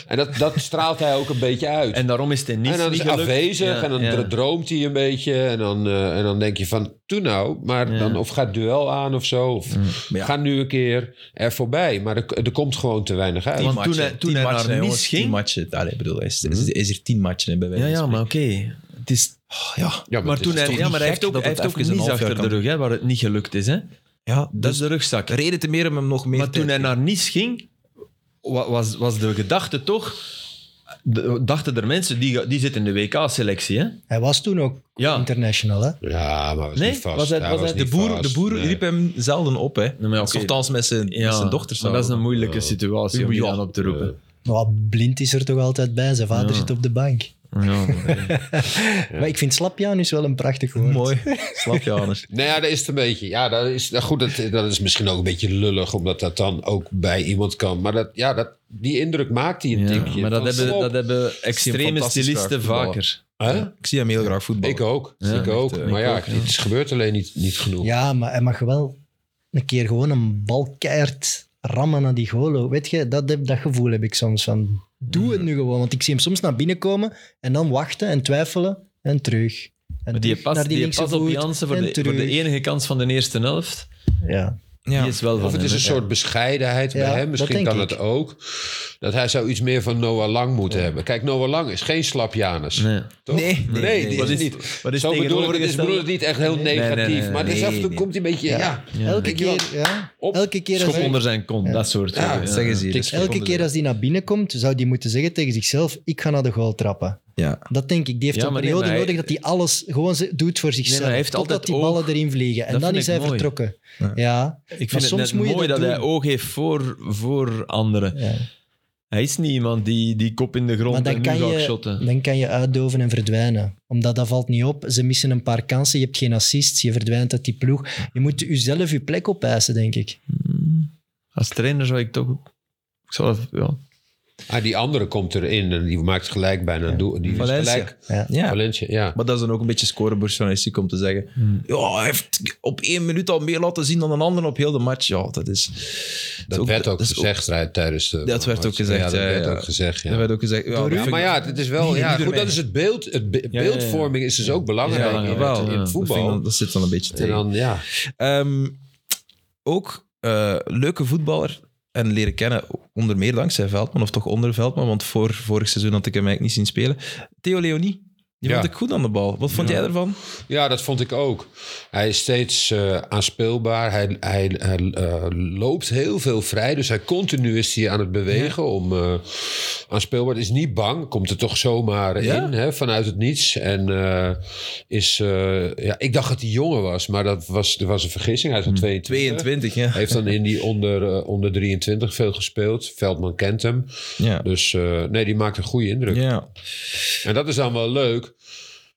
Speaker 2: En dat, dat straalt hij ook een beetje uit.
Speaker 3: En daarom is het niet,
Speaker 2: en dan is
Speaker 3: niet
Speaker 2: hij
Speaker 3: gelukt.
Speaker 2: afwezig
Speaker 3: Ja,
Speaker 2: en dan
Speaker 3: ja.
Speaker 2: dr- droomt hij een beetje. En dan, eh, en dan denk je van, toen nou. Maar
Speaker 3: Ja. Mm,
Speaker 2: dan of gaat het duel aan of zo. Of
Speaker 1: Maar ja.
Speaker 2: ga nu een keer er voorbij. Maar er, er komt gewoon te weinig uit.
Speaker 1: Tien
Speaker 3: Want toen hij-
Speaker 1: matchen,
Speaker 3: toen
Speaker 1: tien
Speaker 3: hij
Speaker 1: matchen,
Speaker 3: naar
Speaker 1: hè,
Speaker 3: Nice
Speaker 1: jongens,
Speaker 3: ging-
Speaker 1: Tien matchen. Allee, bedoel, is, is, is er tien matchen hè, bij wijze
Speaker 3: Ja,
Speaker 1: van
Speaker 3: ja, maar
Speaker 1: spreken.
Speaker 3: oké. Het is...
Speaker 1: Ah,
Speaker 3: ja.
Speaker 2: maar
Speaker 3: maar
Speaker 2: het is
Speaker 3: toen hij,
Speaker 1: toch
Speaker 3: ja,
Speaker 1: niet
Speaker 3: maar
Speaker 1: gek
Speaker 3: hij heeft ook,
Speaker 1: dat
Speaker 3: hij
Speaker 1: het
Speaker 3: heeft ook
Speaker 1: even een
Speaker 3: niets
Speaker 1: half jaar
Speaker 3: achter de
Speaker 1: kan-
Speaker 3: rug, hè, waar het niet gelukt is. Hè.
Speaker 1: Ja,
Speaker 3: Dat
Speaker 1: dus
Speaker 3: is de rugzak.
Speaker 1: reden te meer om hem nog meer
Speaker 3: Maar toen
Speaker 1: tijd
Speaker 3: hij naar Nice ging, wa- was, was de gedachte toch... de- dachten er mensen, die, ga- die zitten in de WK-selectie, hè?
Speaker 4: Hij was toen ook
Speaker 3: Ja.
Speaker 4: international, hè?
Speaker 2: Ja, maar was
Speaker 3: Nee,
Speaker 2: niet vast.
Speaker 3: was het-
Speaker 2: Hij
Speaker 3: was het-
Speaker 1: De
Speaker 2: niet
Speaker 1: boer,
Speaker 2: vast.
Speaker 1: de boer
Speaker 2: Nee.
Speaker 1: riep hem zelden op, hè.
Speaker 3: maar oké.
Speaker 1: Althans met zijn, met zijn dochter
Speaker 3: maar dat is
Speaker 1: samen.
Speaker 3: een moeilijke situatie om je
Speaker 1: Ja.
Speaker 3: dan op te roepen.
Speaker 4: Nou, blind is er toch altijd bij. Zijn vader
Speaker 3: Ja.
Speaker 4: zit op de bank.
Speaker 3: [LAUGHS] Ja, maar-
Speaker 4: Maar ik vind slapjanus wel een prachtig woord.
Speaker 1: Mooi.
Speaker 2: [LAUGHS]
Speaker 1: Slap je, Anders.
Speaker 2: Nou ja, dat is het een beetje. Ja, dat is, nou goed, dat, dat is misschien ook een beetje lullig, omdat dat dan ook bij iemand kan. Maar dat, ja, dat, die indruk maakt hij een
Speaker 3: Ja,
Speaker 2: tipje.
Speaker 3: maar dat
Speaker 2: Van,
Speaker 3: hebben,
Speaker 2: stop.
Speaker 3: dat hebben extreme
Speaker 1: fantastisch
Speaker 3: stylisten
Speaker 1: graag voetballen.
Speaker 3: vaker.
Speaker 2: Hè?
Speaker 1: Ik zie hem heel graag voetballen.
Speaker 2: Ik ook,
Speaker 3: Ja,
Speaker 2: ik
Speaker 3: echt,
Speaker 2: ook.
Speaker 1: eh,
Speaker 2: maar
Speaker 1: ik
Speaker 2: ja,
Speaker 1: ook, ja.
Speaker 2: het gebeurt alleen niet, niet genoeg.
Speaker 4: Ja, maar hij mag wel een keer gewoon een bal keihard rammen naar die golo. Weet je, dat, heb- dat gevoel heb ik soms van... Doe het nu gewoon, want ik zie hem soms naar binnen komen en dan wachten en twijfelen en terug. En
Speaker 3: Maar die
Speaker 4: terug
Speaker 3: pas,
Speaker 4: naar
Speaker 3: die
Speaker 4: linkse
Speaker 3: pas op
Speaker 4: voet
Speaker 3: Jansen voor
Speaker 4: en
Speaker 3: de, voor de
Speaker 4: terug.
Speaker 3: enige kans van de eerste helft,
Speaker 4: Ja.
Speaker 1: Ja.
Speaker 3: die is wel van
Speaker 2: Of het is
Speaker 3: hem,
Speaker 2: een
Speaker 3: hè.
Speaker 2: soort bescheidenheid
Speaker 4: Ja,
Speaker 2: bij hem.
Speaker 4: dat
Speaker 2: Misschien
Speaker 4: denk
Speaker 2: kan
Speaker 4: ik.
Speaker 2: het ook. Dat hij zou iets meer van Noah Lang moeten hebben. Kijk, Noah Lang is geen slapjanus.
Speaker 3: Nee.
Speaker 2: Toch?
Speaker 1: Nee, nee,
Speaker 2: nee,
Speaker 1: nee.
Speaker 2: die
Speaker 1: Wat
Speaker 2: is
Speaker 1: is-
Speaker 2: het niet.
Speaker 3: wat is
Speaker 2: Zo bedoel ik het. is
Speaker 3: tegenovergestelde?
Speaker 2: bedoel het niet echt heel
Speaker 3: nee,
Speaker 2: negatief.
Speaker 3: nee, nee,
Speaker 2: maar het is
Speaker 1: nee,
Speaker 2: af en toe
Speaker 1: nee.
Speaker 2: komt hij een beetje... Ja, ja,
Speaker 4: Elke
Speaker 2: denk je wel,
Speaker 4: keer, ja.
Speaker 2: op,
Speaker 4: Elke keer als
Speaker 3: Schop
Speaker 4: hij-
Speaker 3: onder zijn kont, dat soort
Speaker 2: Ja,
Speaker 3: dingen,
Speaker 1: Zeg eens hier. dus
Speaker 4: Elke keer als die naar binnen komt, zou die moeten zeggen tegen zichzelf: Ik ga naar de goal trappen.
Speaker 1: Ja.
Speaker 4: Dat denk ik. Die heeft
Speaker 3: Ja,
Speaker 4: een
Speaker 3: maar nee,
Speaker 4: periode
Speaker 3: maar hij-
Speaker 4: nodig dat hij alles gewoon ze- doet voor zichzelf.
Speaker 3: hij heeft
Speaker 4: totdat
Speaker 3: altijd
Speaker 4: die ballen
Speaker 3: oog.
Speaker 4: erin vliegen. En
Speaker 3: Dat
Speaker 4: dan
Speaker 3: vind
Speaker 4: is
Speaker 3: ik
Speaker 4: hij
Speaker 3: mooi.
Speaker 4: vertrokken. Ja. Ja.
Speaker 3: Ik
Speaker 4: Maar
Speaker 3: vind
Speaker 4: soms
Speaker 3: het net
Speaker 4: moet je
Speaker 3: mooi
Speaker 4: dat
Speaker 3: dat, hij
Speaker 4: doen.
Speaker 3: oog heeft voor, voor anderen. Hij is niet iemand die, die kop in de
Speaker 4: Maar
Speaker 3: grond en
Speaker 4: dan
Speaker 3: nu
Speaker 4: kan,
Speaker 3: ga ik
Speaker 4: je,
Speaker 3: shotten.
Speaker 4: dan kan je uitdoven en verdwijnen. Omdat dat valt niet op. Ze missen een paar kansen. Je hebt geen assists. Je verdwijnt uit die ploeg. Je moet jezelf je plek opeisen, denk ik.
Speaker 3: Als trainer zou ik toch... Ik zou, ja.
Speaker 2: Ah, die andere komt erin en die maakt gelijk bijna een doel. Die is
Speaker 1: Valencia.
Speaker 2: gelijk.
Speaker 1: Ja.
Speaker 2: Valencia, ja.
Speaker 1: Maar dat is dan ook een beetje scorebordjournalistiek om te zeggen.
Speaker 3: Hmm.
Speaker 1: Ja, hij heeft op één minuut al meer laten zien dan een ander op heel de match. Ja, dat is.
Speaker 2: Dat
Speaker 1: is
Speaker 2: werd ook
Speaker 1: dat is
Speaker 2: gezegd hè, tijdens de...
Speaker 1: Dat werd ook
Speaker 2: Ja,
Speaker 1: gezegd,
Speaker 2: dat
Speaker 1: ja,
Speaker 2: werd
Speaker 1: ja.
Speaker 2: ook gezegd, ja.
Speaker 1: Dat werd ook gezegd. Ja, dat
Speaker 2: Ja,
Speaker 1: vind
Speaker 2: maar
Speaker 1: ik-
Speaker 2: ja, het is wel.
Speaker 1: Die
Speaker 2: Ja,
Speaker 1: iedereen.
Speaker 2: goed, dat is het beeld. Het be-
Speaker 3: ja, ja.
Speaker 2: beeldvorming is dus ook belangrijk
Speaker 3: Ja,
Speaker 2: in-
Speaker 1: wel,
Speaker 2: in,
Speaker 3: ja. Dat
Speaker 1: dat, vind ik
Speaker 2: voetbal.
Speaker 1: dan- dat zit dan een beetje
Speaker 2: en
Speaker 1: tegen.
Speaker 2: dan, ja.
Speaker 1: Ehm, ook eh, leuke voetballer en leren kennen, onder meer dankzij Veldman, of toch onder Veldman, want voor vorig seizoen had ik hem eigenlijk niet zien spelen. Theo Leonie, die
Speaker 2: Ja.
Speaker 1: vond ik goed aan de bal. Wat vond jij ervan?
Speaker 2: ja, dat vond ik ook. Hij is steeds eh, aanspeelbaar. Hij, hij, hij eh, loopt heel veel vrij. Dus hij continu is hij aan het bewegen om eh, aanspeelbaar. Is niet bang. Komt er toch zomaar
Speaker 1: Ja?
Speaker 2: in hè, vanuit het niets. En eh, is. eh, ja, ik dacht dat hij jonger was, maar dat was, dat was een vergissing. Hij is al
Speaker 1: Hm.
Speaker 2: 22.
Speaker 1: 22, ja.
Speaker 2: Heeft dan in die onder, eh, onder 23 veel gespeeld. Veldman kent hem.
Speaker 1: Ja.
Speaker 2: Dus eh, nee, die maakt een goede indruk.
Speaker 1: ja.
Speaker 2: En dat is dan wel leuk.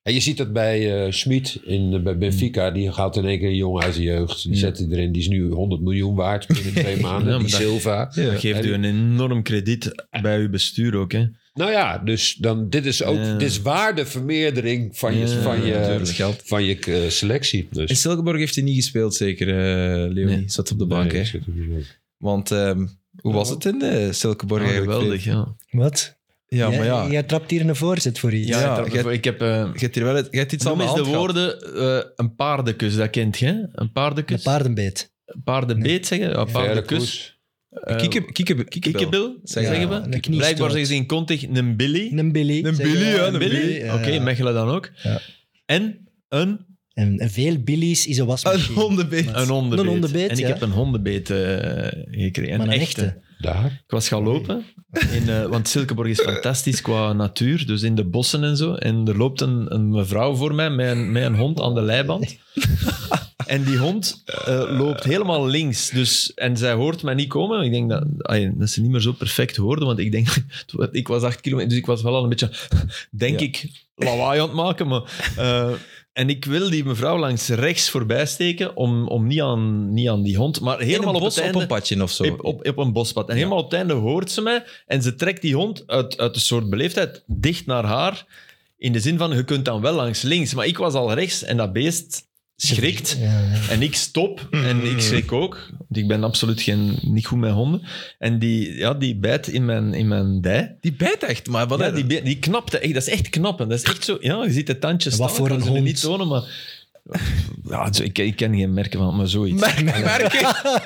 Speaker 2: En je ziet dat bij eh Schmid in, bij
Speaker 3: Hmm.
Speaker 2: Benfica. Die gaat in één keer een jongen uit de jeugd. Die zet hij erin. Die is nu 100 miljoen
Speaker 3: [LAUGHS]
Speaker 2: waard binnen twee maanden.
Speaker 3: Ja, maar
Speaker 2: die
Speaker 3: dat-
Speaker 2: Silva.
Speaker 1: Ja.
Speaker 3: Dat geeft u een enorm krediet bij uw bestuur ook. Hè.
Speaker 2: Nou ja, dus dan, dit is ook
Speaker 3: Ja.
Speaker 2: dit is waardevermeerdering van je,
Speaker 3: Ja,
Speaker 2: van je,
Speaker 1: natuurlijk, geld.
Speaker 2: van je eh, selectie.
Speaker 1: In
Speaker 2: Dus,
Speaker 1: Silkeborg heeft hij niet gespeeld, zeker, eh, Leonie.
Speaker 3: Nee.
Speaker 1: Zat op de bank,
Speaker 2: Nee,
Speaker 1: hè. Want ehm, hoe was het in eh, Silkeborg
Speaker 3: Ja,
Speaker 1: eigenlijk?
Speaker 3: Ah, geweldig, ja.
Speaker 4: Wat?
Speaker 1: Ja, maar ja.
Speaker 4: Jij, jij trapt hier een voorzet voor iets.
Speaker 1: Ja,
Speaker 3: ja, ik heb... Ik heb eh,
Speaker 1: Je hebt hier wel het- je hebt iets aan
Speaker 3: Noem
Speaker 1: de
Speaker 3: eens de
Speaker 1: hand gehad.
Speaker 3: woorden, eh, een paardenkus, dat kent je. hè? Een
Speaker 4: Een
Speaker 3: paardenkus?
Speaker 4: paardenbeet.
Speaker 3: paardenbeet zeggen? Ja,
Speaker 2: Verre
Speaker 3: paardenkus.
Speaker 2: koers.
Speaker 3: eh,
Speaker 1: Kieke- kieke- Kiekebel.
Speaker 3: Kiekebil,
Speaker 1: Zeggen
Speaker 3: zeggen
Speaker 1: we.
Speaker 4: een
Speaker 3: we.
Speaker 4: kniestoot.
Speaker 3: Blijkbaar zeggen ze in Contig een Billy.
Speaker 4: Een Billy.
Speaker 1: Een
Speaker 4: zeggen
Speaker 1: Billy,
Speaker 4: we.
Speaker 1: ja,
Speaker 3: Een Billy? Oké,
Speaker 4: ja, ja.
Speaker 3: Mechelen dan ook.
Speaker 4: Ja.
Speaker 3: En een
Speaker 4: En, en veel Billy's is een wasmachine.
Speaker 1: hondenbeest.
Speaker 4: Maar-
Speaker 3: Een hondenbeet.
Speaker 4: Een hondenbeet,
Speaker 3: en ik
Speaker 4: ja.
Speaker 3: heb een hondenbeet eh, gekregen.
Speaker 4: Maar
Speaker 3: een echte.
Speaker 2: Daar?
Speaker 3: Ik was gaan lopen, in, eh, want Silkeborg is fantastisch qua natuur, dus in de bossen en zo. En er loopt een, een mevrouw voor mij met een, met een hond aan de
Speaker 1: [LAUGHS]
Speaker 3: leiband. En die hond eh, loopt helemaal links. Dus, en zij hoort mij niet komen. Ik denk dat, ai, dat ze niet meer zo perfect hoorde, want ik denk... dat- Ik was acht kilometer, dus ik was wel al een beetje, [LAUGHS] denk
Speaker 1: Ja.
Speaker 3: ik, lawaai aan het maken. Maar, eh, en ik wil die mevrouw langs rechts voorbij steken, om, om niet, aan, niet aan die hond, maar
Speaker 1: In
Speaker 3: helemaal
Speaker 1: een
Speaker 3: op het
Speaker 1: bos op
Speaker 3: einde...
Speaker 1: een padje of zo.
Speaker 3: Op, op, op een bospad. En helemaal op het einde hoort ze mij en ze trekt die hond uit, uit een soort beleefdheid dicht naar haar. In de zin van, je kunt dan wel langs links. Maar ik was al rechts en dat beest schrikt.
Speaker 4: Ja,
Speaker 3: [LAUGHS]
Speaker 4: ja.
Speaker 3: En ik stop en
Speaker 4: Mm-hmm.
Speaker 3: ik schrik ook. Want ik ben absoluut geen, niet goed met honden. En die, ja, die bijt in mijn, in mijn dij.
Speaker 1: Die bijt echt, maar wat
Speaker 3: Ja, die, be- die knapte. echt. Dat is echt knappen. Dat is echt zo... Ja, je ziet de tandjes
Speaker 4: En wat
Speaker 3: staan.
Speaker 4: voor
Speaker 3: Ik kan
Speaker 4: een
Speaker 3: ze nu
Speaker 4: hond?
Speaker 3: niet tonen, maar... Ja, zo- ik, ik ken geen merken van, maar zoiets. [LAUGHS]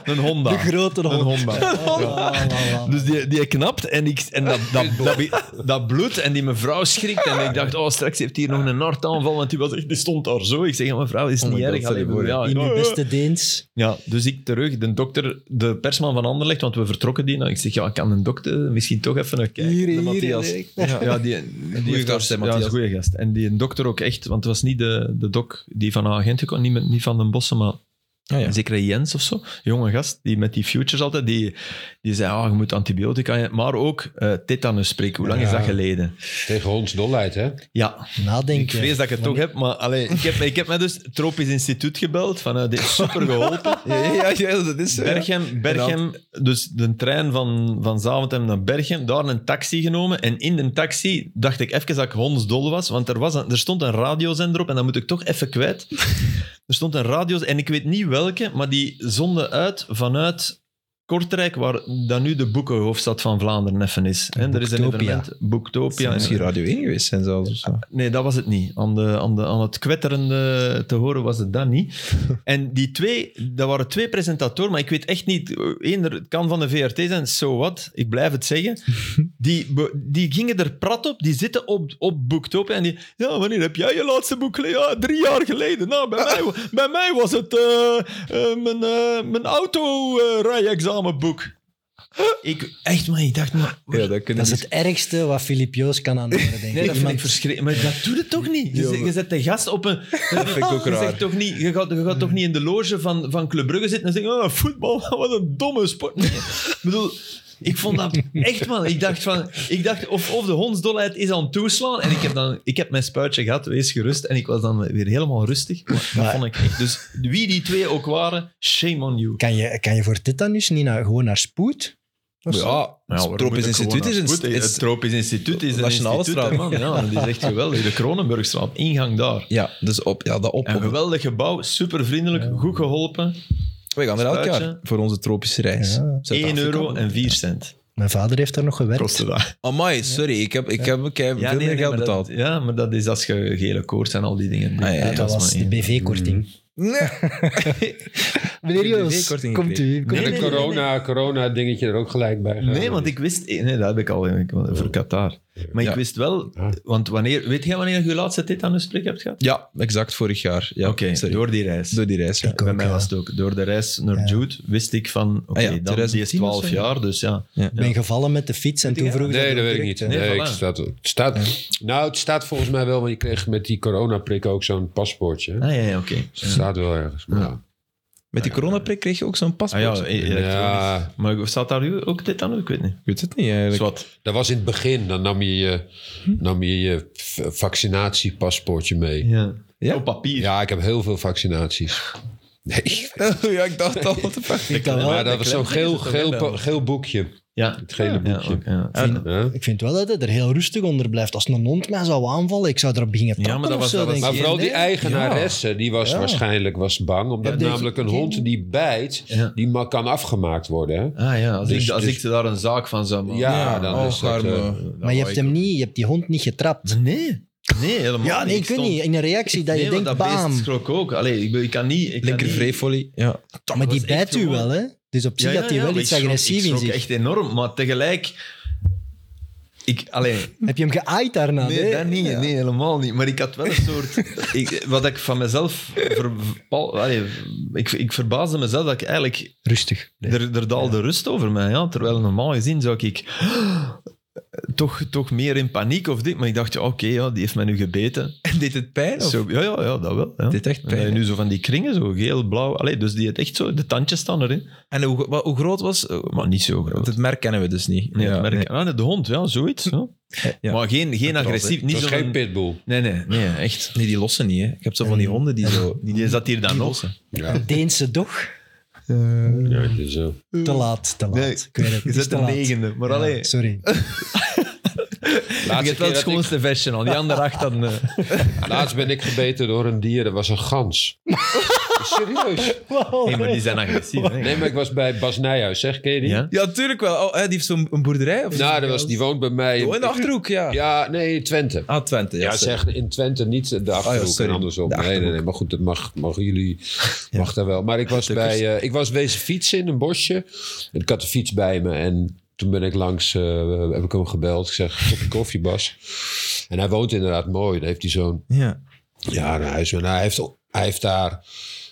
Speaker 3: Een Honda.
Speaker 4: De grote hond.
Speaker 3: Een
Speaker 4: [LAUGHS]
Speaker 3: Honda.
Speaker 4: La, la, la.
Speaker 3: Dus die, die knapt en, ik, en dat,
Speaker 1: [LAUGHS]
Speaker 3: dat, dat, dat bloed en die mevrouw schrikt. En ik dacht, oh, straks heeft hier nog een hartaanval, want die, was echt, die stond daar zo. Ik zeg, ja, mevrouw, is
Speaker 1: Oh my
Speaker 3: niet
Speaker 1: God,
Speaker 3: erg.
Speaker 1: stel je
Speaker 3: Allee,
Speaker 1: voor,
Speaker 3: ja,
Speaker 4: In
Speaker 3: ja,
Speaker 4: uw
Speaker 3: ja.
Speaker 4: beste Deens.
Speaker 3: Ja, dus ik terug, de dokter, de persman van Anderlecht, want we vertrokken die. Nou, ik zeg, ja, kan een dokter misschien toch even nog kijken.
Speaker 4: Hier,
Speaker 3: De
Speaker 4: hier,
Speaker 3: Matthias.
Speaker 4: hier.
Speaker 3: Ja, ja, die, die heeft
Speaker 1: gast, hè,
Speaker 3: daar-
Speaker 1: Matthias.
Speaker 3: Ja, is een goede gast. En die dokter ook echt, want het was niet de, de dok die van Agent gekomen, niet, met- niet van den Bossen, maar
Speaker 1: ja.
Speaker 3: een zekere Jens of zo, een jonge gast, die met die futures altijd, die, die zei, ah, je moet antibiotica, maar ook eh, tetanus spreken. Hoe lang is
Speaker 2: Ja.
Speaker 3: dat geleden?
Speaker 2: Tegen hondsdolheid, hè?
Speaker 3: Ja,
Speaker 4: Nadenken.
Speaker 3: ik vrees dat ik het toch heb, maar allee, ik, heb, ik heb mij dus het Tropisch Instituut gebeld, van eh, dit is super geholpen.
Speaker 1: Ja, ja, dat is eh, zo, ja.
Speaker 3: Berchem, Berchem dus de trein van, van Zaventem naar Berchem, daar een taxi genomen. En in de taxi dacht ik even dat ik hondsdol was, want er, was een- er stond een radiozender op en dat moet ik toch even kwijt. er stond een radio, en ik weet niet welke, maar die zonde uit vanuit Kortrijk, waar dan nu de boekenhoofdstad van Vlaanderen even is. Hè, er is een
Speaker 4: Boektopia.
Speaker 3: evenement, Boektopia. en-
Speaker 1: Misschien Radio 1 geweest zijn zelfs of zo.
Speaker 3: Nee, dat was het niet. Aan, de, aan, de, aan het kwetterende te horen was het dat niet. En die twee, dat waren twee presentatoren, maar ik weet echt niet. Eén, het kan van de VRT zijn, so what, ik blijf het zeggen. Die, be- die gingen er prat op, die zitten op, op Boektopia en die... Ja, wanneer heb jij je laatste boek gelezen? Ja, drie jaar geleden. Nou, bij mij, bij mij was het eh, eh, mijn, eh, mijn auto-rijexamenboek. ik, echt, maar ik dacht... Maar,
Speaker 1: Ja, dat
Speaker 4: Dat
Speaker 1: kunnen
Speaker 4: is het ergste wat Filip Joos kan aanhoren, denk ik.
Speaker 3: Nee, dat vind ik
Speaker 4: Iemand-
Speaker 3: verschrikkelijk. Maar dat doet het toch niet? Je,
Speaker 1: Ja,
Speaker 3: zet-
Speaker 1: maar-
Speaker 3: je zet de gast op een... [LAUGHS] Dat
Speaker 1: vind ik ook
Speaker 3: Je,
Speaker 1: raar.
Speaker 3: zegt toch niet, je, gaat, je gaat toch niet in de loge van, van Club Brugge zitten en zeggen... Oh, voetbal, [LAUGHS] wat een domme sport. Nee, ik bedoel... Ik vond dat echt, man. Ik dacht, van, ik dacht of, of de hondsdolheid is aan het toeslaan. En ik heb, dan, ik heb mijn spuitje gehad, wees gerust. En ik was dan weer helemaal rustig. Maar dat
Speaker 4: Maar-
Speaker 3: vond ik echt. Dus wie die twee ook waren, shame on you.
Speaker 4: Kan je, kan je voor tetanus niet naar, gewoon naar spoed? Of zo?
Speaker 1: Ja, het Tropisch Instituut is een...
Speaker 3: Goed,
Speaker 1: is-
Speaker 3: Het Tropisch Instituut is een
Speaker 1: Nationale
Speaker 3: instituut, hè,
Speaker 1: straat.
Speaker 3: man. Ja, dat is echt geweldig. De Kronenburgstraat, ingang daar.
Speaker 1: Ja, dus op, ja, dat op,
Speaker 3: Een
Speaker 1: op-
Speaker 3: geweldig gebouw, super vriendelijk, goed geholpen.
Speaker 1: We gaan er elk
Speaker 3: Spuitje.
Speaker 1: jaar voor onze tropische reis.
Speaker 4: Ja.
Speaker 3: 1 euro en 4 cent.
Speaker 4: Mijn vader heeft daar nog gewerkt.
Speaker 3: dat.
Speaker 1: Amai, sorry, ik heb, ik heb, ik heb veel meer geld betaald.
Speaker 3: ja, maar dat is als je gele koorts en al die dingen.
Speaker 1: Ah, ja,
Speaker 4: Ja, dat was
Speaker 3: maar
Speaker 4: de
Speaker 3: één.
Speaker 4: BV-korting.
Speaker 1: Nee.
Speaker 4: Meneer Joos,
Speaker 1: BV-korting
Speaker 4: komt u.
Speaker 3: Nee,
Speaker 4: Komt
Speaker 2: en
Speaker 3: nee,
Speaker 2: een
Speaker 3: nee, nee.
Speaker 2: corona-dingetje er ook gelijk bij.
Speaker 3: Nee, want ik wist... Nee, dat heb ik al ik- voor Qatar. Maar
Speaker 1: Ja.
Speaker 3: ik wist wel... Want wanneer... Weet jij wanneer je je laatste tetanusprek hebt gehad?
Speaker 1: Ja, exact vorig jaar. Ja,
Speaker 3: Oké,
Speaker 1: sorry.
Speaker 3: door die reis.
Speaker 1: Door die reis, ja.
Speaker 4: Ik ook,
Speaker 3: Bij mij
Speaker 4: ja.
Speaker 3: was het ook. Door de reis naar
Speaker 4: Ja.
Speaker 3: Jude wist ik van... Oké,
Speaker 1: Ah ja,
Speaker 3: dan, die is
Speaker 1: 2010 of
Speaker 3: 12
Speaker 1: zo, ja.
Speaker 3: jaar, dus ja.
Speaker 4: Ik ben gevallen met de fiets en toen vroeg ze
Speaker 2: Nee, dat weet ik
Speaker 4: direct,
Speaker 2: niet.
Speaker 4: hè.
Speaker 2: Nee,
Speaker 3: Nee,
Speaker 2: ik
Speaker 3: voilà.
Speaker 2: staat, het staat, nou, het staat volgens mij wel, want je kreeg met die coronaprik ook zo'n paspoortje. hè?
Speaker 3: Ah ja, ja, oké.
Speaker 2: Dus het staat wel ergens. Maar, ja.
Speaker 1: Met die coronaprik kreeg je ook zo'n
Speaker 3: Ah
Speaker 1: paspoort.
Speaker 3: ja, elektronisch.
Speaker 2: Ja.
Speaker 3: Maar staat daar u ook tetanus? Ik weet niet.
Speaker 1: Ik weet het niet eigenlijk.
Speaker 3: Zwat.
Speaker 2: dat was in het begin. Dan nam je je,
Speaker 3: Hm?
Speaker 2: nam je, je v- vaccinatiepaspoortje mee.
Speaker 3: Ja.
Speaker 1: Ja?
Speaker 3: Op papier.
Speaker 2: Ja, ik heb heel veel vaccinaties. Nee,
Speaker 1: [LAUGHS] ja, ik dacht al, wat de fuck.
Speaker 4: Ik, kan wel-
Speaker 2: maar dat was zo'n geel, geel, pa- geel boekje.
Speaker 3: Ja.
Speaker 2: Het gele
Speaker 3: Ja,
Speaker 2: boekje.
Speaker 3: ook, ja.
Speaker 2: Ja.
Speaker 4: ik vind wel dat hij er heel rustig onder blijft. Als een hond mij zou aanvallen, ik zou erop beginnen
Speaker 3: maar
Speaker 4: trappen
Speaker 3: dat was-
Speaker 4: of zo.
Speaker 3: dat was-
Speaker 4: denk
Speaker 2: Maar
Speaker 4: ik.
Speaker 2: vooral die
Speaker 4: Nee.
Speaker 2: eigenaresse, die was
Speaker 4: Ja.
Speaker 2: waarschijnlijk was bang. Omdat
Speaker 4: Ja, die-
Speaker 2: namelijk een hond die bijt,
Speaker 3: Ja.
Speaker 2: die ma- kan afgemaakt worden. Hè?
Speaker 3: Ah ja, als,
Speaker 2: Dus-
Speaker 3: ik, als
Speaker 2: dus-
Speaker 3: ik daar een zaak van zou maken.
Speaker 2: Ja, dan
Speaker 1: oh,
Speaker 2: is dat,
Speaker 1: arme.
Speaker 2: eh,
Speaker 3: dan
Speaker 4: Maar je
Speaker 3: wou
Speaker 4: hebt,
Speaker 3: ik
Speaker 4: hem
Speaker 3: ook-
Speaker 4: niet, je hebt die hond niet getrapt.
Speaker 3: Nee. Nee, helemaal
Speaker 4: Ja, nee, ik weet
Speaker 3: stond-
Speaker 4: niet. In een reactie dat je
Speaker 3: Nee, want
Speaker 4: denkt,
Speaker 3: dat beest
Speaker 4: bam.
Speaker 3: schrok ook. Allee, ik, ik kan niet... Ik kan
Speaker 1: Linker
Speaker 3: niet-
Speaker 1: vreefolie. Ja.
Speaker 4: Maar die
Speaker 3: was echt
Speaker 4: bijt u
Speaker 3: gewoon-
Speaker 4: wel, hè? Dus op zich had hij wel
Speaker 3: maar
Speaker 4: iets
Speaker 3: ik schrok-
Speaker 4: agressief
Speaker 3: ik
Speaker 4: in
Speaker 3: schrok
Speaker 4: zich.
Speaker 3: echt enorm, maar tegelijk... Ik, alleen,
Speaker 4: Heb je hem geaaid daarna?
Speaker 3: nee,
Speaker 4: hè?
Speaker 3: dat niet,
Speaker 4: Ja.
Speaker 3: nee, helemaal niet. Maar ik had wel een
Speaker 4: [LAUGHS]
Speaker 3: soort... ik, wat ik van mezelf... Ver, verpal- allee, ik, ik verbaasde mezelf dat ik eigenlijk
Speaker 4: Rustig.
Speaker 3: Er, er daalde rust over mij, ja. terwijl normaal gezien zou ik [GASPS] toch, toch meer in paniek of dit. Maar ik dacht, ja, oké, ja, die heeft mij nu gebeten.
Speaker 1: [LAUGHS] Deed het pijn? Of?
Speaker 3: Zo, ja, ja, ja, dat wel. Ja.
Speaker 1: Dit echt
Speaker 3: En dan
Speaker 1: pijn,
Speaker 3: nu zo van die kringen, zo geel, blauw. Allee, dus die het echt zo, de tandjes staan erin.
Speaker 1: En hoe, wat- hoe groot was...
Speaker 3: Maar niet zo groot.
Speaker 1: Want het merk kennen we dus niet.
Speaker 3: Nee,
Speaker 1: Ja,
Speaker 3: het merk-
Speaker 1: nee.
Speaker 3: Ah, de hond, ja, zoiets. Ja.
Speaker 1: Ja.
Speaker 3: [LAUGHS] Maar geen, geen
Speaker 1: was,
Speaker 3: agressief.
Speaker 2: Het
Speaker 3: Niet
Speaker 2: was
Speaker 3: zo'n...
Speaker 2: geen pitbull.
Speaker 3: Nee, nee, nee, echt.
Speaker 1: Nee, die lossen niet. Hè. Ik heb zo van die honden die
Speaker 3: [LAUGHS]
Speaker 1: zo... Die,
Speaker 3: Je zat hier dan nog.
Speaker 2: Ja,
Speaker 4: Een Deense dog?
Speaker 2: ja, het is eh, zo.
Speaker 4: Te laat, te laat.
Speaker 3: Nee,
Speaker 4: ik weet het,
Speaker 3: Je
Speaker 4: het is
Speaker 3: zit
Speaker 4: te
Speaker 3: de
Speaker 4: laat.
Speaker 3: negende, maar
Speaker 4: Ja,
Speaker 3: alleen. [LAUGHS]
Speaker 4: sorry.
Speaker 2: Laatste
Speaker 3: Je hebt wel
Speaker 2: keer
Speaker 3: het
Speaker 2: dat ik-
Speaker 3: schoonste versje al. Die andere acht
Speaker 1: [LAUGHS]
Speaker 3: dan... eh,
Speaker 2: Laatst ben ik gebeten door een dier, dat was een gans. Serieus?
Speaker 4: Wow.
Speaker 3: Nee, maar die zijn agressief. hè.
Speaker 2: Nee, maar ik was bij Bas Nijhuis, zeg, ken je die?
Speaker 3: Ja?
Speaker 1: Ja, tuurlijk wel. Oh, hè, die heeft zo'n een boerderij? Of
Speaker 2: Nou, dat was, die woont bij mij.
Speaker 1: Oh, in de Achterhoek, ja.
Speaker 2: Ja, nee, Twente.
Speaker 1: Ah, Twente. Ja,
Speaker 2: Ja,
Speaker 1: sorry.
Speaker 2: zeg in Twente niet de
Speaker 1: Ah,
Speaker 2: achterhoek
Speaker 1: ja, sorry.
Speaker 2: en andersom.
Speaker 1: De
Speaker 2: Nee, nee, nee,
Speaker 1: Achterhoek.
Speaker 2: maar goed, dat mag, mag jullie, mag daar wel. Maar ik was, bij, eh, ik was wezen fietsen in een bosje. En ik had de fiets bij me en toen ben ik langs, eh, heb ik hem gebeld. Ik zeg, kopje koffie Bas. En hij woont inderdaad mooi. Daar heeft hij zo'n,
Speaker 1: Ja.
Speaker 2: ja, een huis. En hij heeft, hij heeft daar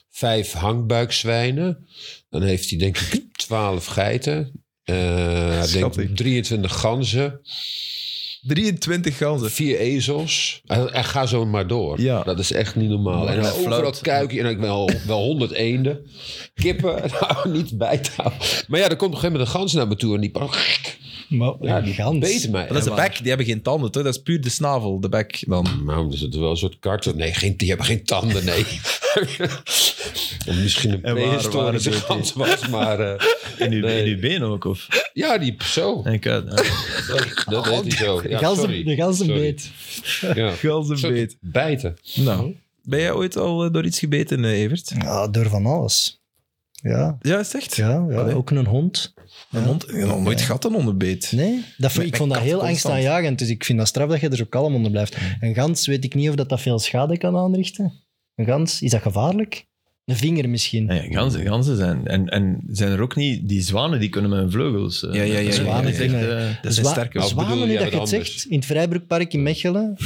Speaker 2: vijf hangbuikzwijnen. Dan heeft hij denk ik twaalf geiten. Eh,
Speaker 1: [LAUGHS]
Speaker 2: hij
Speaker 1: Schattig.
Speaker 2: denkt 23 ganzen.
Speaker 1: 23 ganzen.
Speaker 2: Vier ezels. En, en ga zo maar door.
Speaker 1: Ja.
Speaker 2: Dat is echt niet normaal. En dan
Speaker 3: dat
Speaker 2: overal
Speaker 3: floot.
Speaker 2: kuikje. En ik wel, wel honderd eenden. Kippen. [LAUGHS] Nou, niet bij te houden. Maar ja, er komt op een gegeven moment een gans naar me toe. En die...
Speaker 4: Maar,
Speaker 2: Ja,
Speaker 4: een
Speaker 2: die
Speaker 4: gans.
Speaker 2: beet mij.
Speaker 1: Maar dat is de
Speaker 2: En-
Speaker 1: bek, die hebben geen tanden, toch? Dat is puur de snavel, de bek dan.
Speaker 2: Nou, er zit wel een soort karton. Nee, geen, die hebben geen
Speaker 1: [LAUGHS]
Speaker 2: tanden, nee. Of Misschien een
Speaker 3: En waar- waar
Speaker 2: prehistorische
Speaker 3: beet die?
Speaker 2: gans was, maar... eh,
Speaker 3: In uw,
Speaker 2: Nee.
Speaker 3: in uw been ook, of?
Speaker 2: ja, die
Speaker 3: [LAUGHS]
Speaker 2: zo.
Speaker 3: Ik uit, ja.
Speaker 1: [LAUGHS]
Speaker 2: Dat, dat deed hij zo. Ja,
Speaker 4: Ganzen-
Speaker 2: sorry.
Speaker 4: de ganzenbeet.
Speaker 2: Sorry. Ja.
Speaker 1: Ganzenbeet.
Speaker 2: Bijten.
Speaker 1: Nou. Ben jij ooit al eh, door iets gebeten, eh, Evert?
Speaker 4: Ja, door van alles. Ja,
Speaker 1: Ja, is het echt?
Speaker 4: ja, ja
Speaker 1: Allee.
Speaker 4: ook een hond.
Speaker 1: Mijn mond, ik heb nog nooit gat een onderbeet.
Speaker 4: Nee, dat vind,
Speaker 1: Mijn-
Speaker 4: ik
Speaker 1: mijn
Speaker 4: vond dat
Speaker 1: kat
Speaker 4: heel
Speaker 1: constant.
Speaker 4: angstaanjagend. Dus ik vind dat straf dat je er zo kalm onder blijft.
Speaker 3: Mm.
Speaker 4: Een gans weet ik niet of dat, dat veel schade kan aanrichten. Een gans, is dat gevaarlijk? Een vinger misschien.
Speaker 3: Ja, ganzen, ganzen zijn. En, en zijn er ook niet... Die zwanen, die kunnen met hun vleugels... eh,
Speaker 1: Ja, ja, ja, ja,
Speaker 3: zwanen
Speaker 4: ja, ja.
Speaker 3: zegt, eh,
Speaker 1: Dat zijn
Speaker 4: Zwa-
Speaker 1: sterke.
Speaker 2: Als
Speaker 4: Zwanen,
Speaker 2: bedoel
Speaker 4: nu
Speaker 2: jij
Speaker 4: dat je het
Speaker 2: wat anders?
Speaker 4: zegt, in het Vrijbroekpark in Mechelen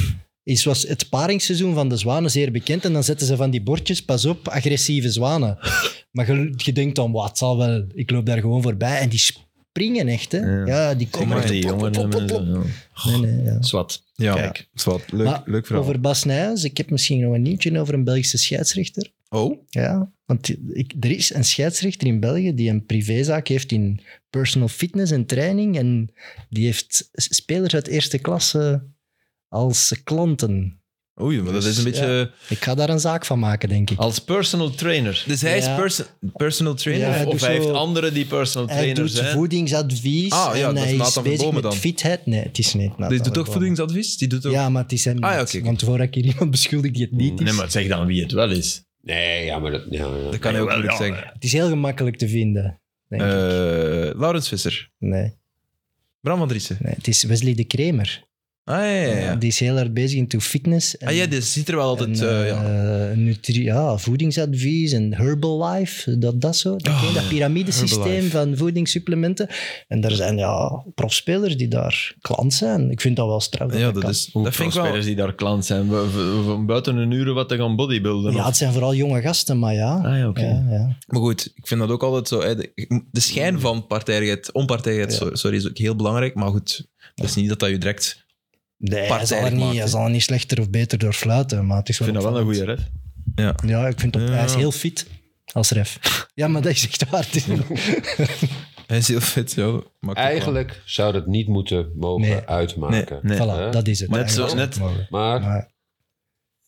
Speaker 4: is, was het paringsseizoen van de zwanen zeer bekend. En dan zetten ze van die bordjes, pas op, agressieve
Speaker 2: [LAUGHS]
Speaker 4: zwanen. maar je, je denkt dan, wat het zal wel, ik loop daar gewoon voorbij. En die springen echt, hè. Ja,
Speaker 3: Ja.
Speaker 4: die komen echt.
Speaker 3: die jongen...
Speaker 4: pop, pop,
Speaker 3: eh,
Speaker 4: pop.
Speaker 3: ja.
Speaker 4: Nee, nee, ja.
Speaker 3: Zwat.
Speaker 1: Ja,
Speaker 3: Kijk.
Speaker 1: dat is wat. Leuk,
Speaker 4: Maar
Speaker 1: leuk verhaal.
Speaker 4: Over Bas Nijhuis, ik heb misschien nog een nieuwtje over een Belgische scheidsrechter.
Speaker 1: Oh,
Speaker 4: Ja, want ik, er is een scheidsrechter in België die een privézaak heeft in personal fitness en training. En die heeft s- spelers uit eerste klasse als klanten.
Speaker 1: oei, maar dat is een
Speaker 4: Dus,
Speaker 1: beetje...
Speaker 4: Ik ga daar een zaak van maken, denk ik.
Speaker 3: Als personal trainer.
Speaker 1: Dus hij
Speaker 4: Ja.
Speaker 1: is perso- personal trainer?
Speaker 4: Ja,
Speaker 1: Of-
Speaker 4: hij
Speaker 3: of
Speaker 4: doet
Speaker 3: hij
Speaker 4: zo-
Speaker 3: heeft anderen die personal
Speaker 4: Hij
Speaker 3: trainers
Speaker 4: doet
Speaker 3: zijn.
Speaker 4: voedingsadvies
Speaker 1: Ah, ja,
Speaker 4: en
Speaker 1: dat is
Speaker 4: hij is
Speaker 1: Nathan
Speaker 4: bezig
Speaker 1: Verbomen
Speaker 4: met
Speaker 1: dan.
Speaker 4: fitheid. Nee, het is niet Nathan
Speaker 1: die doet ook
Speaker 4: Verbomen.
Speaker 1: voedingsadvies? Die doet ook...
Speaker 4: Ja, maar het is hem
Speaker 1: Ah, ja,
Speaker 4: niet,
Speaker 1: oké, oké.
Speaker 4: Want voor ik hier iemand beschuldig die het niet is.
Speaker 3: Nee, maar zeg dan wie het wel is.
Speaker 2: Nee, ja, maar dat... Ja, ja.
Speaker 1: Dat kan hij ook
Speaker 3: Jawel,
Speaker 1: moeilijk
Speaker 3: ja.
Speaker 1: zeggen.
Speaker 4: Het is heel gemakkelijk te vinden, denk ik.
Speaker 1: Eh, Laurens Visser.
Speaker 4: Nee,
Speaker 1: Bram van Driessen.
Speaker 4: nee, het is Wesley de Kramer.
Speaker 1: Ah, ja, ja, ja.
Speaker 4: Die is heel hard bezig into fitness. En,
Speaker 1: ah, ja, die ziet er wel altijd...
Speaker 4: en,
Speaker 1: eh, ja.
Speaker 4: eh, nutri- ja, voedingsadvies en Herbalife, dat, dat zo. Dat, ken je, dat piramidesysteem
Speaker 1: Herbalife.
Speaker 4: van voedingssupplementen. En er zijn ja, profspelers die daar klant zijn. Ik vind dat wel straf.
Speaker 1: ja,
Speaker 4: dat
Speaker 1: dat,
Speaker 4: kan.
Speaker 1: is,
Speaker 3: Hoe
Speaker 1: dat vind ik wel...
Speaker 3: die daar klant zijn. we- we- we- buiten een uur wat te gaan bodybuilden.
Speaker 4: Ja,
Speaker 3: of-
Speaker 4: het zijn vooral jonge gasten, maar ja.
Speaker 3: Ah ja, oké.
Speaker 4: ja, ja.
Speaker 1: Maar goed, ik vind dat ook altijd zo... hè, De, de
Speaker 3: Mm.
Speaker 1: schijn van partijdigheid, onpartijdigheid,
Speaker 4: Ja.
Speaker 1: so- sorry, is ook heel belangrijk. Maar goed, dat is niet dat dat je direct...
Speaker 4: Nee, hij zal,
Speaker 1: Partijdig
Speaker 4: er niet,
Speaker 1: maakt,
Speaker 4: hij
Speaker 1: hè.
Speaker 4: zal er niet slechter of beter door fluiten, maar het is
Speaker 3: Ik
Speaker 4: wel
Speaker 3: vind dat wel een goede
Speaker 4: opvallend.
Speaker 3: ref.
Speaker 4: Ja, ik vind dat, hij is
Speaker 1: Ja.
Speaker 4: heel fit als ref. [LAUGHS] Ja, maar dat is echt waar. Het is-
Speaker 1: Hij is heel fit, ja. maakt ook wel.
Speaker 2: Eigenlijk zou dat niet moeten mogen
Speaker 4: Nee.
Speaker 2: uitmaken.
Speaker 3: Nee.
Speaker 4: Voilà, dat is het.
Speaker 3: Net zo-
Speaker 4: Eigenlijk
Speaker 3: net-
Speaker 4: zou het mogen.
Speaker 2: Maar
Speaker 4: Maar-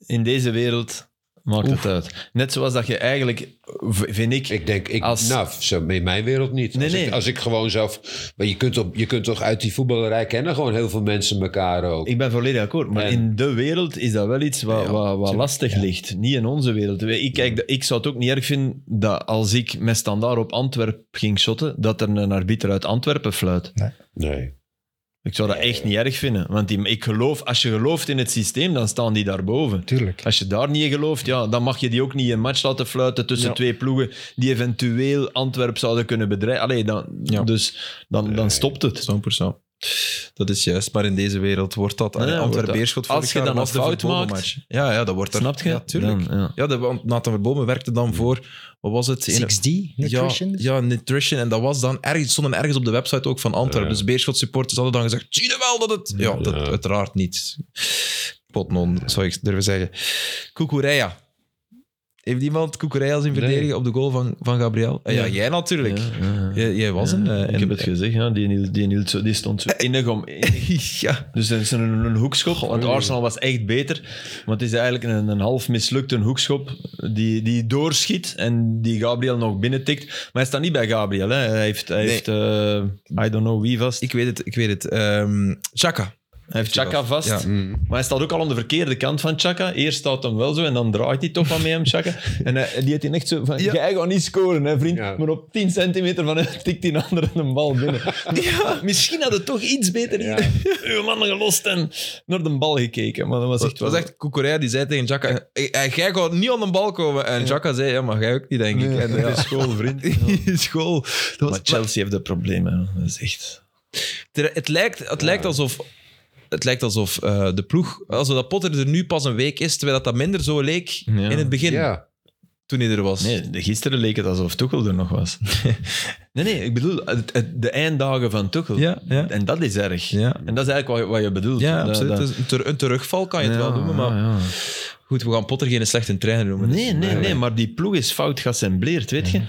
Speaker 3: In deze wereld maakt het uit. Net zoals dat je eigenlijk, v- vind ik...
Speaker 2: ik denk, ik,
Speaker 3: Als-
Speaker 2: nou, zo in mijn wereld niet.
Speaker 3: Nee,
Speaker 2: als, Ik,
Speaker 3: nee.
Speaker 2: als ik gewoon zelf... Maar je kunt, op, je kunt toch uit die voetballerij kennen gewoon heel veel mensen elkaar ook.
Speaker 3: Ik ben volledig akkoord, maar
Speaker 2: En-
Speaker 3: in de wereld is dat wel iets wat,
Speaker 1: Ja,
Speaker 3: wat, wat lastig ligt. Niet in onze wereld. We- Ik, kijk, ik zou het ook niet erg vinden dat als ik met standaard op Antwerp ging shotten, dat er een arbiter uit Antwerpen fluit.
Speaker 2: nee.
Speaker 3: Ik zou dat echt niet erg vinden. Want die, ik geloof, als je gelooft in het systeem, dan staan die daarboven.
Speaker 4: Tuurlijk.
Speaker 3: Als je daar niet in gelooft, ja, dan mag je die ook niet een match laten fluiten tussen
Speaker 1: Ja.
Speaker 3: twee ploegen die eventueel Antwerp zouden kunnen bedreigen. Allee, dan,
Speaker 1: Ja.
Speaker 3: Dus dan, dan stopt het.
Speaker 1: Zo'n persoon. Dat is juist, maar in deze wereld wordt dat.
Speaker 3: Ja,
Speaker 1: Allee,
Speaker 3: wordt
Speaker 1: Antwerp
Speaker 3: dat.
Speaker 1: Beerschot
Speaker 3: Als
Speaker 1: vorig
Speaker 3: je
Speaker 1: jaar
Speaker 3: dan
Speaker 1: was
Speaker 3: een
Speaker 1: de
Speaker 3: fout
Speaker 1: verboden
Speaker 3: maakt,
Speaker 1: match. Ja, ja, dat wordt er.
Speaker 3: Snap je?
Speaker 1: Ja, tuurlijk.
Speaker 3: Dan, ja.
Speaker 1: Ja, de, want Nathan Verbomen werkte dan voor, wat was het? In-
Speaker 4: 6D, Nutrition.
Speaker 1: Ja, ja, Nutrition. En dat was dan ergens, stonden ergens op de website ook van Antwerpen.
Speaker 2: Ja.
Speaker 1: Dus Beerschot supporters hadden dan gezegd, zie je wel dat het... Ja, dat
Speaker 2: Ja.
Speaker 1: uiteraard niet. Potnon, zou ik durven zeggen. Kukureya. Heeft iemand Kukureya zien
Speaker 2: Nee.
Speaker 1: verdedigen op de goal van, van Gabriel? Eh, Ja,
Speaker 3: Ja.
Speaker 1: jij natuurlijk.
Speaker 3: Ja, ja, ja.
Speaker 1: Jij, jij was een... [LAUGHS]
Speaker 3: Ja,
Speaker 1: eh,
Speaker 3: ik
Speaker 1: en-
Speaker 3: heb het gezegd, ja, die, hield- die, hield zo- die stond zo innig om... innig.
Speaker 1: ja.
Speaker 3: Dus dat is een, een hoekschop, want Arsenal was echt beter. Maar het is eigenlijk een, een half mislukte hoekschop die, die doorschiet en die Gabriel nog binnentikt. Maar hij staat niet bij Gabriel. Hè. Hij heeft, hij
Speaker 1: Nee.
Speaker 3: heeft eh, I don't know wie vast.
Speaker 1: Ik weet het, ik weet het. Ehm Chaka.
Speaker 3: Hij heeft mm. Chaka vast.
Speaker 1: Ja.
Speaker 3: Maar hij staat ook al aan de verkeerde kant van Chaka. Eerst staat hem wel zo en dan draait hij toch van mee hem, Chaka. [LAUGHS] En hij- die heeft hij echt zo van,
Speaker 1: Ja.
Speaker 3: jij gaat niet scoren, hè, vriend.
Speaker 2: Ja.
Speaker 3: Maar op 10 centimeter van hem [LAUGHS] tikt die andere een bal [LAUGHS] binnen. Misschien had het toch iets beter
Speaker 2: Ja.
Speaker 3: hier [LAUGHS] uw man gelost en naar de bal gekeken. Maar dat was echt
Speaker 1: Het was
Speaker 3: wel-
Speaker 1: echt Kukureya die zei tegen Chaka, "Eh, jij gaat niet aan de bal komen. En Chaka zei, ja, maar jij ook niet, denk ik.
Speaker 3: Nee,
Speaker 1: en,
Speaker 3: dat [LAUGHS]
Speaker 1: ja.
Speaker 3: is school, vriend.
Speaker 1: [LAUGHS] school. Dat was,
Speaker 3: Maar Chelsea heeft dat probleem, hè. Dat is echt...
Speaker 1: Er- Het lijkt, het lijkt alsof, het lijkt alsof eh, de ploeg, alsof dat Potter er nu pas een week is, terwijl dat, dat minder zo leek
Speaker 3: Ja.
Speaker 1: in het begin,
Speaker 2: Ja.
Speaker 1: toen hij er was.
Speaker 3: Nee, de- gisteren leek het alsof Tuchel er nog [LAUGHS] was. nee, nee, ik bedoel, het- het- de einddagen van Tuchel.
Speaker 1: Ja, ja.
Speaker 3: En dat is erg.
Speaker 1: Ja.
Speaker 3: En dat is eigenlijk wat je, wat je bedoelt.
Speaker 1: Ja,
Speaker 3: Dat-
Speaker 1: absoluut.
Speaker 3: dat-
Speaker 1: Het is Een, ter- een terugval kan je het
Speaker 3: Ja,
Speaker 1: wel noemen, maar
Speaker 3: ja, ja.
Speaker 1: goed, we gaan Potter geen slechte trainer noemen.
Speaker 3: Nee, nee, nee, maar die ploeg is fout geassembleerd, weet je.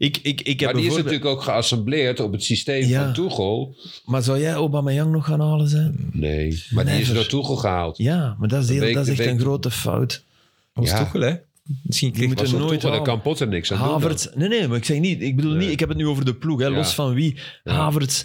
Speaker 3: Ik, ik, ik heb
Speaker 2: Maar die is
Speaker 3: bijvoorbeeld...
Speaker 2: natuurlijk ook geassembleerd op het systeem
Speaker 3: Ja.
Speaker 2: van Tuchel.
Speaker 3: maar zou jij Aubameyang nog gaan halen zijn?
Speaker 2: Nee. Maar die is
Speaker 3: Never.
Speaker 2: door Tuchel gehaald.
Speaker 3: Ja, maar dat is, heel-
Speaker 2: Mm. week-
Speaker 3: dat is echt
Speaker 2: de week-
Speaker 3: een grote fout.
Speaker 1: Dat was
Speaker 2: Ja.
Speaker 1: Tuchel, hè? Misschien
Speaker 3: Die
Speaker 1: kreeg
Speaker 3: moeten
Speaker 2: Was door
Speaker 3: nooit
Speaker 2: Tuchel, daar
Speaker 3: halen.
Speaker 2: kan Potter niks aan doen dan.
Speaker 3: Havertz, nee, nee, maar ik zeg niet, ik bedoel niet, ik heb het nu over de ploeg, hè,
Speaker 2: Ja.
Speaker 3: los van wie. Havertz,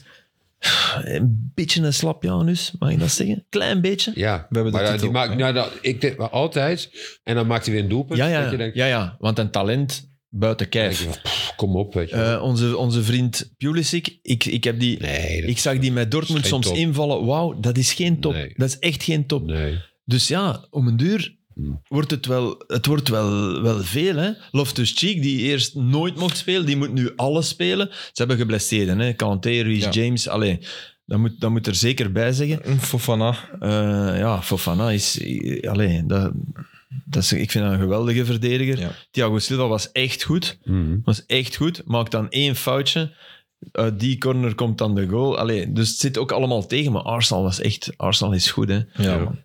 Speaker 3: een beetje een slapjanus, mag ik dat zeggen? Klein beetje.
Speaker 2: Ja,
Speaker 1: We hebben de
Speaker 2: maar ja,
Speaker 1: titel.
Speaker 2: die maakt, nou, dat, ik denk maar altijd. En dan maakt hij weer een doelpunt.
Speaker 3: Ja, ja,
Speaker 2: dat je
Speaker 3: ja,
Speaker 2: denkt,
Speaker 3: ja, want een talent buiten
Speaker 2: denk
Speaker 3: kijf.
Speaker 2: je van, pff, kom op, weet je. wel.
Speaker 3: Eh, onze, onze vriend Pulisic, ik, ik, heb die,
Speaker 2: nee, dat-
Speaker 3: ik zag die met Dortmund
Speaker 2: geen
Speaker 3: soms
Speaker 2: top.
Speaker 3: invallen. Wauw, dat is geen top.
Speaker 2: Nee.
Speaker 3: Dat is echt geen top.
Speaker 2: nee.
Speaker 3: Dus ja, om een duur
Speaker 2: Hmm.
Speaker 3: wordt het wel, het wordt wel, wel veel. hè. Loftus-Cheek, die eerst nooit mocht spelen, die moet nu alles spelen. Ze hebben geblesseerden, hè. Kanté, Reece
Speaker 1: Ja.
Speaker 3: James, allee. Dat moet, dat moet er zeker bij zeggen.
Speaker 1: Fofana.
Speaker 3: Eh, ja, Fofana is... eh, Allee, dat, dat is, ik vind dat een geweldige verdediger.
Speaker 1: Ja.
Speaker 3: Thiago Silva was echt goed.
Speaker 2: Mhm.
Speaker 3: Was echt goed. Maakt dan één foutje. Uit die corner komt dan de goal. Allee, dus het zit ook allemaal tegen. Maar Arsenal was echt... Arsenal is goed, hè.
Speaker 1: Ja,
Speaker 2: Ja.
Speaker 1: man.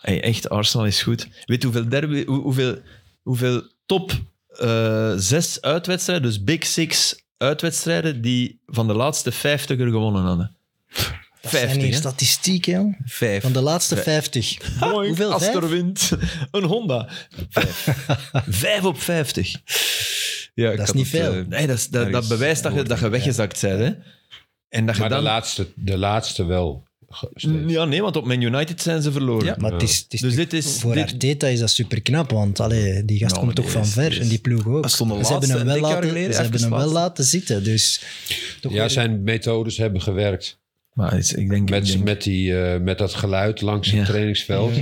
Speaker 3: Hey, echt, Arsenal is goed. Weet je hoeveel, derby, hoe- hoeveel, hoeveel top eh, zes uitwedstrijden, dus Big Six uitwedstrijden, die van de laatste vijftiger gewonnen hadden?
Speaker 4: Dat zijn hier
Speaker 3: 50, hè? Eh,
Speaker 4: statistiek, hè?
Speaker 1: Vijf.
Speaker 4: Van de laatste
Speaker 3: [LAUGHS]
Speaker 4: 50. Hoeveel?
Speaker 3: als
Speaker 4: Vijf?
Speaker 3: er wint. [LAUGHS] Een Honda. Vijf. Vijf op vijftig.
Speaker 1: Ja, ik
Speaker 4: is
Speaker 1: had
Speaker 4: niet
Speaker 1: het,
Speaker 4: veel.
Speaker 1: eh,
Speaker 3: Nee, dat, is- dat, dat
Speaker 1: Ergens
Speaker 3: bewijst dat je, dat je weggezakt bent. Hè? En dat je
Speaker 2: Maar de
Speaker 3: dan... Mm,
Speaker 2: laatste, de laatste wel. ge- steeds.
Speaker 3: Ja, nee, want op Man United zijn ze verloren.
Speaker 1: Ja.
Speaker 4: Maar het is, het is
Speaker 3: Dus dit is...
Speaker 4: voor
Speaker 3: dit-
Speaker 4: Arteta is dat super knap, want allee, die gast
Speaker 3: Ja,
Speaker 4: komt
Speaker 3: maar
Speaker 4: toch
Speaker 3: die
Speaker 4: van
Speaker 3: is-
Speaker 4: ver
Speaker 3: die is-
Speaker 4: en die ploeg ook.
Speaker 1: Dat stond de
Speaker 4: ze
Speaker 1: laatste
Speaker 4: hebben hem wel,
Speaker 1: een dik jaar
Speaker 4: laten,
Speaker 1: geleden,
Speaker 4: ze hebben hem wel
Speaker 1: ergens
Speaker 4: laten zitten, dus toch
Speaker 2: Ja,
Speaker 4: weer-
Speaker 2: zijn methodes hebben gewerkt.
Speaker 3: maar het is- ik denk... ik
Speaker 2: Met,
Speaker 3: denk-
Speaker 2: met, die, eh, met dat geluid langs het
Speaker 3: Ja.
Speaker 2: trainingsveld.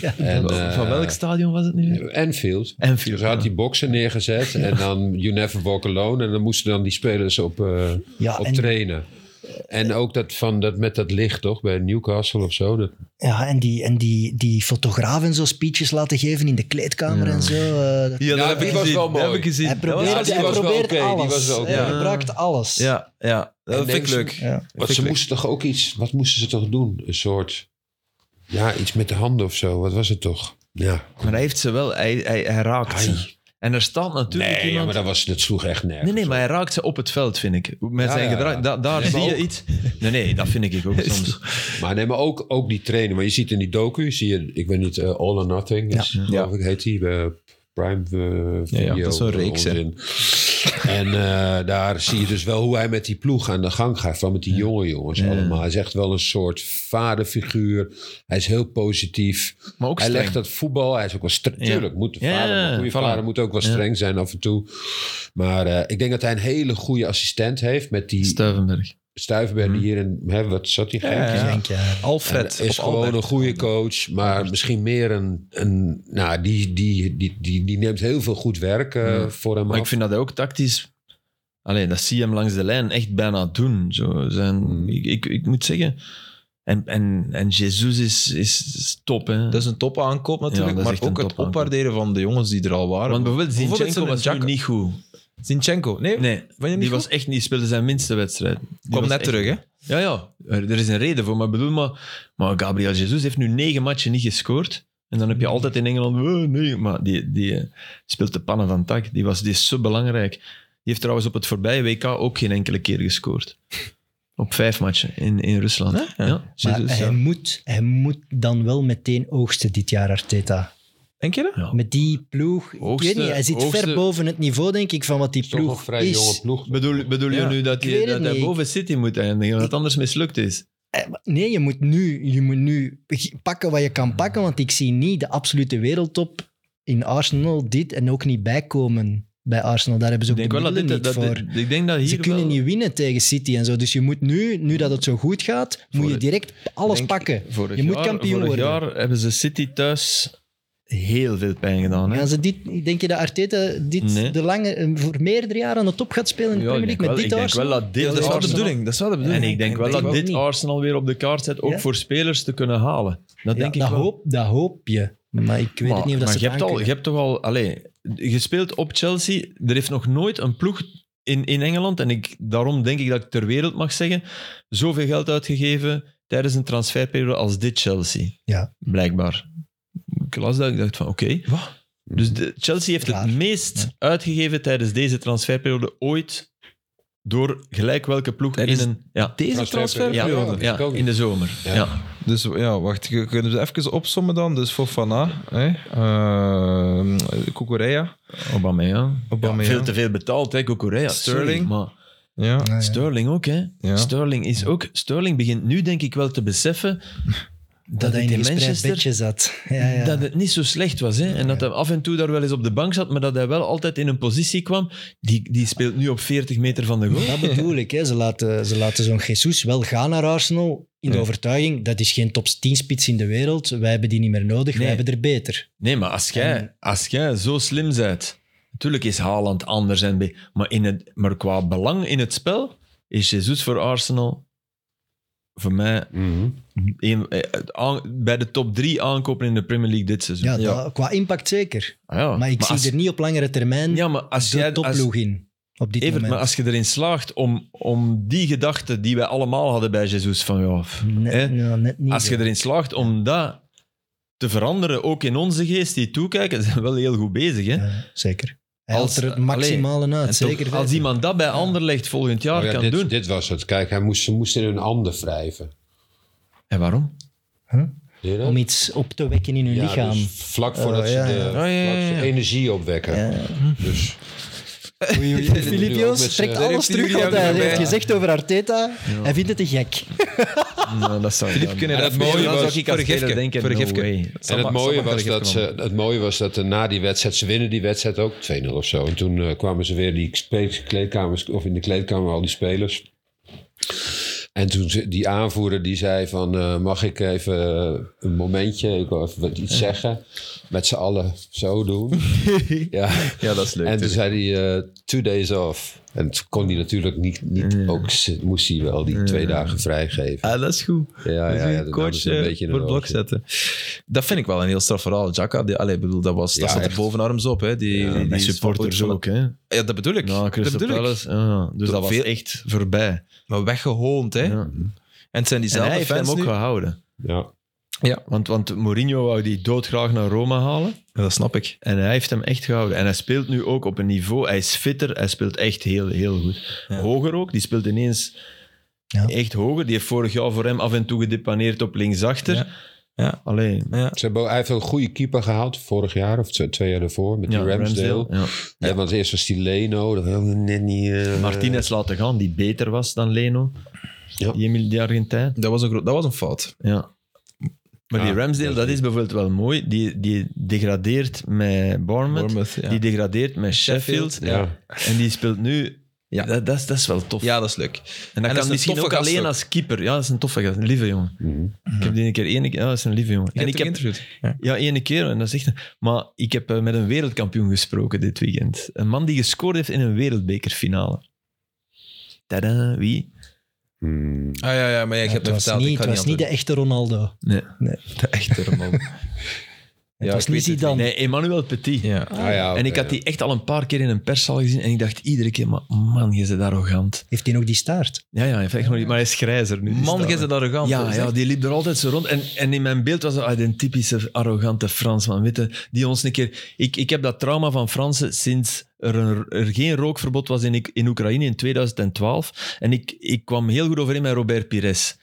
Speaker 4: Ja,
Speaker 2: En,
Speaker 3: van
Speaker 2: eh,
Speaker 3: welk stadion was het nu? weer?
Speaker 2: Enfield.
Speaker 3: Anfield,
Speaker 2: Dus hij had
Speaker 3: ja.
Speaker 2: die boksen neergezet en dan You Never Walk Alone. En dan moesten dan die spelers op, eh,
Speaker 4: Ja,
Speaker 2: op
Speaker 4: en-
Speaker 2: trainen. En ook dat van, dat met dat licht, toch? Bij Newcastle of zo. Dat,
Speaker 4: ja, en die, en die, die fotografen zo speeches laten geven in de kleedkamer en zo. eh, dat-
Speaker 1: Ja, dat
Speaker 2: Ja,
Speaker 1: heb
Speaker 2: die
Speaker 1: ik
Speaker 2: was
Speaker 1: gezien.
Speaker 2: wel
Speaker 1: Dat heb
Speaker 2: mooi.
Speaker 1: ik gezien.
Speaker 4: hij
Speaker 1: Dat was-
Speaker 4: probeert,
Speaker 2: Ja, die
Speaker 4: hij
Speaker 2: was wel
Speaker 4: probeert
Speaker 2: oké, die
Speaker 4: alles.
Speaker 2: was wel oké.
Speaker 4: Hij
Speaker 1: Ja.
Speaker 4: gebruikt alles.
Speaker 1: Ja, ja. Dat
Speaker 2: En
Speaker 1: vind ik
Speaker 2: deze-
Speaker 1: leuk.
Speaker 4: Ja.
Speaker 2: Want ze
Speaker 1: Vind ik-
Speaker 2: moesten toch ook iets, wat moesten ze toch doen? Een soort, ja, iets met de handen of zo. Wat was het toch? Ja.
Speaker 3: Maar hij heeft ze wel, hij, hij, hij raakt
Speaker 2: Ai.
Speaker 3: ze. En er staat natuurlijk
Speaker 2: Nee, ja,
Speaker 3: iemand...
Speaker 2: maar dat, was, dat sloeg echt nergens.
Speaker 3: Nee, nee, maar hij raakt ze op het veld, vind ik. Met
Speaker 2: Ja,
Speaker 3: zijn
Speaker 2: ja, ja.
Speaker 3: gedrag, da- daar
Speaker 2: Nee,
Speaker 3: zie
Speaker 2: maar
Speaker 3: je
Speaker 2: ook-
Speaker 3: iets. Nee, nee, dat vind ik ook soms.
Speaker 2: Maar, nee, maar ook, ook die trainer. Maar je ziet in die docu, zie je, ik weet niet, eh, All or Nothing, is, geloof ik, heet die. eh, Prime eh, Video.
Speaker 1: dat is zo'n reeks, hè.
Speaker 2: onzin. En eh, daar zie je dus wel hoe hij met die ploeg aan de gang gaat. Van met die jonge jongens allemaal. Hij is echt wel een soort vaderfiguur. Hij is heel positief.
Speaker 3: Maar ook
Speaker 2: hij
Speaker 3: streng.
Speaker 2: legt dat voetbal. Hij is ook wel streng.
Speaker 3: Ja.
Speaker 2: Tuurlijk, moet de
Speaker 3: Ja,
Speaker 2: vader,
Speaker 3: ja,
Speaker 2: maar een goede
Speaker 3: voilà.
Speaker 2: vader moet ook wel
Speaker 3: Ja.
Speaker 2: streng zijn af en toe. Maar eh, ik denk dat hij een hele goede assistent heeft met die...
Speaker 3: Stuivenberg.
Speaker 2: Stuyvenberg hier en hè, wat zat hij? Genk?
Speaker 3: Hmm. Ja.
Speaker 4: Genk, ja.
Speaker 1: Alfred.
Speaker 2: En eh, is
Speaker 1: of
Speaker 2: gewoon
Speaker 1: Albert.
Speaker 2: een goede coach, maar misschien meer een... een nou, die, die, die, die, die neemt heel veel goed werk eh,
Speaker 3: Ja.
Speaker 2: voor hem
Speaker 3: Hmm. Maar ik
Speaker 2: af.
Speaker 3: vind dat hij ook tactisch... Alleen dat zie je hem langs de lijn echt bijna doen. Zo, zijn,
Speaker 1: Hmm.
Speaker 2: Mm.
Speaker 3: ik, ik, ik moet zeggen... En, en, en Jesus is, is top, hè.
Speaker 1: Dat is een top aankoop
Speaker 3: Ja,
Speaker 1: natuurlijk,
Speaker 3: dat is
Speaker 1: maar
Speaker 3: echt een
Speaker 1: ook het
Speaker 3: topaankoop.
Speaker 1: opwaarderen van de jongens die er al waren.
Speaker 3: Want bijvoorbeeld Zinchenko
Speaker 1: zo'n
Speaker 3: was
Speaker 1: Xhaka.
Speaker 3: nu niet goed.
Speaker 1: Zinchenko, nee,
Speaker 3: Nee,
Speaker 1: vond je
Speaker 3: die
Speaker 1: niet
Speaker 3: was
Speaker 1: goed?
Speaker 3: echt niet... speelde zijn minste wedstrijd. Die
Speaker 1: kwam
Speaker 3: was
Speaker 1: net
Speaker 3: echt-
Speaker 1: terug, hè?
Speaker 3: Ja, ja. Er er is een reden voor. Maar ik bedoel, maar, maar Gabriel Jesus heeft nu negen matchen niet gescoord. En dan heb je altijd in Engeland... "Oh, nee, maar die, die eh, speelt de pannen van tak. Die, was, die is zo belangrijk. Die heeft trouwens op het voorbije WK ook geen enkele keer
Speaker 4: [LAUGHS]
Speaker 3: gescoord. Op vijf matchen in, in Rusland. Ja,
Speaker 4: Maar
Speaker 3: Jesus,
Speaker 4: hij,
Speaker 3: dus, ja.
Speaker 4: moet, hij moet dan wel meteen oogsten dit jaar, Arteta.
Speaker 1: Denk je dat?
Speaker 3: Ja.
Speaker 4: Met die ploeg.
Speaker 3: Oogsten-
Speaker 4: ik weet niet, hij zit
Speaker 3: oogsten-
Speaker 4: ver boven het niveau, denk ik, van wat die
Speaker 2: Is toch een
Speaker 4: ploeg
Speaker 2: vrij jonge
Speaker 4: is.
Speaker 2: ploeg.
Speaker 3: Bedoel, bedoel
Speaker 1: Ja,
Speaker 3: je nu dat,
Speaker 4: ik
Speaker 3: hij-
Speaker 4: weet het
Speaker 3: dat hij
Speaker 4: niet.
Speaker 3: boven City moet eindigen? Dat het anders mislukt is?
Speaker 4: Eh, maar Nee, je moet, nu, je moet nu pakken wat je kan pakken, want ik zie niet de absolute wereldtop in Arsenal dit en ook niet bijkomen bij Arsenal. Daar hebben ze
Speaker 3: Ik
Speaker 4: ook
Speaker 3: denk
Speaker 4: de
Speaker 3: wel dat
Speaker 4: middelen
Speaker 3: dit... Dat,
Speaker 4: niet voor.
Speaker 3: dit- ik denk dat hier
Speaker 4: Ze kunnen
Speaker 3: wel-
Speaker 4: niet winnen tegen City en zo. Dus je moet nu, nu dat het zo goed gaat, moet je
Speaker 3: het-
Speaker 4: direct alles
Speaker 3: denk-
Speaker 4: pakken.
Speaker 3: Vorig
Speaker 4: Je moet
Speaker 3: jaar-
Speaker 4: kampioen
Speaker 3: vorig
Speaker 4: worden.
Speaker 3: jaar hebben ze City thuis heel veel pijn gedaan. Hè?
Speaker 4: Gaan ze dit, denk je dat Arteta dit
Speaker 3: Nee.
Speaker 4: de lange, eh, voor meerdere jaren aan de top gaat spelen in de
Speaker 3: Ja,
Speaker 4: Premier
Speaker 3: ik denk
Speaker 4: League
Speaker 3: wel,
Speaker 4: met
Speaker 3: ik
Speaker 4: dit
Speaker 3: denk wel
Speaker 4: Arsenal?
Speaker 3: dat dit
Speaker 1: Ja, dat is wel de
Speaker 3: Arsenal-
Speaker 1: bedoeling. Dat is wel de
Speaker 3: En
Speaker 1: bedoeling.
Speaker 3: ik denk wel dat
Speaker 1: wel-
Speaker 3: dit
Speaker 4: niet.
Speaker 3: Arsenal weer op de kaart zet, ook
Speaker 4: Ja.
Speaker 3: voor spelers te kunnen halen. Dat
Speaker 4: Ja,
Speaker 3: denk ik
Speaker 4: dat
Speaker 3: wel.
Speaker 4: Hoop, dat hoop je. Maar ik weet
Speaker 3: maar,
Speaker 4: het niet of dat
Speaker 3: maar
Speaker 4: ze
Speaker 3: je,
Speaker 4: het
Speaker 3: hebt al, je
Speaker 4: aankunnen.
Speaker 3: hebt toch al... Allez, je speelt op Chelsea. Er heeft nog nooit een ploeg in, in Engeland, en ik, daarom denk ik dat ik ter wereld mag zeggen, zoveel geld uitgegeven tijdens een transferperiode als dit Chelsea.
Speaker 4: Ja.
Speaker 3: Blijkbaar. Ik las dat, ik dacht van oké. Dus de, Chelsea heeft
Speaker 4: Raar.
Speaker 3: het meest uitgegeven tijdens deze transferperiode ooit door gelijk welke ploeg
Speaker 1: Tijdens
Speaker 3: in een... Ja,
Speaker 1: Deze
Speaker 3: ja,
Speaker 1: transferperiode.
Speaker 2: dat wist
Speaker 3: ja,
Speaker 2: ik ook niet.
Speaker 3: in de zomer.
Speaker 2: Ja.
Speaker 3: Ja.
Speaker 1: Dus ja, wacht. k- Kunnen we even opsommen dan? Dus Fofana, hè? eh Kukureya,
Speaker 3: Aubameyang.
Speaker 1: Aubameyang.
Speaker 3: Veel te veel betaald, hè, Cucurella.
Speaker 1: Sterling.
Speaker 3: maar
Speaker 1: Ja.
Speaker 4: Ja, ja.
Speaker 3: Sterling ook, hè.
Speaker 1: Ja.
Speaker 3: Sterling is ook... Sterling begint nu denk ik wel te
Speaker 4: [LAUGHS]
Speaker 3: beseffen dat,
Speaker 4: dat hij in
Speaker 3: hij in
Speaker 4: een gespreid
Speaker 3: Manchester...
Speaker 4: bedje zat. Ja, ja.
Speaker 3: [LAUGHS] dat het niet zo slecht was. Hè? En dat hij af en toe daar wel eens op de bank zat, maar dat hij wel altijd in een positie kwam. Die, die speelt nu op 40 meter van de goal.
Speaker 4: Dat bedoel ik. Hè. Ze laten, ze laten zo'n Jesus wel gaan naar Arsenal in de
Speaker 1: Ja.
Speaker 4: overtuiging dat is geen top 10 spits in de wereld. Wij hebben die niet meer nodig,
Speaker 3: Nee.
Speaker 4: wij hebben er beter.
Speaker 3: Nee, maar als jij, als jij zo slim bent... Natuurlijk is Haaland anders, en, be- maar, in het, maar qua belang in het spel is Jesus voor Arsenal voor mij
Speaker 2: Mhm.
Speaker 3: een- eh, aan- bij de top drie aankopen in de Premier League dit seizoen.
Speaker 4: Ja, dat- qua impact zeker.
Speaker 3: Ah ja,
Speaker 4: Maar ik zie
Speaker 3: als,
Speaker 4: er niet op langere termijn
Speaker 3: Ja, maar als
Speaker 4: Mm. de
Speaker 3: jij... Als,
Speaker 4: topploeg in. Op dit
Speaker 3: Evert,
Speaker 4: moment.
Speaker 3: maar als je erin slaagt om, om die gedachte die wij allemaal hadden bij Jesus van... Ja, pff, hè,
Speaker 4: net, nou, net niet.
Speaker 3: als je
Speaker 4: zo.
Speaker 3: erin slaagt om dat te veranderen, ook in onze geest die toekijken, [LAUGHS] zijn we wel heel goed bezig. Hè?
Speaker 4: Ja, zeker. Hij
Speaker 3: Als-
Speaker 4: haalt er het maximale uit,
Speaker 3: En toch,
Speaker 4: zeker.
Speaker 3: als
Speaker 4: weten.
Speaker 3: iemand dat bij Anderlecht volgend jaar
Speaker 2: Oh ja,
Speaker 3: kan
Speaker 2: dit,
Speaker 3: doen...
Speaker 2: dit was het. Kijk, hij moest, ze moesten in hun handen wrijven.
Speaker 3: En waarom?
Speaker 2: Zie je dat?
Speaker 4: Om iets op te wekken in hun
Speaker 2: Ja,
Speaker 4: lichaam.
Speaker 2: dus vlak voordat
Speaker 4: Oh,
Speaker 2: ze
Speaker 4: ja,
Speaker 2: de
Speaker 4: ja.
Speaker 2: vlak ze energie opwekken.
Speaker 4: Ja.
Speaker 2: Dus
Speaker 3: [LAUGHS]
Speaker 4: Filip
Speaker 2: Nu ook met
Speaker 4: Joos
Speaker 2: z'n-
Speaker 4: trekt
Speaker 2: Daar
Speaker 4: alles
Speaker 1: heeft
Speaker 4: terug
Speaker 1: jullie
Speaker 4: wat hij
Speaker 1: allebei.
Speaker 4: heeft gezegd over Arteta. Hij vindt het te gek.
Speaker 3: Nou, dat zou
Speaker 1: Filip kunnen
Speaker 2: Ja, dat
Speaker 1: dat
Speaker 2: mooie
Speaker 1: mooie
Speaker 2: was-
Speaker 1: was ik
Speaker 3: voor
Speaker 1: als
Speaker 3: een
Speaker 1: speler
Speaker 3: Gifke,
Speaker 1: denken.
Speaker 3: voor een
Speaker 1: no
Speaker 3: Gifke.
Speaker 1: way.
Speaker 2: En het
Speaker 1: Zal-
Speaker 2: mooie,
Speaker 1: zal maar voor
Speaker 2: was
Speaker 1: de
Speaker 2: dat
Speaker 1: Gifke
Speaker 2: ze, het mooie was dat er na die wedstrijd, ze winnen die wedstrijd ook 2-0 of zo. En toen eh, kwamen ze weer die spe- kleedkamers, of in de kleedkamer al die spelers. En toen ze- die aanvoerder die zei van, eh, mag ik even eh, een momentje, ik wil even wat iets zeggen. Met z'n allen
Speaker 1: [LAUGHS]
Speaker 2: zo doen. ja.
Speaker 1: komen. Ja, dat is leuk.
Speaker 2: En toen
Speaker 1: tuurlijk.
Speaker 2: zei hij, eh, two days off. En toen kon hij natuurlijk niet, niet ook, ze- moest hij wel die twee dagen vrijgeven.
Speaker 1: Ah, dat is goed.
Speaker 2: Ja, ja,
Speaker 1: Dat is
Speaker 2: ja,
Speaker 1: een
Speaker 2: dat namen
Speaker 1: coach
Speaker 2: ze een
Speaker 1: eh,
Speaker 2: beetje in
Speaker 1: voor het
Speaker 2: hun
Speaker 1: blok
Speaker 2: hoofd.
Speaker 1: zetten. Dat vind ik wel een heel straf verhaal. Jacka, die, allee, ik bedoel, dat, was, dat
Speaker 2: Ja,
Speaker 1: zat er
Speaker 2: echt.
Speaker 1: bovenarms op. Hè. Die, die, die
Speaker 3: Die supporters
Speaker 1: van-
Speaker 3: ook, hè.
Speaker 1: Ja, dat bedoel ik.
Speaker 3: Nou,
Speaker 1: dat
Speaker 3: Crystal
Speaker 1: bedoel ik.
Speaker 3: Palace. ja, dus dat was
Speaker 1: Veel-
Speaker 3: echt voorbij.
Speaker 1: Maar weggehoond, hè.
Speaker 3: Ja.
Speaker 1: En het zijn
Speaker 3: En hij
Speaker 1: diezelfde
Speaker 3: heeft hem
Speaker 1: fans
Speaker 3: ook
Speaker 1: nu.
Speaker 3: gehouden.
Speaker 2: Ja.
Speaker 3: Want, want Mourinho wou die doodgraag naar Roma halen.
Speaker 1: Ja, dat snap ik.
Speaker 3: En hij heeft hem echt gehouden. En hij speelt nu ook op een niveau. Hij is fitter. Hij speelt echt heel, heel goed.
Speaker 1: Ja.
Speaker 3: Hoger ook. Die speelt ineens
Speaker 4: Ja.
Speaker 3: echt hoger. Die heeft vorig jaar voor hem af en toe gedepaneerd op linksachter.
Speaker 1: Ja. Ja.
Speaker 3: Alleen.
Speaker 1: Ja.
Speaker 2: Ze hebben, hij heeft een goede keeper gehaald vorig jaar of twee, twee jaar daarvoor met die Ramsdale.
Speaker 3: Ja.
Speaker 2: Hè, want eerst was die Leno, dat wilde net niet. eh,
Speaker 3: Martinez laten gaan, die beter was dan Leno.
Speaker 2: Ja.
Speaker 3: Die, Emil- die Argentijn.
Speaker 1: Dat was een, gro- dat was een fout.
Speaker 3: Ja.
Speaker 2: Ja,
Speaker 3: Maar die Ramsdale, Ah, dat is bijvoorbeeld wel mooi. Die, die degradeert met Bournemouth.
Speaker 1: Bournemouth, ja.
Speaker 3: Die degradeert met Sheffield.
Speaker 1: Sheffield.
Speaker 2: Ja.
Speaker 3: En die speelt nu
Speaker 1: Ja.
Speaker 3: Dat, dat, is, dat is wel tof.
Speaker 1: Ja, dat is leuk.
Speaker 3: en dat
Speaker 1: is
Speaker 3: kan
Speaker 1: een
Speaker 3: misschien
Speaker 1: toffe
Speaker 3: ook
Speaker 1: gast
Speaker 3: alleen
Speaker 1: ook. Mhm.
Speaker 3: als keeper. Ja, dat is een toffe gast. Een lieve jongen.
Speaker 2: Mhm.
Speaker 3: Ik heb die een keer één keer... Ja, dat is een lieve jongen. en ik heb, Ja, één keer. En dat is echt, maar ik heb eh, met een wereldkampioen gesproken dit weekend. Een man die gescoord heeft in een wereldbekerfinale. Tada, wie?
Speaker 2: Hmm.
Speaker 1: Ah ja, ja, maar jij hebt
Speaker 4: het
Speaker 1: me
Speaker 4: was,
Speaker 1: verteld.
Speaker 4: niet,
Speaker 1: ik
Speaker 4: het
Speaker 1: kan
Speaker 4: was niet de echte Ronaldo.
Speaker 3: Nee,
Speaker 1: de echte man.
Speaker 4: Het was niet Zidane.
Speaker 3: nee Emmanuel Petit.
Speaker 1: Ja.
Speaker 2: Ah, ja, oké,
Speaker 3: en ik had
Speaker 2: ja.
Speaker 3: die echt al een paar keer in een perszaal gezien. En ik dacht iedere keer, maar man, je bent arrogant.
Speaker 4: Heeft hij nog die staart?
Speaker 3: Ja, ja, hij heeft echt nog niet- maar hij is grijzer nu.
Speaker 1: Man, jij bent arrogant.
Speaker 3: Ja,
Speaker 1: Dat is
Speaker 3: ja,
Speaker 1: echt-
Speaker 3: die liep er altijd zo rond. En, en in mijn beeld was dat ah, een typische arrogante Fransman. Weet je, die ons een keer... Ik, ik heb dat trauma van Fransen sinds er, een- er geen rookverbod was in, in Oekraïne in 2012. En ik, ik kwam heel goed overeen met Robert Pires.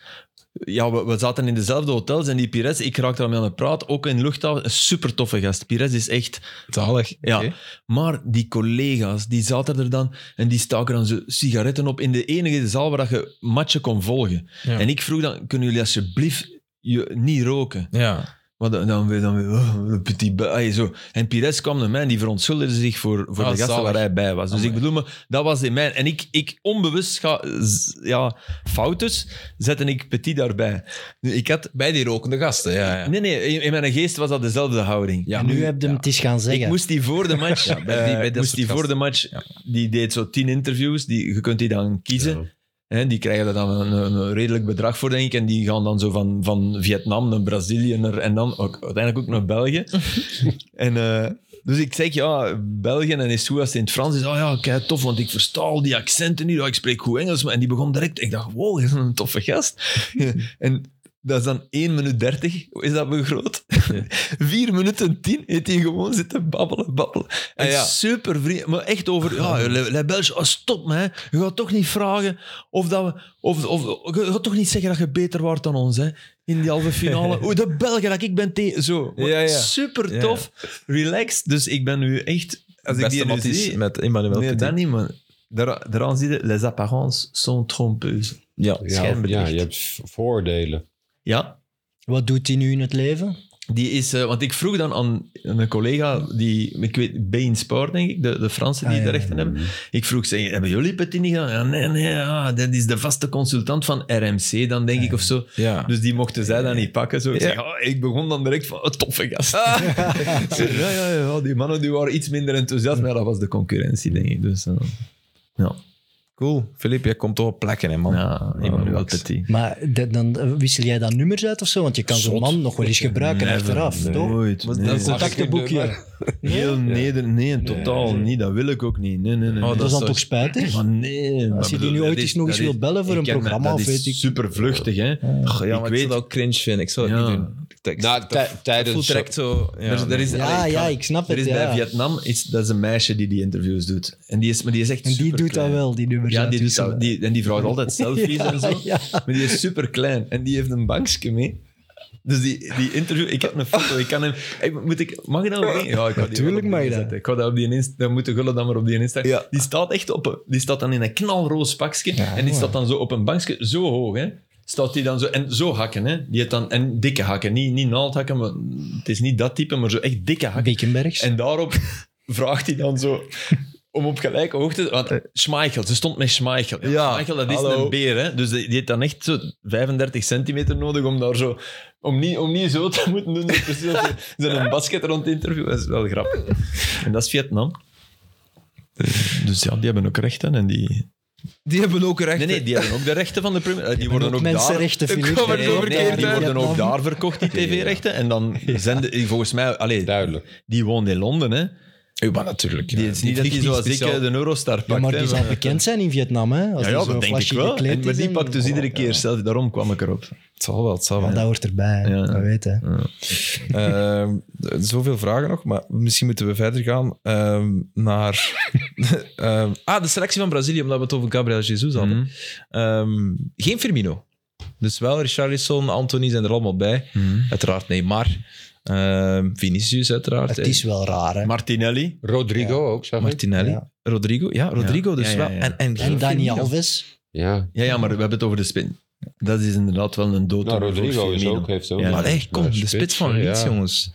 Speaker 3: Ja, we, we zaten in dezelfde hotels en die Pires, ik raakte daarmee aan het praten. Ook in de luchthaven, een super toffe gast. Pires is echt...
Speaker 1: Zalig.
Speaker 3: Ja.
Speaker 1: Oké.
Speaker 3: Maar die collega's, die zaten er dan en die staken dan zo sigaretten op in de enige zaal waar dat je matchen kon volgen.
Speaker 1: Ja.
Speaker 3: En ik vroeg dan, kunnen jullie alsjeblieft je niet roken?
Speaker 1: Ja.
Speaker 3: Want dan, dan weer, dan weer, oh, een petit ba- ay, zo. En Pires kwam naar mij en die verontschuldigde zich voor, voor
Speaker 1: Ah,
Speaker 3: de gasten
Speaker 1: zalig.
Speaker 3: waar hij bij was. Dus ik
Speaker 1: Amai.
Speaker 3: bedoel me, dat was in mijn... En ik, ik onbewust ga, z- ja, foutes, zette ik Petit daarbij. Nu, ik had...
Speaker 1: Bij die rokende gasten, ja. ja.
Speaker 3: Nee, nee, in, in mijn geest was dat dezelfde houding.
Speaker 1: Ja,
Speaker 4: en nu heb je hem het eens gaan zeggen.
Speaker 3: Ah, Ik moest die voor de match,
Speaker 1: Ja, bij die- bij
Speaker 3: eh,
Speaker 1: dat
Speaker 3: moest
Speaker 1: soort
Speaker 3: die voor
Speaker 1: gasten.
Speaker 3: de match,
Speaker 1: Ja.
Speaker 3: die deed zo tien interviews, die, je kunt die dan kiezen.
Speaker 2: Ja.
Speaker 3: Hè, die krijgen daar dan een, een- een redelijk bedrag voor, denk ik. En die gaan dan zo van, van Vietnam naar Brazilië naar, en dan ook, uiteindelijk ook naar België. en, eh, dus ik zeg, ja, België en is goed als het in het Frans is. Oh ja, kijk, tof, want ik versta al die accenten hier. Oh, ik spreek goed Engels. Maar, en die begon direct, ik dacht, wow, is een toffe gast. [LAUGHS] en dat is dan 1 minuut 30, is dat [LAUGHS] begroot? 4 minuten 10 heeft hij gewoon zitten babbelen, babbelen. En
Speaker 1: Ah, ja. Ah.
Speaker 3: super vriendelijk, maar echt over, ja, Le, Le Belge, oh, stop me, hè. je gaat toch niet vragen of dat we, of, of je gaat toch niet zeggen dat je beter wordt dan ons, hè. In die halve
Speaker 1: [LAUGHS]
Speaker 3: finale. Oeh, de Belgen, dat ik ben tegen. Zo. Maar
Speaker 1: Ja, ja.
Speaker 3: Super
Speaker 1: Ja.
Speaker 3: tof. Relaxed. Dus ik ben nu echt. Als ik
Speaker 1: Beste
Speaker 3: die nu
Speaker 1: matties
Speaker 3: zie,
Speaker 1: met Emmanuel
Speaker 3: nee,
Speaker 1: Petit.
Speaker 3: dat niet, man. Daar- Daaraan zie je, les apparences sont trompeuses.
Speaker 1: Ja.
Speaker 2: ja,
Speaker 3: schijnbelicht.
Speaker 2: ja, je hebt v- voordelen.
Speaker 3: Ja,
Speaker 4: Wat doet hij nu in het leven?
Speaker 3: die is... eh, want ik vroeg dan aan een collega, die, ik weet, Bain Sport, denk ik, de, de Fransen die
Speaker 4: Ah, ja,
Speaker 3: de rechten hebben. Ik vroeg, zeg, hebben jullie Petit niet gedaan? Ja, nee, nee, ja, dat is de vaste consultant van RMC dan, denk ik, of zo.
Speaker 1: Ja.
Speaker 3: Dus die mochten zij dan niet pakken. Zo. Ik,
Speaker 1: Ja.
Speaker 3: zeg, oh, ik begon dan direct van, oh, toffe gast. [LAUGHS] Ik zeg, ja, ja, ja, die mannen die waren iets minder enthousiast, maar ja, dat was de concurrentie, denk ik. Dus, eh, ja,
Speaker 1: Cool. Filip, jij komt toch op plekken, hè, man.
Speaker 3: ja, Emmanuel
Speaker 1: relax.
Speaker 3: Petit.
Speaker 4: Maar de- dan eh, wissel jij dan nummers uit of zo? Want je kan zo'n
Speaker 1: Zot.
Speaker 4: man nog wel eens gebruiken
Speaker 3: Never,
Speaker 4: achteraf,
Speaker 3: nee,
Speaker 4: toch?
Speaker 3: Nooit.
Speaker 1: Maar
Speaker 3: nee.
Speaker 1: dat is een
Speaker 4: Contactenboekje.
Speaker 3: Heel neder... Nee, totaal
Speaker 2: nee.
Speaker 3: niet. Dat wil ik ook niet. Nee, nee, nee.
Speaker 1: Oh,
Speaker 3: nee.
Speaker 4: Dat is dan
Speaker 1: zo-
Speaker 4: toch spijtig?
Speaker 3: Maar nee.
Speaker 4: Als je die nu ooit eens nog eens wil bellen voor een programma, of weet ik...
Speaker 3: super vluchtig, hè.
Speaker 1: Ja,
Speaker 3: ik
Speaker 1: maar ik
Speaker 3: weet-
Speaker 1: zou dat ook cringe vinden. Ik zou dat
Speaker 3: Ja.
Speaker 1: niet doen. Ik- ik-
Speaker 2: Nou,
Speaker 1: dat-
Speaker 2: tij-
Speaker 1: dat
Speaker 2: tijdens-
Speaker 1: voelt direct zo... Ja,
Speaker 3: Er- er is-
Speaker 1: nee.
Speaker 3: allee,
Speaker 4: Ja,
Speaker 3: ik
Speaker 4: ja,
Speaker 3: ga-
Speaker 4: ik snap
Speaker 3: Er is
Speaker 4: het,
Speaker 3: bij
Speaker 4: ja.
Speaker 3: Vietnam, is, dat is een meisje die die interviews doet. En die is, maar die is echt
Speaker 4: En die doet dat
Speaker 3: superklein.
Speaker 4: wel, die nummers
Speaker 3: Ja, die doet
Speaker 4: uitwisselen.
Speaker 3: dat, die, en die vraagt altijd selfies en zo.
Speaker 4: [LAUGHS] Ja,
Speaker 3: Maar die is super klein en die heeft een bankje mee. Dus die, die interview, ik heb een foto, ik kan hem... ik- moet ik, mag ik dat op ding? Ja, ik ga die
Speaker 4: Natuurlijk
Speaker 3: wel op
Speaker 4: mag je
Speaker 3: ding
Speaker 4: dat.
Speaker 3: zetten. Ik ga dat op die Insta, dan moet de gulle dan maar op die Insta.
Speaker 1: Ja.
Speaker 3: Die staat echt op, een- die staat dan in een knalroos pakje en die staat dan zo op een bankje, zo hoog, hè. Staat die dan zo, en zo hakken, hè. Die heeft dan, en dikke hakken, niet, niet naaldhakken, maar het is niet dat type, maar zo echt dikke hakken.
Speaker 4: Bekenbergs.
Speaker 3: En daarop [LAUGHS] vraagt hij dan zo om op gelijke hoogte. Want Schmeichel, ze stond met Schmeichel. Ja,
Speaker 1: Eh. Ja,
Speaker 3: Schmeichel, dat is
Speaker 1: hallo.
Speaker 3: een beer. Hè? Dus die die heeft dan echt zo 35 centimeter nodig om daar zo. Om niet, om niet zo te moeten doen. Dus precies als je zo'n basket rond te interviewen. Dat is wel grappig. En dat is Vietnam. Dus ja, die hebben ook rechten. En die...
Speaker 1: Die hebben ook recht.
Speaker 3: Nee, nee, die hebben ook de rechten van de premier. eh, Die worden
Speaker 4: ook
Speaker 3: ook daar [LAUGHS]
Speaker 4: mensenrechten, Filip.
Speaker 1: Ik kom er
Speaker 3: Nee,
Speaker 1: zo
Speaker 3: nee,
Speaker 1: verkeerd
Speaker 3: die
Speaker 1: uit.
Speaker 3: worden ook daar verkocht, die tv-rechten. En dan zenden... Volgens mij... Allee,
Speaker 2: Duidelijk.
Speaker 3: die woont in Londen, hè.
Speaker 1: Ja, maar natuurlijk.
Speaker 3: Die is niet dat
Speaker 1: vliegt
Speaker 3: hij zoals ik
Speaker 1: speciaal.
Speaker 3: eh, de Eurostar pakt.
Speaker 4: Ja, maar die
Speaker 3: hè,
Speaker 4: zal
Speaker 3: van-
Speaker 4: bekend zijn in Vietnam, hè? Als
Speaker 3: ja,
Speaker 4: die
Speaker 3: ja
Speaker 4: zo
Speaker 3: dat denk ik
Speaker 4: flashy
Speaker 3: wel.
Speaker 4: gekleed
Speaker 3: En, maar
Speaker 4: is
Speaker 3: die
Speaker 4: en- Oh,
Speaker 3: pakt dus iedere keer zelf. Daarom kwam ik erop.
Speaker 1: Het zal wel, het zal wel.
Speaker 4: Ja, dat hoort erbij,
Speaker 3: Ja.
Speaker 4: dat weet hè.
Speaker 1: Ehm, d- zoveel vragen nog, maar misschien moeten we verder gaan ehm, naar... [LAUGHS] ehm, ah, de selectie van Brazilië, omdat we het over Gabriel Jesus hadden.
Speaker 3: Mhm.
Speaker 1: Ehm, geen Firmino. Dus wel Richarlison, Anthony zijn er allemaal bij.
Speaker 3: mhm.
Speaker 1: Uiteraard Neymar. Ehm Vinicius uiteraard. eh,
Speaker 4: Het is wel raar, hè.
Speaker 3: Martinelli.
Speaker 2: Rodrigo ook, zag ik.
Speaker 1: Martinelli.
Speaker 4: Ja.
Speaker 1: Rodrigo. Ja, Rodrigo
Speaker 3: Ja,
Speaker 1: dus
Speaker 3: ja,
Speaker 1: wel.
Speaker 3: ja, ja.
Speaker 1: En, en,
Speaker 4: En
Speaker 1: geen
Speaker 4: Dani
Speaker 1: Firmino.
Speaker 4: Alves.
Speaker 2: Ja.
Speaker 3: Ja, ja, maar we hebben het over de spin. Dat is inderdaad wel een dood.
Speaker 2: Nou, Rodrigo is ook, heeft ook.
Speaker 3: Ja.
Speaker 1: Maar echt, kom,
Speaker 2: Ja,
Speaker 1: de spits van
Speaker 2: ja.
Speaker 1: Leeds, jongens.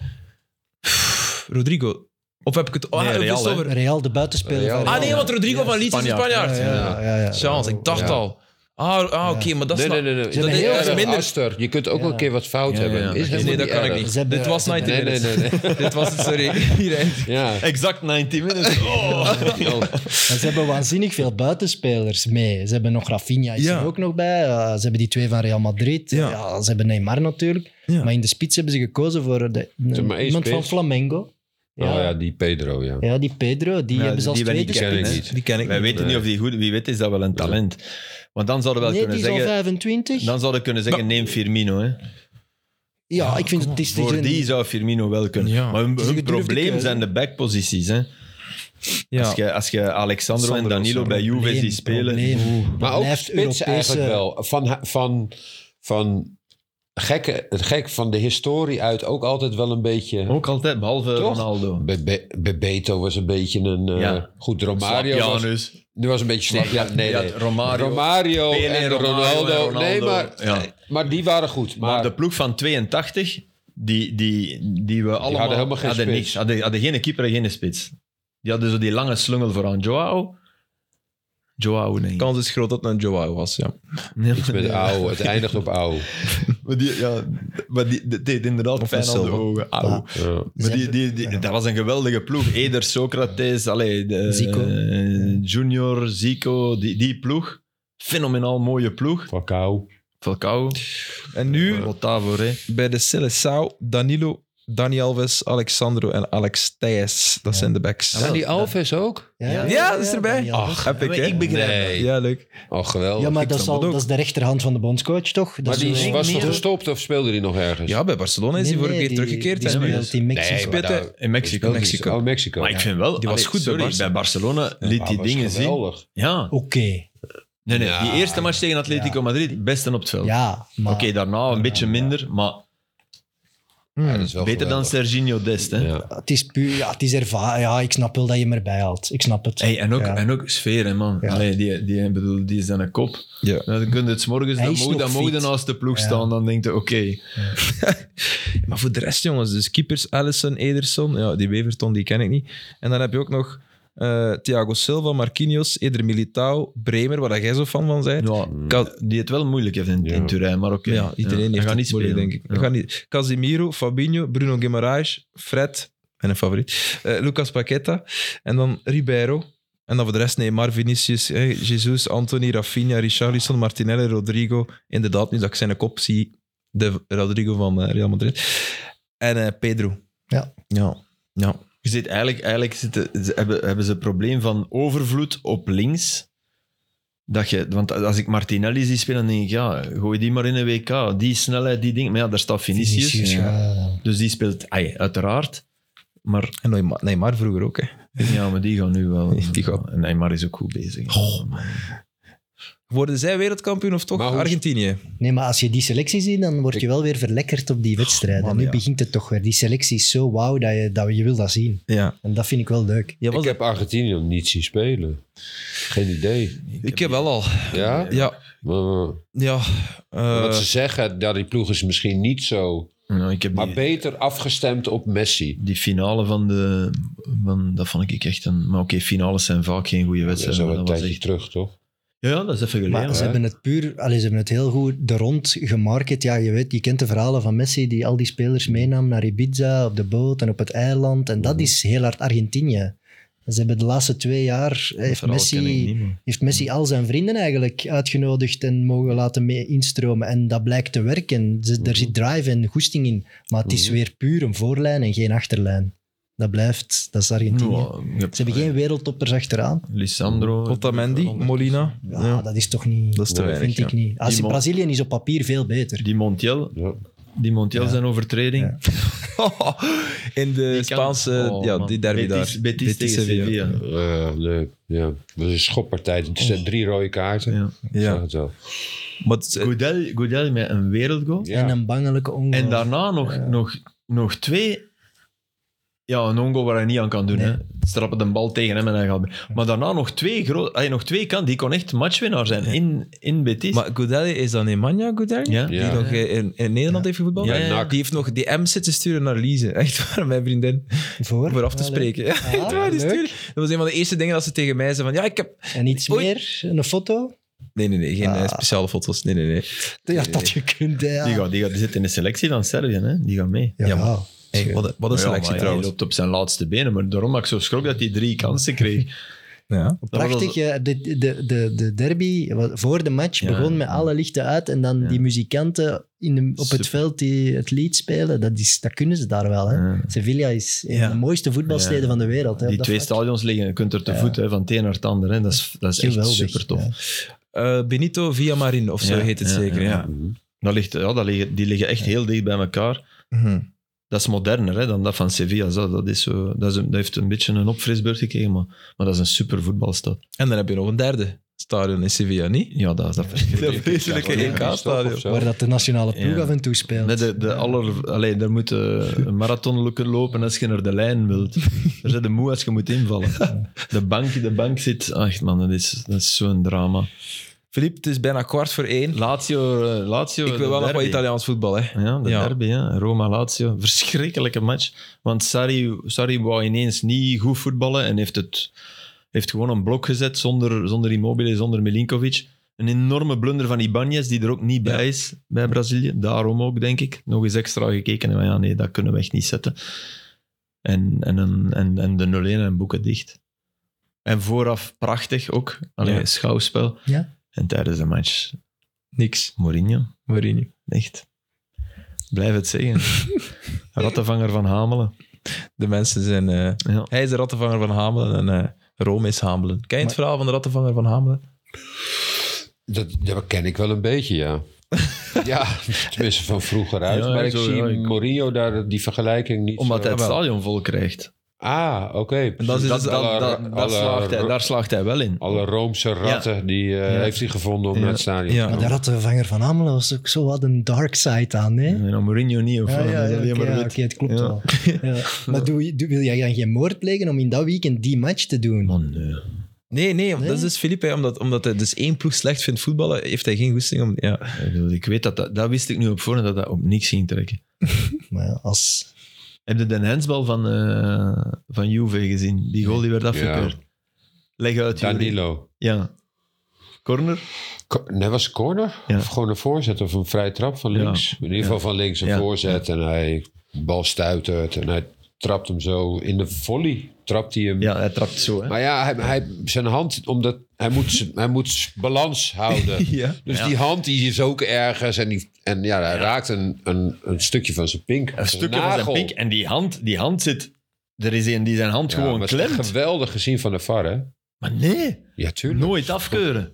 Speaker 1: Rodrigo, Of heb ik het... Oh,
Speaker 3: Nee,
Speaker 1: heb ik het
Speaker 3: Real,
Speaker 1: over...
Speaker 4: Real, de buitenspeler
Speaker 2: Real,
Speaker 4: van
Speaker 1: Ah nee,
Speaker 4: Real.
Speaker 1: want Rodrigo van Leeds is een
Speaker 3: Spanjaard.
Speaker 1: Spanjaard.
Speaker 4: Ja, ja, ja, ja.
Speaker 1: Chance, ik dacht
Speaker 2: Ja.
Speaker 1: al. Ah, ah oké, maar dat is
Speaker 2: Nee, nee,
Speaker 1: nou-
Speaker 2: nee. nee.
Speaker 1: Dat is
Speaker 4: heel
Speaker 1: erg
Speaker 4: veel
Speaker 1: minder...
Speaker 2: Aster, je kunt ook
Speaker 4: Ja.
Speaker 2: wel een keer wat fout
Speaker 3: Ja,
Speaker 2: hebben.
Speaker 3: ja,
Speaker 2: Is
Speaker 3: dat
Speaker 2: helemaal
Speaker 1: Nee, dat kan ik
Speaker 2: erg.
Speaker 1: niet.
Speaker 4: Ze hebben-
Speaker 1: Dit was 90
Speaker 2: Nee, nee,
Speaker 1: minutes.
Speaker 2: nee. nee.
Speaker 1: [LAUGHS] Dit was het, sorry. Hier eind.
Speaker 2: Ja.
Speaker 3: Exact 90 [LAUGHS] minuten.
Speaker 4: Maar ze hebben waanzinnig veel buitenspelers mee. Ze hebben nog Rafinha is
Speaker 1: Ja.
Speaker 4: er ook nog bij. Eh, ze hebben die twee van Real Madrid.
Speaker 1: Ja.
Speaker 4: Ja. ze hebben Neymar natuurlijk.
Speaker 1: Ja.
Speaker 4: Maar in de spits hebben ze gekozen voor de,
Speaker 2: maar één
Speaker 3: E
Speaker 4: iemand van
Speaker 2: spits.
Speaker 4: Flamengo. Ja.
Speaker 2: Oh ja, die Pedro, ja.
Speaker 4: Ja, die Pedro, die
Speaker 3: Ja,
Speaker 4: hebben ze
Speaker 3: die
Speaker 4: als
Speaker 3: ben ik
Speaker 4: tweede
Speaker 2: ken ik
Speaker 4: spits.
Speaker 2: niet.
Speaker 1: Die ken ik
Speaker 3: Wij
Speaker 1: niet.
Speaker 3: weten niet eh. of die goed Wie weet is dat wel een talent. Want dan zouden we wel
Speaker 4: Nee, die
Speaker 3: kunnen
Speaker 4: is al
Speaker 3: zeggen...
Speaker 4: 25.
Speaker 3: Dan zouden we kunnen zeggen, neem Firmino. Hè.
Speaker 4: ja, ik vind het is, het is
Speaker 3: Voor
Speaker 4: een-
Speaker 3: die zou Firmino wel kunnen.
Speaker 1: Ja.
Speaker 3: Maar hun,
Speaker 4: is een
Speaker 3: hun
Speaker 4: gedurfde
Speaker 3: probleem
Speaker 4: keuze.
Speaker 3: zijn de backposities. Hè. Als,
Speaker 1: Ja.
Speaker 3: je, als je Alexandro en
Speaker 1: Sandro,
Speaker 3: Danilo
Speaker 1: Sandro.
Speaker 3: bij Juve
Speaker 4: probleem,
Speaker 3: ziet spelen...
Speaker 4: probleem.
Speaker 2: Maar ook
Speaker 4: Blijft
Speaker 2: spits
Speaker 4: Europese-
Speaker 2: eigenlijk wel. Van, van, van gekke, het gek van de historie uit ook altijd wel een beetje...
Speaker 3: Ook altijd, behalve
Speaker 2: Toch?
Speaker 3: Ronaldo.
Speaker 2: Be- Be- Bebeto was een beetje een... eh,
Speaker 3: Ja.
Speaker 2: Goed, Romario was,
Speaker 3: Janus.
Speaker 2: die was een beetje slap. ja, nee,
Speaker 3: ja,
Speaker 2: nee.
Speaker 3: Romario.
Speaker 2: Romario
Speaker 3: Pele,
Speaker 2: en
Speaker 3: Romario en
Speaker 2: Ronaldo.
Speaker 3: Ronaldo.
Speaker 2: Nee, maar,
Speaker 3: Ja.
Speaker 2: maar die waren goed.
Speaker 3: Maar
Speaker 2: Maar,
Speaker 3: de ploeg van 82, die, die, die we allemaal...
Speaker 2: helemaal geen
Speaker 3: hadden
Speaker 2: spits.
Speaker 3: niks. Hadden, hadden geen keeper en geen spits. Die hadden zo die lange slungel vooraan. Joao... Joao, nee.
Speaker 1: kans is groot dat het een Joao was, ja.
Speaker 3: Nee,
Speaker 2: iets
Speaker 3: [LAUGHS]
Speaker 2: met ouw. Het eindigt op ouw.
Speaker 3: Maar die, ja, maar die dat deed inderdaad
Speaker 1: Of
Speaker 3: pijn
Speaker 1: een
Speaker 3: aan de
Speaker 1: Silva.
Speaker 3: ogen. Au.
Speaker 4: Ja.
Speaker 2: Ja.
Speaker 3: Maar die, die, die- dat was een geweldige ploeg. Eder, Socrates, allee, de-
Speaker 4: Zico.
Speaker 3: eh, Junior, Zico, die, die ploeg. Fenomenaal mooie ploeg.
Speaker 2: Falcao.
Speaker 3: Falcao,
Speaker 1: En nu
Speaker 3: Otavo, hè.
Speaker 1: bij de Seleção, Danilo, Dani Alves, Alexandro en Alex Thijs. Dat zijn de backs.
Speaker 2: En die Alves ook?
Speaker 1: Ja, dat is erbij.
Speaker 4: Daniel.
Speaker 2: Ach,
Speaker 1: Heb ik, hè?
Speaker 3: Ik begrijp
Speaker 2: nee.
Speaker 1: Ja, leuk.
Speaker 2: Oh, geweldig.
Speaker 4: ja, maar
Speaker 1: ik
Speaker 4: dat is,
Speaker 1: snap
Speaker 4: al-
Speaker 1: dat ook.
Speaker 4: dat is de rechterhand van de bondscoach, toch? Dat
Speaker 2: maar
Speaker 4: is
Speaker 2: die
Speaker 4: een-
Speaker 2: was
Speaker 3: meer-
Speaker 2: nog gestopt of speelde die nog ergens?
Speaker 1: Ja, bij Barcelona is
Speaker 4: Nee,
Speaker 1: die vorige
Speaker 4: nee,
Speaker 1: keer
Speaker 4: die-
Speaker 1: teruggekeerd.
Speaker 4: Die
Speaker 1: en nu
Speaker 4: speelt
Speaker 1: is-
Speaker 4: in
Speaker 2: Nee,
Speaker 4: Mexico.
Speaker 2: maar
Speaker 1: Spitten.
Speaker 2: daar-
Speaker 3: In Mexico.
Speaker 1: Mexico.
Speaker 2: Oh, Mexico.
Speaker 3: Maar ik vind wel,
Speaker 1: Die was goed bij
Speaker 3: sorry,
Speaker 1: Barca.
Speaker 3: bij Barcelona liet die dingen zien.
Speaker 2: geweldig.
Speaker 3: Ja,
Speaker 4: Oké,
Speaker 3: nee, nee,
Speaker 2: Ja.
Speaker 3: die eerste match tegen Atletico Madrid, beste op het veld.
Speaker 4: ja, maar...
Speaker 3: Oh. Oké, daarna een beetje minder, maar
Speaker 2: Ja,
Speaker 1: Hmm.
Speaker 2: dat is wel
Speaker 3: beter dan
Speaker 2: geweldig.
Speaker 3: Serginho Dest. Hè?
Speaker 2: Ja.
Speaker 4: Het is puur, ja, het is ervaren. Ja, ik snap wel dat je hem erbij haalt. Ik snap het.
Speaker 3: Hey, en, ook,
Speaker 4: Ja.
Speaker 3: en ook sfeer, hè, man.
Speaker 4: Ja.
Speaker 3: Allee, die, die, ik bedoel, die is dan een kop.
Speaker 1: Ja.
Speaker 3: Dan kun je het 's morgens,
Speaker 4: Hij
Speaker 3: dan
Speaker 4: is
Speaker 3: mogen
Speaker 4: nog
Speaker 3: dan mogen
Speaker 4: fit.
Speaker 3: naast de ploeg
Speaker 4: Ja.
Speaker 3: staan. Dan denk je, oké.
Speaker 1: Maar voor de rest, jongens, dus keepers Allison, Ederson, ja, die Weverton, die ken ik niet. En dan heb je ook nog eh, Thiago Silva, Marquinhos, Eder Militao, Bremer, waar jij zo fan van bent.
Speaker 3: Ja,
Speaker 1: Ka-
Speaker 3: die het wel moeilijk heeft in, in
Speaker 2: Ja.
Speaker 3: Turijn, maar oké.
Speaker 1: mm. ja, iedereen
Speaker 3: Hij
Speaker 1: heeft
Speaker 3: gaat
Speaker 1: het
Speaker 3: niet
Speaker 1: moeilijk,
Speaker 3: spelen,
Speaker 1: denk ik. Hij gaat niet. Casimiro, Fabinho, Bruno Guimaraes, Fred, mijn favoriet, eh, Lucas Paqueta en dan Ribeiro. En dan voor de rest Neymar, Vinicius, eh, Jesus, Anthony, Rafinha, Richarlison, Martinelli, Rodrigo. Inderdaad, nu dat ik zijn kop zie, de Rodrigo van eh, Real Madrid. En eh, Pedro.
Speaker 4: Ja.
Speaker 1: Ja. Ja.
Speaker 3: Je zit eigenlijk, eigenlijk zitten, ze hebben, hebben ze het probleem van overvloed op links. Dat je, want als ik Martinelli zie spelen, dan denk ik, ja, gooi die maar in een WK. Die snelheid, die ding. Maar ja, daar staat Vinicius.
Speaker 4: Vinicius,
Speaker 3: Ja.
Speaker 4: ja.
Speaker 3: Dus die speelt, ai, uiteraard. Maar
Speaker 1: En Neymar, Neymar vroeger ook, hè.
Speaker 3: ja, maar die gaan nu wel.
Speaker 1: [LAUGHS] Die gaan-
Speaker 3: En Neymar is ook goed bezig.
Speaker 1: Worden zij wereldkampioen of toch
Speaker 2: Maar hoe-
Speaker 1: Argentinië?
Speaker 4: Nee, maar als je die selectie ziet, dan word je wel weer verlekkerd op die wedstrijden.
Speaker 1: man,
Speaker 4: nu
Speaker 1: ja.
Speaker 4: begint het toch weer. Die selectie is zo wauw dat je, dat je wil dat zien.
Speaker 1: Ja.
Speaker 4: En dat vind ik wel leuk.
Speaker 1: ja was
Speaker 2: Ik
Speaker 1: ik,
Speaker 2: heb Argentinië nog niet zien spelen. Geen idee.
Speaker 1: heb, ik heb wel al.
Speaker 2: Ja?
Speaker 1: Ja.
Speaker 2: Maar-
Speaker 1: Ja. eh,
Speaker 2: Wat ze zeggen, dat die ploeg is misschien niet zo...
Speaker 3: Nou, ik heb
Speaker 2: Maar
Speaker 3: die-
Speaker 2: beter afgestemd op Messi.
Speaker 3: Die finale van de... Van, dat vond ik echt een... Maar oké, finales zijn vaak geen goede
Speaker 2: Dat is
Speaker 3: wedstrijden.
Speaker 2: al
Speaker 3: maar
Speaker 2: een
Speaker 3: dat was
Speaker 2: tijdje
Speaker 3: echt...
Speaker 2: terug, toch?
Speaker 3: Ja, ja, dat is even geleden.
Speaker 4: Maar ze
Speaker 2: hè?
Speaker 4: hebben het puur, allee, ze hebben het heel goed de rond gemarket. Ja, je weet, je kent de verhalen van Messi die al die spelers meenam naar Ibiza, op de boot en op het eiland. En
Speaker 3: Mhm.
Speaker 4: dat is heel hard Argentinië. Ze hebben de laatste twee jaar, eh, heeft
Speaker 3: Verhaal ken ik
Speaker 4: Messi,
Speaker 3: niet, Mhm. maar-
Speaker 4: heeft Messi al zijn vrienden eigenlijk uitgenodigd en mogen laten mee instromen. En dat blijkt te werken. Ze,
Speaker 3: Mhm.
Speaker 4: Er zit drive en goesting in. Maar het is
Speaker 2: Mhm.
Speaker 4: weer puur een voorlijn en geen achterlijn. Dat blijft, dat is Argentinië.
Speaker 3: Nou, je hebt-
Speaker 4: Ze hebben geen wereldtoppers achteraan.
Speaker 3: Lissandro...
Speaker 1: Eh, Otamendi, Molina.
Speaker 4: Ja,
Speaker 1: Ja.
Speaker 4: Dat is toch niet...
Speaker 1: Dat is te
Speaker 2: Nee,
Speaker 1: weinig.
Speaker 4: Vind
Speaker 1: ja.
Speaker 4: ik niet. Als
Speaker 3: Die man-
Speaker 4: Brazilië is op papier veel beter.
Speaker 3: Die Montiel.
Speaker 2: Ja.
Speaker 3: Die Montiel zijn overtreding.
Speaker 4: Ja.
Speaker 1: In de
Speaker 3: Die kan-
Speaker 1: Spaanse,
Speaker 3: Oh,
Speaker 1: ja,
Speaker 3: man.
Speaker 1: die derby
Speaker 3: Betis,
Speaker 1: daar.
Speaker 3: Betis, tegen Sevilla.
Speaker 2: Eh, nee, ja. Dat is een schoppartij. Het zijn drie rode kaarten.
Speaker 3: Ja.
Speaker 2: Zeg
Speaker 1: Ja.
Speaker 2: het wel.
Speaker 1: Maar het-
Speaker 3: Goodell, Goodell met een wereldgoal.
Speaker 2: Ja.
Speaker 4: En een bangelijke ongeluk.
Speaker 3: En daarna nog, nog, nog twee Ja, een ongo waar hij niet aan kan doen. Hè. Strappen de bal tegen hem en hij gaat... bij- Maar daarna nog twee, gro- ay, nog twee kan. Die kon echt matchwinnaar zijn in, in Betis.
Speaker 1: Maar Goudelli is dan Nemanja Goudelli?
Speaker 3: ja?
Speaker 2: Ja.
Speaker 1: Die nog eh, in, in Nederland heeft gevoetbald.
Speaker 3: Ja, ja, ja.
Speaker 1: Die heeft nog die M zitten sturen naar Lize. [LAUGHS] Echt waar, mijn vriendin.
Speaker 3: Ah,
Speaker 4: Voor?
Speaker 1: Voor af te
Speaker 4: Ja, leuk.
Speaker 1: spreken. [LAUGHS] Ja,
Speaker 4: Ah,
Speaker 1: echt waar, die
Speaker 4: leuk.
Speaker 1: sturen. Dat was een van de eerste dingen dat ze tegen mij zei van ja, ik heb...
Speaker 4: En iets
Speaker 1: Oei.
Speaker 4: meer? Een foto?
Speaker 1: Nee, nee, nee. Geen eh,
Speaker 4: Ah.
Speaker 1: speciale foto's. Nee, nee, nee.
Speaker 4: Ja, dat je kunt, ja.
Speaker 3: Die, gaat, die, gaat, die zit in de selectie van Servië. Hè. Die gaat mee.
Speaker 4: Ja,
Speaker 1: maar- Hey,
Speaker 4: Sure.
Speaker 1: wat, een- wat een
Speaker 3: Maar ja,
Speaker 1: selectie
Speaker 3: maar
Speaker 1: trouwens.
Speaker 3: Hij loopt op zijn laatste benen. Maar daarom dat ik zo schrok dat hij drie kansen kreeg.
Speaker 1: Ja.
Speaker 4: Prachtig, ja. de, de, de, de derby wa- voor de match
Speaker 3: Ja.
Speaker 4: begon met alle lichten uit en dan
Speaker 3: Ja.
Speaker 4: die muzikanten in de, op
Speaker 3: Super.
Speaker 4: het veld die het lied spelen, dat, is, dat kunnen ze daar wel. Hè?
Speaker 3: [LAUGHS] Ja.
Speaker 4: Sevilla is een
Speaker 3: Ja.
Speaker 4: van de mooiste voetbalsteden
Speaker 3: Ja.
Speaker 4: van de wereld. Hè, op
Speaker 3: Die
Speaker 4: dat
Speaker 3: twee
Speaker 4: vlak.
Speaker 3: stadions liggen, je kunt er te
Speaker 4: Ja.
Speaker 3: voet hè, van het een naar het ander. Hè. Dat is, dat is echt
Speaker 4: Geweldig,
Speaker 3: super tof.
Speaker 4: ja.
Speaker 1: Eh, Benito Villamarin, of zo
Speaker 3: Ja,
Speaker 1: heet het
Speaker 3: ja,
Speaker 1: zeker.
Speaker 3: ja.
Speaker 1: Ja.
Speaker 3: Dat ligt, ja, dat liggen, die liggen echt heel dicht bij elkaar.
Speaker 1: Mhm.
Speaker 3: Dat is moderner hè, dan dat van Sevilla. Zo, dat, is zo, dat, is een- dat heeft een beetje een opfrisbeurt gekregen, maar, maar dat is een super voetbalstad.
Speaker 1: En dan heb je nog een derde stadion in Sevilla, niet?
Speaker 3: Ja, dat is [LAUGHS] dat.
Speaker 1: Dat vreselijke
Speaker 2: Ja,
Speaker 1: EK-stadion.
Speaker 2: of zo.
Speaker 4: Waar dat de nationale ploeg
Speaker 3: Ja.
Speaker 4: af en toe speelt.
Speaker 3: Net de, de aller, allee, daar moet eh, een marathon lukken lopen als je naar de lijn wilt. Daar zit de moe als je moet invallen. De bank, de bank zit... Ach man, dat is, dat is zo'n drama.
Speaker 1: Filip, het is bijna kwart voor één.
Speaker 3: Lazio, eh, Lazio
Speaker 1: Ik wil wel nog wat Italiaans voetbal, hè.
Speaker 3: Ja, de
Speaker 1: Ja.
Speaker 3: derby, ja. Roma-Lazio. [LAUGHS] Verschrikkelijke match. Want Sarri, Sarri wou ineens niet goed voetballen en heeft, het, heeft gewoon een blok gezet zonder, zonder Immobile, zonder Milinkovic. Een enorme blunder van Ibanez, die er ook niet bij is bij Brazilië. Daarom ook, denk ik. Nog eens extra gekeken. Maar ja, nee, dat kunnen we echt niet zetten. En, en, een- en, en de 0-1 en boeken dicht. En vooraf prachtig ook. Alleen
Speaker 1: Ja.
Speaker 3: schouwspel.
Speaker 4: Ja.
Speaker 3: En tijdens de match,
Speaker 1: Niks.
Speaker 3: Mourinho.
Speaker 1: Mourinho.
Speaker 3: Echt. Blijf het zeggen.
Speaker 4: [LAUGHS]
Speaker 3: Rattenvanger van Hamelen.
Speaker 1: De mensen zijn... eh,
Speaker 3: Ja.
Speaker 1: hij is de rattenvanger van Hamelen en eh, Rome is Hamelen. Ken je het
Speaker 4: Maar-
Speaker 1: verhaal van de rattenvanger van Hamelen?
Speaker 2: Dat, dat ken ik wel een beetje, ja. ja, tenminste van vroeger uit.
Speaker 3: Ja,
Speaker 2: maar ik
Speaker 3: zo,
Speaker 2: zie
Speaker 3: ja, ik-
Speaker 2: Mourinho daar die vergelijking niet
Speaker 3: Omdat
Speaker 2: zo...
Speaker 3: hij het stadion vol krijgt.
Speaker 2: Ah, oké.
Speaker 1: En dat is
Speaker 3: Dat,
Speaker 1: dus
Speaker 3: dat-
Speaker 2: alle-
Speaker 3: dat- dat
Speaker 2: alle-
Speaker 3: slaagt hij, daar slaagt hij wel in.
Speaker 2: Alle Roomse ratten die eh,
Speaker 3: Ja.
Speaker 2: heeft hij gevonden om
Speaker 3: Ja.
Speaker 2: naar het stadion
Speaker 1: Ja.
Speaker 2: te
Speaker 4: Maar
Speaker 2: komen.
Speaker 4: daar had de vanger van Amelen was ook zo wat een dark side aan. Hè?
Speaker 3: En dan Mourinho niet. Of
Speaker 4: Ja,
Speaker 3: wat,
Speaker 4: ja,
Speaker 3: dat is
Speaker 4: ja,
Speaker 3: alleen
Speaker 4: oké,
Speaker 3: maar
Speaker 4: ja,
Speaker 3: wit.
Speaker 4: oké, het klopt
Speaker 3: Ja.
Speaker 4: wel. Ja.
Speaker 3: [LAUGHS]
Speaker 4: Maar doe, je- doe- wil jij dan geen moord plegen om in dat weekend die match te doen?
Speaker 3: Man, nee.
Speaker 1: Nee, nee,
Speaker 4: Nee?
Speaker 1: dat is dus Filip. hè. Omdat, omdat hij dus één ploeg slecht vindt voetballen, heeft hij geen goesting om... Ja.
Speaker 3: Ik bedoel, Ik weet dat, dat, dat wist ik nu op voorhand, dat dat op niks ging trekken.
Speaker 4: Maar ja, als...
Speaker 3: Heb je de handsbal van, eh, van Juve gezien? Die goal die werd afgekeurd. Leg uit, Jury.
Speaker 2: Danilo.
Speaker 3: Ja. Corner?
Speaker 2: Ko- Nee, was het corner?
Speaker 3: Ja.
Speaker 2: Of gewoon een voorzet of een vrije trap van
Speaker 3: Ja.
Speaker 2: links? In ieder geval van links een
Speaker 3: Ja.
Speaker 2: voorzet en hij bal stuit het en hij trapt hem zo in de volley. Trapt hij hem.
Speaker 3: Ja, hij trapt zo. Hè.
Speaker 2: Maar ja, hij, hij, zijn hand, omdat hij moet, z- hij moet balans
Speaker 3: [LAUGHS]
Speaker 2: houden.
Speaker 3: [LAUGHS] Ja.
Speaker 2: Dus
Speaker 3: Ja.
Speaker 2: die hand die is ook ergens en, die, en ja, hij raakt een, een, een stukje van zijn pink.
Speaker 3: Een stukje van zijn
Speaker 2: nagel.
Speaker 3: pink. En die hand, die hand zit... Er is een die zijn hand
Speaker 2: Ja,
Speaker 3: gewoon
Speaker 2: maar het is echt
Speaker 3: klemt.
Speaker 2: geweldig gezien van de VAR, hè?
Speaker 3: Maar nee,
Speaker 2: Ja, tuurlijk.
Speaker 3: nooit afkeuren.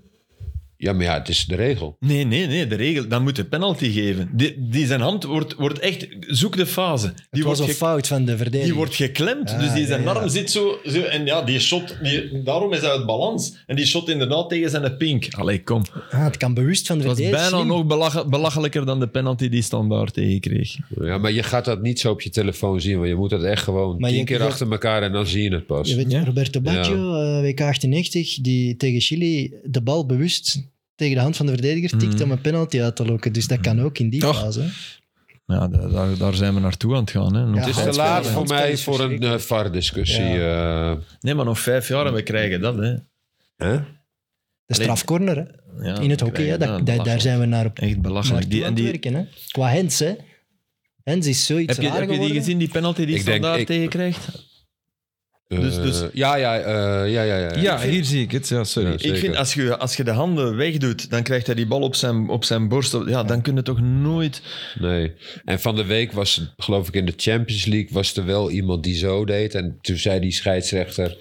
Speaker 2: Ja, maar ja, het is de regel.
Speaker 3: Nee, nee, nee, de regel, dan moet je penalty geven. Die, die zijn hand wordt, wordt echt, zoek de fase. Die
Speaker 4: het was
Speaker 3: wordt,
Speaker 4: een
Speaker 3: ge-
Speaker 4: fout van de
Speaker 3: die
Speaker 4: verdediging.
Speaker 3: wordt geklemd,
Speaker 4: Ah,
Speaker 3: dus die zijn
Speaker 4: ja, ja.
Speaker 3: arm zit zo, zo. En ja, die shot, die, daarom is hij uit balans. En die shot inderdaad tegen zijn pink. Allee, kom.
Speaker 4: Ah, het kan bewust van de
Speaker 3: Het was
Speaker 4: verdediging.
Speaker 3: bijna nog belach- belachelijker dan de penalty die standaard tegenkreeg.
Speaker 2: Ja, maar je gaat dat niet zo op je telefoon zien, want je moet dat echt gewoon
Speaker 4: Maar
Speaker 2: tien
Speaker 4: je-
Speaker 2: keer
Speaker 4: je-
Speaker 2: achter elkaar en dan zie je het pas.
Speaker 4: Je weet,
Speaker 1: Ja.
Speaker 4: Roberto Baggio, eh, WK 98, die tegen Chili de bal bewust tegen de hand van de verdediger tikt
Speaker 3: Mm.
Speaker 4: om een penalty uit te lokken. Dus dat kan ook in die
Speaker 1: Toch.
Speaker 4: fase. hè.
Speaker 3: Ja, daar, daar- daar zijn we naartoe aan het gaan. Hè. Nog-
Speaker 4: Ja.
Speaker 2: het is te
Speaker 4: handspel-
Speaker 2: laat voor
Speaker 4: handspel
Speaker 2: mij
Speaker 4: is
Speaker 2: voor een eh, VAR-discussie. eh.
Speaker 3: Nee, maar nog vijf jaar en we krijgen dat. Hè.
Speaker 2: Hè?
Speaker 4: De
Speaker 3: Alleen-
Speaker 4: strafcorner hè,
Speaker 3: Ja,
Speaker 4: in het
Speaker 3: we
Speaker 4: hockey, hè,
Speaker 3: krijgen
Speaker 4: dat, daar- daar zijn we naar op
Speaker 3: Echt belachelijk.
Speaker 4: naartoe
Speaker 3: Die,
Speaker 4: aan
Speaker 3: en
Speaker 4: het
Speaker 3: die,
Speaker 4: werken. Hè. Qua Hens, hè. Hens is zoiets
Speaker 3: heb je,
Speaker 4: raar
Speaker 3: heb je die
Speaker 4: geworden.
Speaker 3: gezien, die penalty die
Speaker 2: Ik denk-
Speaker 3: standaard
Speaker 2: ik-
Speaker 3: tegenkrijgt? Dus-
Speaker 2: Eh,
Speaker 3: dus-
Speaker 2: ja, ja, eh, ja, ja, ja.
Speaker 1: ja, hier zie ik het. Ja, sorry.
Speaker 2: Ja.
Speaker 3: Ik
Speaker 2: Zeker.
Speaker 3: vind, als je, als je de handen wegdoet, dan krijgt hij die bal op zijn, op zijn borst. Ja, dan kun je toch nooit...
Speaker 2: Nee. En van de week was, geloof ik, in de Champions League was er wel iemand die zo deed. En toen zei die scheidsrechter,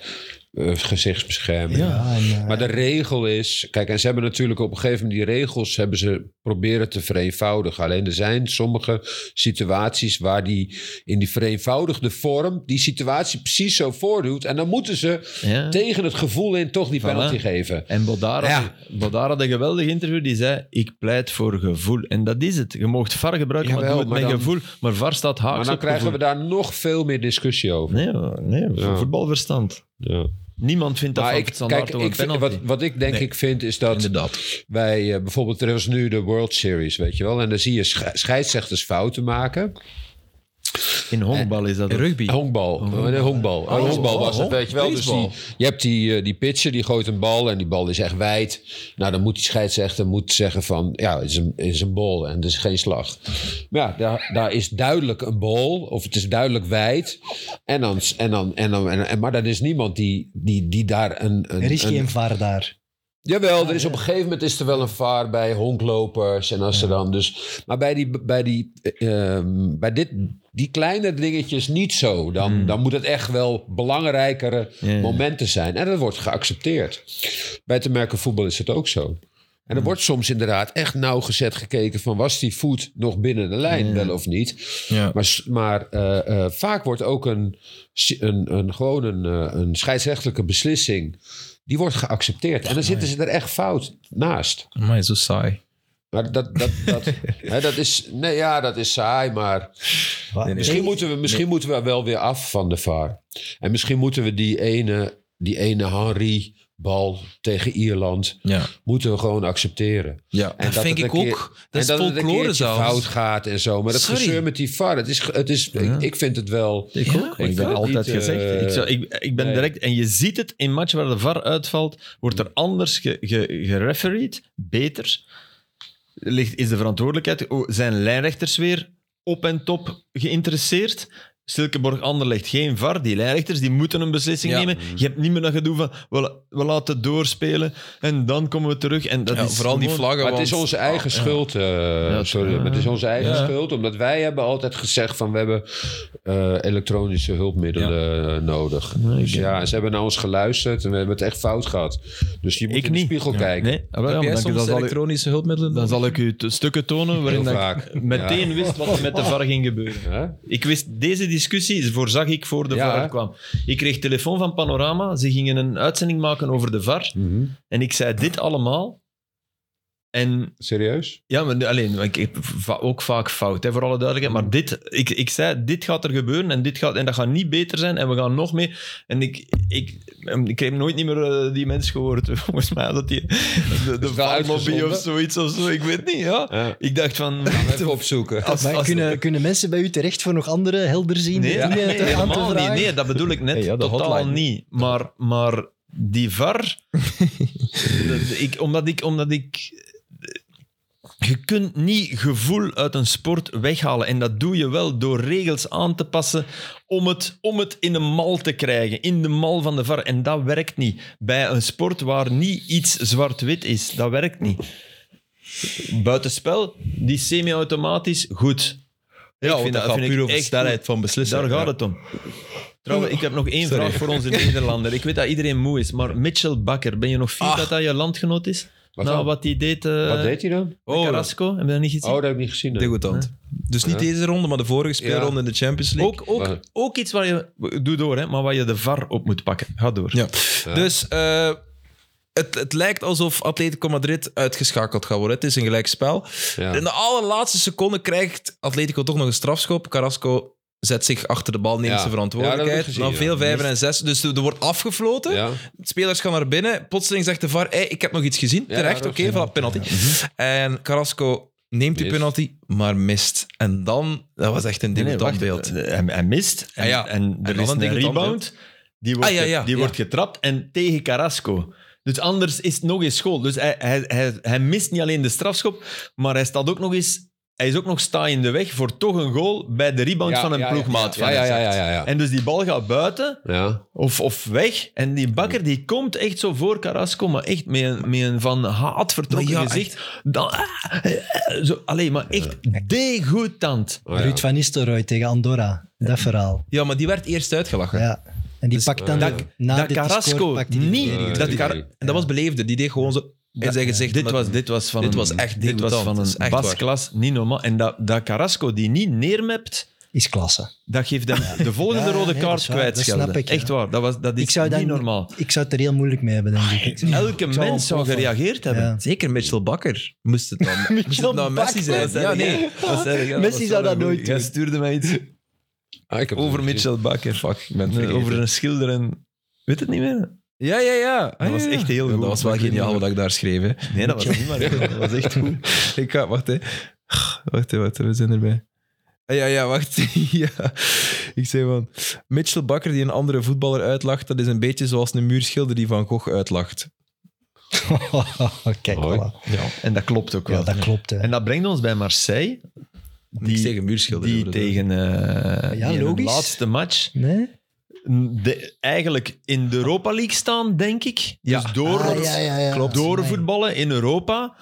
Speaker 2: eh, gezichtsbescherming.
Speaker 3: Ja.
Speaker 4: en, eh,
Speaker 2: Maar de regel is, kijk, en ze hebben natuurlijk op een gegeven moment die regels hebben ze proberen te vereenvoudigen. Alleen er zijn sommige situaties waar die in die vereenvoudigde vorm die situatie precies zo voordoet. En dan moeten ze
Speaker 3: Ja.
Speaker 2: tegen het gevoel in toch die
Speaker 3: Voilà.
Speaker 2: penalty geven.
Speaker 3: En Bodara,
Speaker 2: Ja.
Speaker 3: Bodara had een geweldig interview. Die zei, ik pleit voor gevoel. En dat is het. Je mocht VAR gebruiken, maar
Speaker 2: Jawel,
Speaker 3: doe het
Speaker 2: maar
Speaker 3: met
Speaker 2: dan-
Speaker 3: gevoel. Maar VAR staat haaks
Speaker 2: Maar dan
Speaker 3: op
Speaker 2: krijgen we
Speaker 3: gevoel.
Speaker 2: daar nog veel meer discussie over.
Speaker 3: Nee, maar- nee
Speaker 2: Ja.
Speaker 3: voetbalverstand.
Speaker 2: Ja.
Speaker 3: Niemand vindt dat
Speaker 2: Maar
Speaker 3: van
Speaker 2: ik,
Speaker 3: standaard
Speaker 2: kijk,
Speaker 3: toch een
Speaker 2: ik vind,
Speaker 3: penalty.
Speaker 2: wat, wat ik denk ik vind is dat
Speaker 1: Inderdaad.
Speaker 2: wij eh, bijvoorbeeld, er was nu de World Series, weet je wel. En dan zie je sche- scheidsrechters fouten maken.
Speaker 3: In honkbal is
Speaker 4: Eh,
Speaker 3: dat ook.
Speaker 1: Rugby.
Speaker 2: Honkbal. Nee, honkbal. Oh, honkbal was het,
Speaker 1: honk-
Speaker 2: weet je wel. Dus die,
Speaker 1: baseball.
Speaker 2: je hebt die, eh, die pitcher, die gooit een bal en die bal is echt wijd. Nou, dan moet die scheidsrechter moet zeggen van... Ja, het is een, het is een bal en het is geen slag. Maar ja, daar, daar is duidelijk een bal of het is duidelijk wijd. En dan, en dan, en dan, en, en- maar dan is niemand die, die, die daar een... een
Speaker 4: er is
Speaker 2: een-
Speaker 4: geen vaar daar.
Speaker 2: Jawel, er is op een gegeven moment is er wel een vaar bij honklopers en als ze dan dus. Maar bij, die, bij, die, eh, ehm, bij dit, die kleine dingetjes niet zo. Dan, dan moet het echt wel belangrijkere
Speaker 3: Ja, ja.
Speaker 2: momenten zijn. En dat wordt geaccepteerd. Bij te merken voetbal is het ook zo. En er wordt soms inderdaad echt nauwgezet gekeken van was die voet nog binnen de lijn wel of niet.
Speaker 1: Ja.
Speaker 2: Maar, s- maar eh, eh, vaak wordt ook een, s- een, een, gewoon een, eh, een scheidsrechtelijke beslissing. Die wordt geaccepteerd. En dan zitten ze er echt fout naast.
Speaker 1: Maar zo saai.
Speaker 2: Maar dat, dat, dat, hè, dat is. Nee, ja, dat is saai. Maar
Speaker 4: Wat?
Speaker 1: nee.
Speaker 2: misschien, moeten we, misschien moeten we wel weer af van de VAR. En misschien moeten we die ene, die ene Henry bal tegen Ierland.
Speaker 1: Ja.
Speaker 2: moeten we gewoon accepteren.
Speaker 1: ja.
Speaker 2: En
Speaker 1: Dat, vind
Speaker 2: het
Speaker 1: ik
Speaker 2: een keer-
Speaker 1: ook. Dat is
Speaker 2: en dat het een
Speaker 1: folklore
Speaker 2: keertje
Speaker 1: zelfs.
Speaker 2: fout gaat en zo. Maar dat
Speaker 1: Sorry.
Speaker 2: gezeur met die VAR, het is, ge- het is, ik, ik vind het wel...
Speaker 3: Ik
Speaker 1: Ja,
Speaker 3: ook.
Speaker 1: ik
Speaker 3: Ik
Speaker 2: vind
Speaker 3: ben
Speaker 2: het
Speaker 3: altijd
Speaker 2: niet,
Speaker 3: gezegd.
Speaker 2: eh,
Speaker 3: ik, zou- ik, ik ben
Speaker 2: nee.
Speaker 3: direct. En je ziet het in matchen waar de VAR uitvalt, wordt
Speaker 1: Mm.
Speaker 3: er anders ge, ge- gerefereed, beter. Ligt, is de verantwoordelijkheid. oh, Zijn lijnrechters weer op en top geïnteresseerd? Silkeborg Anderlecht, geen VAR. Die lijnrechters die moeten een beslissing
Speaker 1: Ja. Mm.
Speaker 3: nemen. Je hebt niet meer dat gedoe van we, we laten het doorspelen en dan komen we terug. En dat
Speaker 1: Ja,
Speaker 3: is
Speaker 1: vooral die
Speaker 3: gewoon-
Speaker 1: vlaggen.
Speaker 2: Maar het
Speaker 1: want- Oh, ah,
Speaker 2: is onze eigen schuld. eh, sorry, maar het is onze eigen
Speaker 1: Ja.
Speaker 2: schuld. Omdat wij hebben altijd gezegd van we hebben eh, elektronische hulpmiddelen nodig. dus ja, en ze hebben naar ons geluisterd en we hebben het echt fout gehad. Dus je moet
Speaker 3: Ik
Speaker 2: in de
Speaker 3: niet.
Speaker 2: spiegel kijken.
Speaker 3: Nee, ah, wel, ja,
Speaker 1: Heb
Speaker 3: maar
Speaker 1: jij
Speaker 3: dan-
Speaker 1: soms
Speaker 3: dan zal ik-
Speaker 1: elektronische hulpmiddelen?
Speaker 3: dan zal ik u de stukken tonen waarin
Speaker 2: Heel
Speaker 3: dat ik
Speaker 2: [LAUGHS] vaak.
Speaker 3: meteen wist wat er met de VAR ging gebeuren.
Speaker 2: Hè?
Speaker 3: Ik wist, deze discussie voorzag ik voor de
Speaker 2: Ja,
Speaker 3: VAR
Speaker 2: hè?
Speaker 3: kwam. Ik kreeg telefoon van Panorama. Ze gingen een uitzending maken over de VAR.
Speaker 2: Mhm.
Speaker 3: En ik zei dit allemaal. En
Speaker 2: Serieus?
Speaker 3: ja, maar, alleen, ik heb va- ook vaak fout, hè, voor alle duidelijkheid. Maar dit, ik, ik zei, dit gaat er gebeuren en, dit gaat, en dat gaat niet beter zijn en we gaan nog meer. En ik, ik, em, ik heb nooit niet meer eh, die mens gehoord. [LAUGHS] Volgens mij dat die de, de
Speaker 2: wel
Speaker 3: VAR-lobby
Speaker 2: uitgezonden?
Speaker 3: of zoiets of zo, ik weet niet. Ja.
Speaker 2: Ja.
Speaker 3: Ik dacht van...
Speaker 2: Even opzoeken.
Speaker 3: als-
Speaker 4: Maar
Speaker 3: als-
Speaker 4: kunnen, kunnen mensen bij u terecht voor nog andere helder zien?
Speaker 3: Nee, nee,
Speaker 4: aan eh, te
Speaker 3: helemaal niet.
Speaker 4: vragen?
Speaker 3: Nee, dat bedoel ik net
Speaker 1: Hey, ja, de
Speaker 3: totaal
Speaker 1: hotline.
Speaker 3: niet. Maar, maar die
Speaker 1: [LAUGHS]
Speaker 3: VAR... dat- ik, omdat ik... Omdat ik je kunt niet gevoel uit een sport weghalen. En dat doe je wel door regels aan te passen om het, om het in de mal te krijgen. In de mal van de VAR. En dat werkt niet. Bij een sport waar niet iets zwart-wit is. Dat werkt niet. Buitenspel, die semi-automatisch, goed.
Speaker 1: ja,
Speaker 3: vind
Speaker 1: want
Speaker 3: dat-
Speaker 1: dat gaat
Speaker 3: vind ik
Speaker 1: puur over
Speaker 3: echt
Speaker 1: snelheid van beslissen.
Speaker 3: Daar gaat
Speaker 1: Ja.
Speaker 3: het om. Trouwens, ik heb nog één
Speaker 1: Sorry.
Speaker 3: vraag voor onze Nederlander. Ik weet dat iedereen moe is, maar Mitchell Bakker, ben je nog fier
Speaker 1: Ah.
Speaker 3: dat dat je landgenoot is?
Speaker 2: Wat
Speaker 3: nou,
Speaker 2: dan?
Speaker 3: wat hij deed, eh
Speaker 2: Wat deed hij dan?
Speaker 3: met Carrasco, heb je dat niet gezien?
Speaker 2: Oh, dat heb ik niet gezien. nee.
Speaker 1: Degotant. Dus niet
Speaker 2: Ja.
Speaker 1: deze ronde, maar de vorige speelronde in de Champions League.
Speaker 3: ook, ook,
Speaker 2: Maar-
Speaker 3: ook iets waar je... Doe door, hè, maar waar je de VAR op moet pakken. Ga door.
Speaker 1: Ja. Dus eh, het, het lijkt alsof Atletico Madrid uitgeschakeld gaat worden. Het is een gelijkspel.
Speaker 2: Ja.
Speaker 1: In de allerlaatste seconde krijgt Atletico toch nog een strafschop. Carrasco zet zich achter de bal, neemt
Speaker 2: Ja.
Speaker 1: zijn
Speaker 2: Ja, dat heb
Speaker 1: verantwoordelijkheid.
Speaker 2: ik gezien,
Speaker 1: Dan
Speaker 2: ja.
Speaker 1: veel vijven en zes. Dus er er wordt afgefloten.
Speaker 2: Ja.
Speaker 1: Spelers gaan naar binnen. Plotseling zegt de VAR, "Hey, ik heb nog iets gezien.
Speaker 2: Ja,
Speaker 1: Terecht,
Speaker 2: dat
Speaker 1: oké,
Speaker 2: is
Speaker 1: voilà, penalty. En Carrasco neemt die
Speaker 2: Mist.
Speaker 1: penalty, maar mist. En dan, dat was echt een
Speaker 3: Nee, nee,
Speaker 1: degotant
Speaker 3: wacht. eh,
Speaker 1: beeld.
Speaker 3: Hij, hij mist en,
Speaker 1: Ah, ja.
Speaker 3: en er
Speaker 1: En
Speaker 3: is
Speaker 1: dan een
Speaker 3: een
Speaker 1: degoutant
Speaker 3: rebound. Die wordt,
Speaker 1: Ah, ja,
Speaker 3: ge-
Speaker 1: ja,
Speaker 3: die
Speaker 1: ja.
Speaker 3: wordt getrapt en tegen Carrasco. Dus anders is het nog eens school. Dus hij, hij, hij, hij mist niet alleen de strafschop, maar hij staat ook nog eens... Hij is ook nog sta in de weg voor toch een goal bij de rebound
Speaker 2: Ja,
Speaker 3: van een
Speaker 2: ja, ja,
Speaker 3: ploegmaat
Speaker 2: ja,
Speaker 3: van
Speaker 2: ja,
Speaker 3: hem.
Speaker 2: ja, ja, ja, ja.
Speaker 3: En dus die bal gaat buiten
Speaker 2: Ja.
Speaker 3: of, of weg. En die bakker die komt echt zo voor Carrasco, maar echt met een, met een van haat vertrokken
Speaker 1: Maar ja,
Speaker 3: gezicht. Dan, ah, eh, eh, zo, alleen maar echt degoutant.
Speaker 2: Oh, ja.
Speaker 4: Ruud van Nistelrooy tegen Andorra, dat verhaal.
Speaker 1: Ja, maar die werd eerst uitgelachen.
Speaker 4: Ja. En die
Speaker 1: Dus
Speaker 4: pakt dan
Speaker 1: dat-
Speaker 4: na
Speaker 1: dat
Speaker 4: dit
Speaker 1: Carrasco
Speaker 4: score, pakt hij die
Speaker 1: niet.
Speaker 4: verdediging
Speaker 2: Nee,
Speaker 1: dat
Speaker 4: terug.
Speaker 1: Car-
Speaker 2: nee.
Speaker 1: en dat was beleefde. Die deed gewoon zo in zijn gezicht.
Speaker 3: Dit
Speaker 1: maar-
Speaker 3: was, dit was van
Speaker 1: dit
Speaker 3: een,
Speaker 1: was echt
Speaker 3: dit was
Speaker 1: degoutant.
Speaker 3: van
Speaker 1: Dat is
Speaker 3: een
Speaker 1: echt
Speaker 3: basklas, niet normaal. En dat, dat Carrasco die niet neermept,
Speaker 4: is klasse.
Speaker 3: dat geeft hem de volgende
Speaker 4: Ja,
Speaker 3: rode
Speaker 4: nee, dat
Speaker 3: kaart
Speaker 4: is waar.
Speaker 3: kwijtschelden.
Speaker 4: Dat snap ik, ja.
Speaker 3: Echt waar, dat, was, dat is
Speaker 4: Ik zou,
Speaker 3: niet
Speaker 4: dat,
Speaker 3: normaal.
Speaker 4: ik zou het er heel moeilijk mee hebben, denk ik.
Speaker 3: Elke
Speaker 4: zou
Speaker 3: mens zou
Speaker 4: opvallen.
Speaker 3: gereageerd [LAUGHS] hebben.
Speaker 4: Ja.
Speaker 1: Zeker Mitchell Bakker moest het dan.
Speaker 4: [LAUGHS]
Speaker 1: moest het nou Messi zijn? Ja, nee.
Speaker 3: Dat zei ik, ja, dat
Speaker 4: Messi
Speaker 3: was
Speaker 4: zou
Speaker 3: wel
Speaker 4: dat
Speaker 3: een
Speaker 4: nooit
Speaker 3: goeie. Jij
Speaker 4: doen.
Speaker 3: stuurde mij iets
Speaker 2: Ah, ik heb
Speaker 3: over
Speaker 2: het niet gezien.
Speaker 3: Mitchell Bakker.
Speaker 1: Fuck, ik ben het
Speaker 3: Nee,
Speaker 1: vergeten.
Speaker 3: over een schilder en... Weet het niet meer?
Speaker 1: Ja, ja, ja. Ah,
Speaker 3: Dat was
Speaker 1: ja, ja.
Speaker 3: echt heel
Speaker 1: Ja,
Speaker 3: goed.
Speaker 1: Dat was wel
Speaker 3: Ik weet niet
Speaker 1: geniaal
Speaker 3: meer.
Speaker 1: wat ik daar schreef. Hè.
Speaker 3: Nee, dat was niet maar. Dat was echt
Speaker 4: [LAUGHS]
Speaker 3: goed.
Speaker 1: Ik ga, wacht hè. Wacht hè, wacht hè, we zijn erbij. Ah, Ja, ja, wacht. [LAUGHS] ja. Ik zei van, Mitchell Bakker die een andere voetballer uitlacht, dat is een beetje zoals een muurschilder die Van Gogh uitlacht.
Speaker 4: [LAUGHS] Kijk,
Speaker 2: Mooi.
Speaker 4: voilà.
Speaker 3: En dat klopt ook wel.
Speaker 4: Ja, dat klopt. Hè.
Speaker 3: En dat brengt ons bij Marseille.
Speaker 1: Die,
Speaker 3: Die,
Speaker 1: tegen muurschilder.
Speaker 3: die
Speaker 1: inderdaad.
Speaker 3: tegen eh,
Speaker 4: Ja,
Speaker 3: die in hun
Speaker 4: logisch.
Speaker 3: laatste match
Speaker 4: Nee?
Speaker 3: de- eigenlijk in de Europa League staan, denk ik.
Speaker 1: Ja.
Speaker 3: Dus door,
Speaker 4: Ah, ja, ja, ja.
Speaker 3: Klopt.
Speaker 4: Nee.
Speaker 3: doorvoetballen in Europa.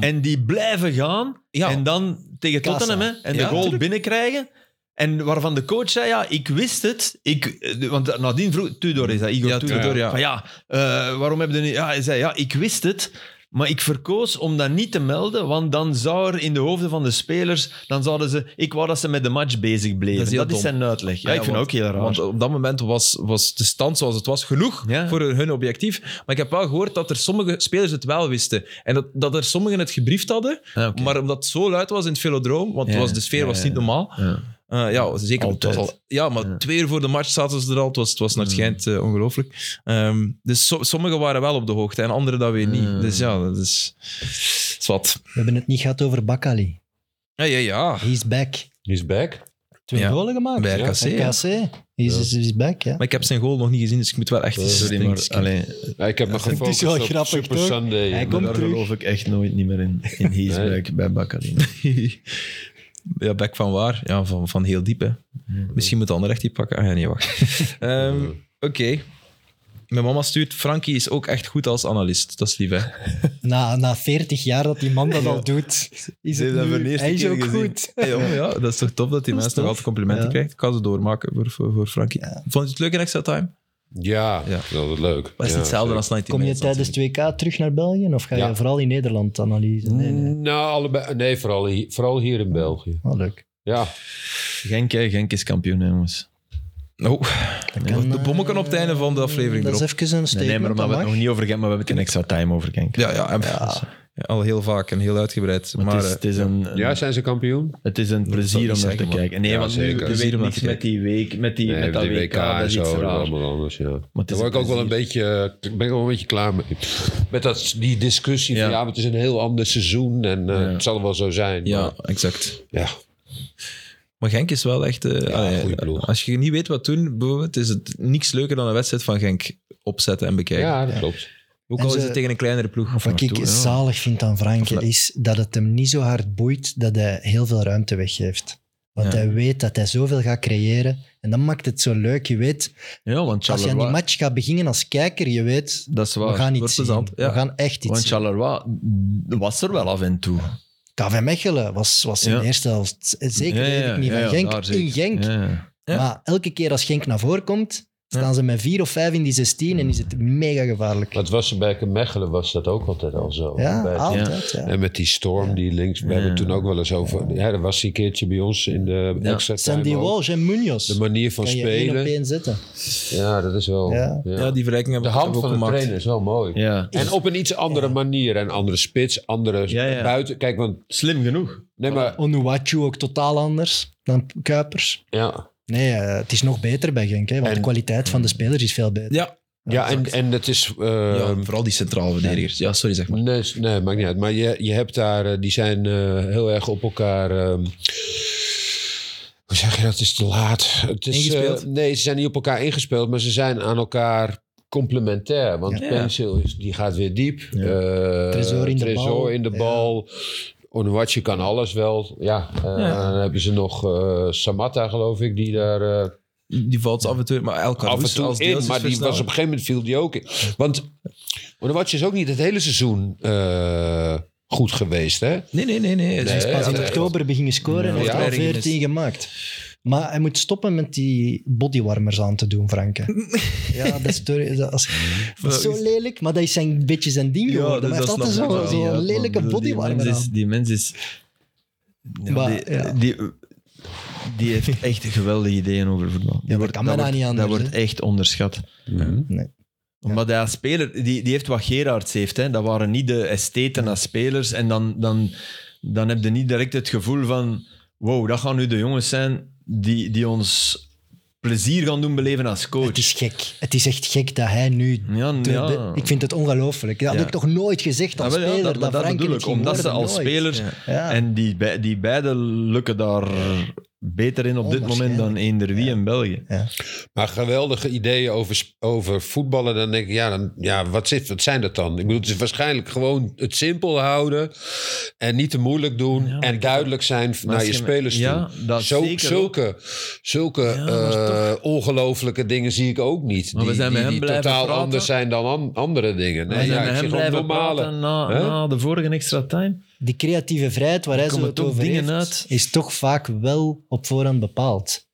Speaker 3: En die blijven gaan.
Speaker 1: Mm. Ja.
Speaker 3: En dan tegen
Speaker 4: Kassa.
Speaker 3: Tottenham hè, en
Speaker 1: Ja,
Speaker 3: de goal
Speaker 1: tuurlijk.
Speaker 3: binnenkrijgen. En waarvan de coach zei, ja, ik wist het. Ik, eh, want nadien vroeg... Tudor is dat, Igor
Speaker 1: Ja,
Speaker 3: Tudor.
Speaker 1: Tudor, ja.
Speaker 3: Van, ja eh, waarom hebben die... niet- Ja, hij zei, ja, ik wist het. Maar ik verkoos om dat niet te melden, want dan zou er in de hoofden van de spelers... Dan zouden ze... Ik wou dat ze met de match bezig bleven.
Speaker 1: Dat
Speaker 3: Dat
Speaker 1: is
Speaker 3: is,
Speaker 1: heel dom.
Speaker 3: zijn uitleg. Ja,
Speaker 1: Ja,
Speaker 3: ik vind
Speaker 1: want-
Speaker 3: dat ook heel raar.
Speaker 1: Want op dat moment was, was de stand zoals het was genoeg
Speaker 3: Ja.
Speaker 1: voor hun objectief. Maar ik heb wel gehoord dat er sommige spelers het wel wisten. En dat, dat er sommigen het gebriefd hadden.
Speaker 3: Ja, oké.
Speaker 1: Maar omdat het zo luid was in het velodroom, want het
Speaker 3: Ja,
Speaker 1: was, de sfeer
Speaker 3: ja,
Speaker 1: was
Speaker 3: ja,
Speaker 1: niet
Speaker 3: ja.
Speaker 1: normaal.
Speaker 3: Ja.
Speaker 1: Eh, ja, zeker. Het was
Speaker 3: Altijd.
Speaker 1: al, ja, maar
Speaker 3: Ja. Mm.
Speaker 1: twee uur voor de match zaten ze er al. Het was, het was naar het schijnt eh, ongelooflijk. Ehm, dus so- sommigen waren wel op de hoogte en anderen dat weer niet.
Speaker 3: Ja.
Speaker 1: Dus ja, dat is, dat is wat.
Speaker 4: We hebben het niet gehad over Bakali.
Speaker 1: Ja, ja, ja.
Speaker 4: He's back.
Speaker 2: He's back.
Speaker 4: Twee
Speaker 1: Ja.
Speaker 4: golen gemaakt.
Speaker 1: Bij
Speaker 2: Ja.
Speaker 1: RKC.
Speaker 4: RKC.
Speaker 1: ja.
Speaker 4: He's, is he's back, ja.
Speaker 1: Maar ik heb zijn goal nog niet gezien, dus ik moet wel echt eens...
Speaker 3: Sorry, maar... alleen.
Speaker 2: Ja, ik heb me
Speaker 4: vind ik
Speaker 2: gefocust
Speaker 4: wel
Speaker 2: op
Speaker 4: grappig,
Speaker 2: Super
Speaker 4: toch?
Speaker 2: Sunday.
Speaker 4: Hij
Speaker 2: Ja,
Speaker 4: komt
Speaker 2: maar-
Speaker 3: Daar
Speaker 4: terug.
Speaker 3: geloof ik echt nooit niet meer in, in Hiesbeek bij Bakkerin.
Speaker 1: [LAUGHS] ja, back van waar? Ja, van, van heel diep, hè. Misschien moet de ander echt die pakken. Ah ja, nee, wacht.
Speaker 2: [LAUGHS]
Speaker 1: Ehm, Oké. Mijn mama stuurt, Frankie is ook echt goed als analist. Dat is lief, hè.
Speaker 4: Na, na 40 jaar dat die man dat al doet, is
Speaker 3: heeft
Speaker 4: het
Speaker 3: dat
Speaker 4: nu-
Speaker 3: voor de eerste
Speaker 4: hij is
Speaker 3: keer
Speaker 4: ook
Speaker 3: gezien.
Speaker 4: goed.
Speaker 1: Ja, ja, dat is toch tof dat die
Speaker 4: Dat is
Speaker 1: mensen nog
Speaker 4: tof.
Speaker 1: altijd complimenten
Speaker 4: Ja.
Speaker 1: krijgt. Ik kan ze doormaken voor, voor, voor Frankie.
Speaker 4: Ja.
Speaker 1: Vond je het leuk in Extra Time?
Speaker 2: Ja,
Speaker 1: Ja.
Speaker 2: dat was leuk.
Speaker 1: Was
Speaker 2: Ja,
Speaker 1: het hetzelfde
Speaker 2: zeker.
Speaker 1: als 19
Speaker 4: Kom je
Speaker 1: minutes
Speaker 4: tijdens
Speaker 1: natuurlijk.
Speaker 4: 2K terug naar België of ga je
Speaker 2: Ja.
Speaker 4: vooral in Nederland analyseren?
Speaker 3: Mm.
Speaker 4: Nee, nee.
Speaker 2: Nou, allebei, nee vooral, hier, vooral hier in België.
Speaker 4: Oh, leuk.
Speaker 2: Ja,
Speaker 3: Genk, hè, Genk is kampioen, hè, jongens.
Speaker 1: Oh, de bommen kan op het einde van de aflevering
Speaker 4: Dat
Speaker 1: erop.
Speaker 4: is even een
Speaker 3: Nee,
Speaker 4: statement.
Speaker 3: nee, maar we
Speaker 4: dat
Speaker 3: hebben het
Speaker 4: mag.
Speaker 3: nog niet over Genk, maar we hebben het in extra time over Genk.
Speaker 1: Ja, ja, en- Ja, Al heel vaak en heel uitgebreid. Maar, eh,
Speaker 3: Maar het, is, het, is een, een-
Speaker 2: eh, ja zijn ze kampioen?
Speaker 3: het is een
Speaker 1: zou ik
Speaker 3: plezier om naar
Speaker 1: zeggen,
Speaker 3: te
Speaker 1: man.
Speaker 3: kijken. Nee,
Speaker 2: Ja,
Speaker 3: want
Speaker 2: zeker.
Speaker 3: nu we
Speaker 1: Plezier om
Speaker 3: weten
Speaker 1: naar
Speaker 3: niks
Speaker 1: te
Speaker 3: met die week, met, die,
Speaker 2: Nee,
Speaker 3: met dat
Speaker 2: die
Speaker 3: WK, dat is iets
Speaker 2: dat is
Speaker 3: raar.
Speaker 2: allemaal anders, ja.
Speaker 3: het
Speaker 2: Daar
Speaker 3: is
Speaker 2: word ik ook wel
Speaker 3: een
Speaker 2: een beetje, eh, ik ben ik wel een beetje klaar mee. [LAUGHS] Met dat, die discussie
Speaker 3: Ja.
Speaker 2: van ja, maar het is een heel ander seizoen en eh,
Speaker 3: Ja.
Speaker 2: het zal wel zo zijn.
Speaker 1: eh, ja,
Speaker 2: maar,
Speaker 1: exact.
Speaker 2: ja.
Speaker 1: Maar Genk is wel echt... eh, allee,
Speaker 2: goeie ploeg.
Speaker 1: als je niet weet wat doen, bijvoorbeeld, is het niks leuker dan een wedstrijd van Genk opzetten en bekijken.
Speaker 2: ja, dat klopt.
Speaker 1: Ook
Speaker 4: En
Speaker 1: al is
Speaker 4: ze-
Speaker 1: het tegen een kleinere ploeg.
Speaker 4: Wat ik
Speaker 1: Naartoe, ja.
Speaker 4: zalig vind aan Franke
Speaker 1: Of-
Speaker 4: is dat het hem niet zo hard boeit dat hij heel veel ruimte weggeeft. Want
Speaker 1: Ja.
Speaker 4: hij weet dat hij zoveel gaat creëren. En dat maakt het zo leuk. Je weet,
Speaker 3: Ja, want
Speaker 4: als je aan die
Speaker 3: Charleroi...
Speaker 4: match gaat beginnen als kijker, je weet,
Speaker 3: Dat is
Speaker 4: we
Speaker 3: waar.
Speaker 4: gaan
Speaker 1: wordt
Speaker 4: iets zien.
Speaker 1: plezant, ja.
Speaker 4: We gaan echt iets
Speaker 3: Want
Speaker 4: zien.
Speaker 3: Charleroi was er wel af en toe.
Speaker 4: KV Mechelen was, was in
Speaker 3: Ja.
Speaker 4: de eerste helft. Zeker
Speaker 3: Ja, ja,
Speaker 4: weet ik niet
Speaker 3: ja, ja,
Speaker 4: van Genk.
Speaker 3: daar
Speaker 4: in
Speaker 3: zeker.
Speaker 4: Genk.
Speaker 3: Ja, ja.
Speaker 1: Ja.
Speaker 4: Maar elke keer als Genk naar voren komt, staan ze met vier of vijf in die 16 en is het mega gevaarlijk.
Speaker 2: Dat was bij Mechelen was dat ook altijd al zo.
Speaker 4: Ja,
Speaker 2: Bij-
Speaker 4: altijd. Ja.
Speaker 2: En met die storm die links, we hebben het toen ook wel eens over. Ja, dat was die keertje bij ons in de
Speaker 3: Ja.
Speaker 2: extra
Speaker 4: Sandy
Speaker 2: time ook.
Speaker 4: Walsh en Munoz.
Speaker 2: De manier van
Speaker 4: kan je één op
Speaker 2: spelen.
Speaker 4: één zetten.
Speaker 2: Ja, dat is wel.
Speaker 4: Ja.
Speaker 2: ja.
Speaker 1: Ja, die verrijking
Speaker 2: De
Speaker 1: hebben we
Speaker 2: hand
Speaker 1: ook
Speaker 2: van de
Speaker 1: gemaakt.
Speaker 2: trainer is wel mooi.
Speaker 3: Ja.
Speaker 2: En op een iets andere manier. En andere spits, andere
Speaker 3: Ja, ja.
Speaker 2: buiten. Kijk, want.
Speaker 3: Slim genoeg.
Speaker 2: Nee,
Speaker 4: Oh.
Speaker 2: maar.
Speaker 4: Onuwachu ook totaal anders dan Kuipers.
Speaker 2: Ja,
Speaker 4: Nee, eh, het is nog beter bij Genk, hè, want
Speaker 2: En-
Speaker 4: de kwaliteit van de spelers is veel beter.
Speaker 1: Ja,
Speaker 2: ja en, en het is. eh,
Speaker 1: ja, vooral die centrale verdedigers. Ja, sorry, zeg maar.
Speaker 2: Nee, s- nee, maakt niet uit. Maar je, je hebt daar, eh, die zijn eh, heel erg op elkaar. ehm, hoe zeg je dat? Het is te laat. Het is, eh,
Speaker 1: Ingespeeld?
Speaker 2: nee, ze zijn niet op elkaar ingespeeld, maar ze zijn aan elkaar complementair. Want
Speaker 1: Ja.
Speaker 2: Pencil is, die gaat weer diep. Eh
Speaker 4: Trezor in de
Speaker 2: Trezor
Speaker 4: bal.
Speaker 2: in de
Speaker 4: Ja.
Speaker 2: bal. Onuatsje kan alles wel. Ja, eh,
Speaker 1: Ja.
Speaker 2: dan hebben ze nog eh Samatta, geloof ik, die daar... eh,
Speaker 1: Die valt af en toe... Maar El
Speaker 2: af
Speaker 1: Karouz
Speaker 2: en toe
Speaker 1: als
Speaker 2: in, maar die was op een
Speaker 1: deeltijdversneller.
Speaker 2: gegeven moment viel die ook in. Want Onuatje is ook niet het hele seizoen eh, goed geweest, hè?
Speaker 1: Nee, nee, nee. nee.
Speaker 2: Nee,
Speaker 4: Pas in
Speaker 2: ja,
Speaker 4: oktober beginnen scoren en
Speaker 1: Ja.
Speaker 4: heeft er al
Speaker 1: Ja.
Speaker 4: 14 gemaakt. Maar hij moet stoppen met die bodywarmers aan te doen, Franke. Ja, dat is, door- dat
Speaker 3: [LAUGHS]
Speaker 4: is- dat is zo lelijk. Maar dat is zijn, een beetje zijn ding geworden.
Speaker 3: dus
Speaker 4: hij heeft altijd
Speaker 3: snap ik
Speaker 4: zo'n
Speaker 3: wel.
Speaker 4: zo
Speaker 3: Ja, man,
Speaker 4: lelijke
Speaker 3: bedoel,
Speaker 4: bodywarmer aan.
Speaker 3: Die mens is... Die, mens is, ja,
Speaker 4: Maar,
Speaker 3: die,
Speaker 4: ja.
Speaker 3: die, die
Speaker 4: [LAUGHS]
Speaker 3: heeft echt geweldige ideeën over voetbal. Die
Speaker 4: dat
Speaker 3: wordt-
Speaker 4: kan bijna
Speaker 3: wordt,
Speaker 4: niet
Speaker 3: Dat
Speaker 4: anders,
Speaker 3: wordt echt onderschat. Omdat hij als speler, die, die heeft wat Gerards heeft. Hè. Dat waren niet de estheten als spelers. En dan, dan, dan heb je niet direct het gevoel van... Wow, dat gaan nu de jongens zijn die, die ons plezier gaan doen beleven als coach.
Speaker 4: Het is gek. Het is echt gek dat hij nu...
Speaker 3: Ja,
Speaker 4: de-
Speaker 3: ja.
Speaker 4: de- ik vind het ongelooflijk. Dat
Speaker 3: Ja.
Speaker 4: had ik toch nooit gezegd als
Speaker 3: Ja, Ah, wel, ja,
Speaker 4: speler.
Speaker 3: dat, maar dat
Speaker 4: Franke
Speaker 3: bedoel
Speaker 4: het
Speaker 3: ik.
Speaker 4: ging
Speaker 3: Omdat ze
Speaker 4: worden,
Speaker 3: als
Speaker 4: nooit.
Speaker 3: spelers...
Speaker 4: Ja.
Speaker 3: En die, bij- die beide lukken daar beter in op dit moment dan eender wie in België.
Speaker 2: Maar geweldige ideeën over, sp- over voetballen. Dan denk ik, ja, dan, ja wat, zit, wat zijn dat dan? Ik bedoel, het is waarschijnlijk gewoon het simpel houden. En niet te moeilijk doen. en duidelijk zijn naar
Speaker 3: als
Speaker 2: je
Speaker 3: je me-
Speaker 2: spelers
Speaker 3: Ja,
Speaker 2: toe.
Speaker 3: dat
Speaker 2: Zo-
Speaker 3: zeker
Speaker 2: zulke zulke eh, ongelofelijke dingen zie ik ook niet.
Speaker 3: Maar we zijn
Speaker 2: die
Speaker 3: met
Speaker 2: die
Speaker 3: hem blijven
Speaker 2: totaal
Speaker 3: praten.
Speaker 2: anders zijn dan an- andere dingen. Nee,
Speaker 3: En
Speaker 2: ja,
Speaker 3: met
Speaker 2: ik zie
Speaker 3: hem
Speaker 2: gewoon
Speaker 3: blijven
Speaker 2: normale.
Speaker 3: praten na,
Speaker 2: Hè?
Speaker 3: na de vorige extra time.
Speaker 4: Die creatieve vrijheid waar hij zo
Speaker 3: komen
Speaker 4: het
Speaker 3: toch
Speaker 4: over
Speaker 3: dingen
Speaker 4: heeft,
Speaker 3: uit.
Speaker 4: is toch vaak wel op voorhand bepaald.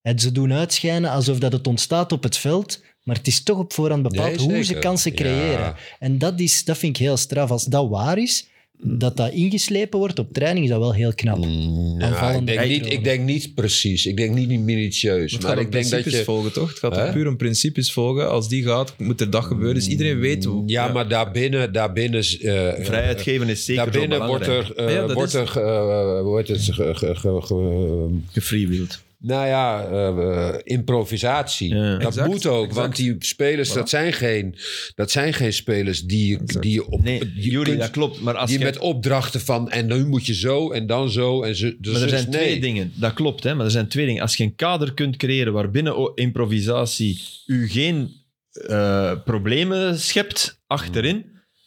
Speaker 4: Het ze doen uitschijnen alsof dat het ontstaat op het veld, maar het is toch op voorhand bepaald
Speaker 2: Nee,
Speaker 4: hoe ze
Speaker 2: zeker.
Speaker 4: kansen creëren.
Speaker 2: Ja.
Speaker 4: En dat, is, dat vind ik heel straf. Als dat waar is, dat dat ingeslepen wordt op training, is dat wel heel knap.
Speaker 2: Mm, nou,
Speaker 4: Aanvallende
Speaker 2: ik, denk niet,
Speaker 4: controle.
Speaker 2: ik denk niet precies. Ik denk niet, niet minutieus.
Speaker 1: Het gaat
Speaker 2: maar
Speaker 1: om
Speaker 2: ik denk dat
Speaker 1: principes
Speaker 2: je.
Speaker 1: volgen, toch? Het gaat
Speaker 2: Hè?
Speaker 1: om puur om principes volgen. Als die gaat, moet er dag gebeuren.
Speaker 2: Mm.
Speaker 1: Dus iedereen weet hoe.
Speaker 2: Ja, maar daarbinnen. daarbinnen eh,
Speaker 3: Vrijheid geven is zeker
Speaker 2: Daarbinnen
Speaker 3: zo
Speaker 2: wordt
Speaker 3: belangrijk.
Speaker 2: er, eh,
Speaker 1: Ja, dat
Speaker 2: wordt
Speaker 1: is-
Speaker 2: er eh, hoe heet het, ge- ge- ge- ge-
Speaker 3: gefreewheeld.
Speaker 2: nou ja, eh, improvisatie.
Speaker 3: Ja.
Speaker 2: dat
Speaker 1: Exact,
Speaker 2: moet ook,
Speaker 1: exact.
Speaker 2: want die spelers, dat, zijn geen, dat zijn geen spelers die, je- die je op...
Speaker 3: Nee,
Speaker 2: die je
Speaker 3: Juri,
Speaker 2: kunt-
Speaker 3: dat klopt. Maar, als
Speaker 2: die
Speaker 3: je,
Speaker 2: met opdrachten van, en nu moet je zo, en dan zo, en zo. Dus
Speaker 3: maar er
Speaker 2: dus
Speaker 3: zijn
Speaker 2: nee.
Speaker 3: twee dingen. Dat klopt, hè, maar er zijn twee dingen. Als je een kader kunt creëren waarbinnen o- improvisatie u geen eh, problemen schept
Speaker 2: Hmm.
Speaker 3: achterin,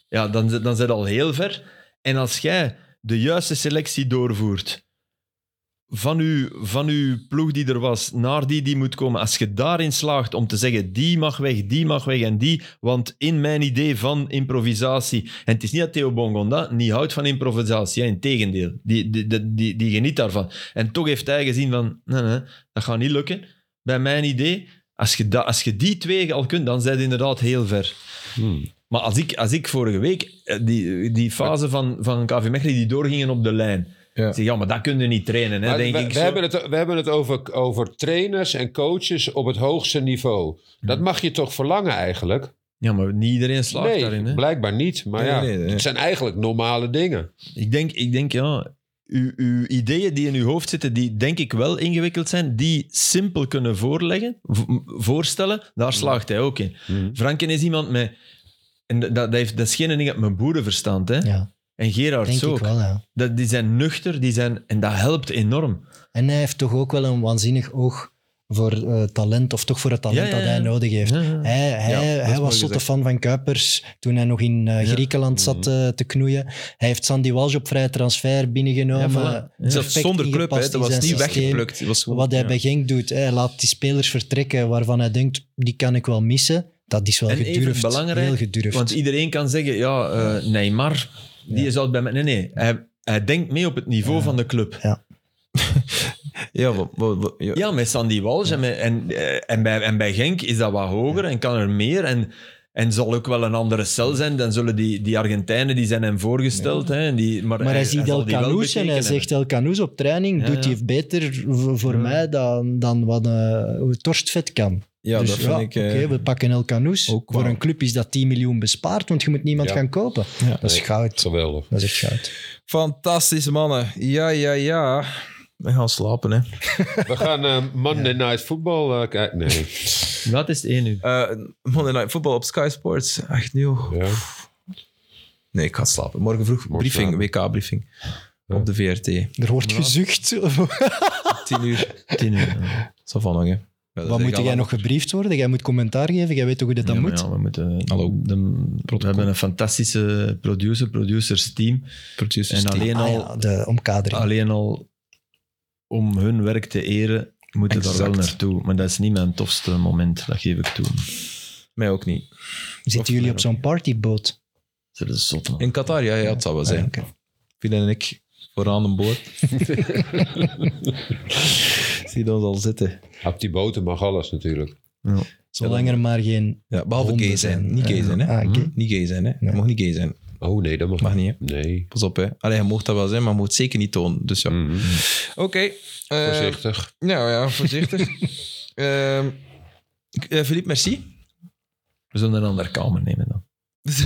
Speaker 3: ja, dan, zit- dan zit al heel ver. En als jij de juiste selectie doorvoert van uw, van uw ploeg die er was naar die die moet komen, als je daarin slaagt om te zeggen die mag weg, die mag weg en die, want in mijn idee van improvisatie, en het is niet dat Theo Bongonda niet houdt van improvisatie, in tegendeel, die, die, die, die, die geniet daarvan. En toch heeft hij gezien van, nee, nee, dat gaat niet lukken. Bij mijn idee, als je, da- als je die twee al kunt, dan zijn het inderdaad heel ver.
Speaker 2: Hmm.
Speaker 3: Maar als ik, als ik vorige week eh, die, die fase van, van KV Mechelen, die doorgingen op de lijn.
Speaker 1: Ja.
Speaker 3: Ik zeg, ja, maar dat kun je niet trainen. Hè,
Speaker 2: Maar
Speaker 3: denk
Speaker 2: we,
Speaker 3: ik
Speaker 2: we
Speaker 3: zo.
Speaker 2: hebben het, we hebben het over, over trainers en coaches op het hoogste niveau.
Speaker 1: Hmm.
Speaker 2: Dat mag je toch verlangen eigenlijk?
Speaker 3: Ja, maar niet iedereen slaagt
Speaker 2: nee,
Speaker 3: daarin. Hè?
Speaker 2: blijkbaar niet. Maar
Speaker 1: Nee,
Speaker 2: ja,
Speaker 1: nee, nee.
Speaker 2: het zijn eigenlijk normale dingen.
Speaker 3: Ik, denk, ik denk, ja, uw, uw ideeën die in uw hoofd zitten, die denk ik wel ingewikkeld zijn, die simpel kunnen voorleggen, v- voorstellen, daar slaagt hij ook in.
Speaker 1: Hmm.
Speaker 3: Franken is iemand met... En dat, dat, heeft, dat is geen ding dat mijn boerenverstand, hè?
Speaker 4: Ja,
Speaker 3: En Gerard
Speaker 4: denk
Speaker 3: ook.
Speaker 4: ik wel, ja.
Speaker 3: Dat, die zijn nuchter, die zijn, en dat helpt enorm.
Speaker 4: En hij heeft toch ook wel een waanzinnig oog voor eh, talent, of toch voor het talent
Speaker 3: Ja, ja,
Speaker 4: dat hij
Speaker 3: ja.
Speaker 4: nodig heeft.
Speaker 3: Ja.
Speaker 4: Hij,
Speaker 1: Ja,
Speaker 4: hij,
Speaker 1: dat is
Speaker 4: hij
Speaker 1: mooi
Speaker 4: was zotte
Speaker 1: gezegd.
Speaker 4: fan van Kuipers toen hij nog in eh,
Speaker 3: Ja.
Speaker 4: Griekenland zat eh, te knoeien. Hij heeft Sandy Walsh op vrije transfer binnengenomen.
Speaker 3: Ja, voilà.
Speaker 4: perfect
Speaker 1: Zelfs zonder club, hè.
Speaker 4: ingepast
Speaker 1: dat
Speaker 4: in
Speaker 1: was niet
Speaker 4: zijn systeem.
Speaker 1: weggeplukt. Het was gewoon-
Speaker 4: Wat hij
Speaker 1: ja.
Speaker 4: bij Genk doet, hij laat die spelers vertrekken waarvan hij denkt, die kan ik wel missen. Dat is wel
Speaker 3: En even
Speaker 4: gedurfd,
Speaker 3: belangrijk,
Speaker 4: heel gedurfd.
Speaker 3: Want iedereen kan zeggen, ja, eh, Neymar, die
Speaker 4: Ja.
Speaker 3: is altijd bij mij. Nee, nee, hij, hij denkt mee op het niveau van de club.
Speaker 1: Ja, wat, wat, wat- ja.
Speaker 3: Ja, met Sandy Walsh en, met- en, eh, en, bij, en bij Genk is dat wat hoger en kan er meer. En, en zal ook wel een andere cel zijn. Dan zullen die, die Argentijnen, die zijn hem voorgesteld. Hè, en die, maar,
Speaker 4: maar hij ziet
Speaker 3: zal
Speaker 4: El
Speaker 3: die wel
Speaker 4: Canoes en hij
Speaker 3: bekeken
Speaker 4: zegt El Canoes op training
Speaker 3: Ja,
Speaker 4: doet
Speaker 3: ja.
Speaker 4: hij beter v- voor
Speaker 3: Ja.
Speaker 4: mij dan, dan wat eh Torstvet kan.
Speaker 1: Ja,
Speaker 4: Dus
Speaker 1: dat vind ik... eh,
Speaker 4: Oké, we pakken El Canoes.
Speaker 1: ook
Speaker 4: Voor
Speaker 1: wel.
Speaker 4: een club is dat 10 miljoen bespaard, want je moet niemand
Speaker 2: Ja.
Speaker 4: gaan kopen.
Speaker 1: Ja.
Speaker 4: Dat is goud.
Speaker 2: Geweldig.
Speaker 4: Dat is echt goud.
Speaker 1: Fantastische mannen. Ja, ja, ja. We gaan slapen, hè.
Speaker 2: We gaan eh, Monday Night Football eh,
Speaker 1: [LAUGHS]
Speaker 2: kijken. Nee.
Speaker 3: hebben. Wat is het één uur?
Speaker 1: Eh, Monday Night Football op Sky Sports. Echt nieuw.
Speaker 2: Ja.
Speaker 1: Nee, ik ga slapen. Morgen vroeg briefing, WK-briefing. Op de VRT.
Speaker 4: Er wordt
Speaker 1: [LAUGHS]
Speaker 4: gezucht.
Speaker 1: Tien uur.
Speaker 3: Tien uur. Ja,
Speaker 1: Zo van hangen.
Speaker 4: Wat moet jij nog gebriefd worden? Jij moet commentaar geven. Jij weet toch hoe dat, dat
Speaker 3: maar
Speaker 4: moet?
Speaker 3: ja, we, moeten,
Speaker 1: Hallo.
Speaker 3: de- we hebben een fantastische producer, producersteam. En alleen
Speaker 4: Ah
Speaker 3: al...
Speaker 4: ja, de
Speaker 1: Ah,
Speaker 4: omkadering.
Speaker 3: alleen al om hun werk te eren, moeten we daar wel
Speaker 1: Exact.
Speaker 3: naartoe. Maar dat is niet mijn tofste moment, dat geef ik toe.
Speaker 1: Mij ook niet.
Speaker 4: Zitten jullie op zo'n partyboot? Ah,
Speaker 3: Dat is zot, man.
Speaker 1: In Qatar, ja, ja dat zou wel zijn. Phil en ik vooraan een boord. ziet ons al zitten.
Speaker 2: Op die boten mag alles natuurlijk.
Speaker 4: Zolang er maar geen
Speaker 1: Ja, behalve
Speaker 4: honden
Speaker 1: gay zijn. Niet gay
Speaker 4: Eh,
Speaker 1: zijn, hè? Hm.
Speaker 4: ah, oké.
Speaker 1: Niet gay zijn, hè?
Speaker 4: Nee.
Speaker 1: Je mag niet gay zijn.
Speaker 2: Oh nee, dat mag,
Speaker 1: Mag niet, hè?
Speaker 2: Nee.
Speaker 1: Pas op, hè? Allee, je mocht dat wel zijn, maar je moet het zeker niet tonen. Dus ja.
Speaker 2: Mhm.
Speaker 1: Oké. eh,
Speaker 2: Voorzichtig.
Speaker 1: nou ja, voorzichtig. [LAUGHS] Ehm, eh, Philippe, [LAUGHS] merci.
Speaker 3: We zullen een andere kamer nemen dan.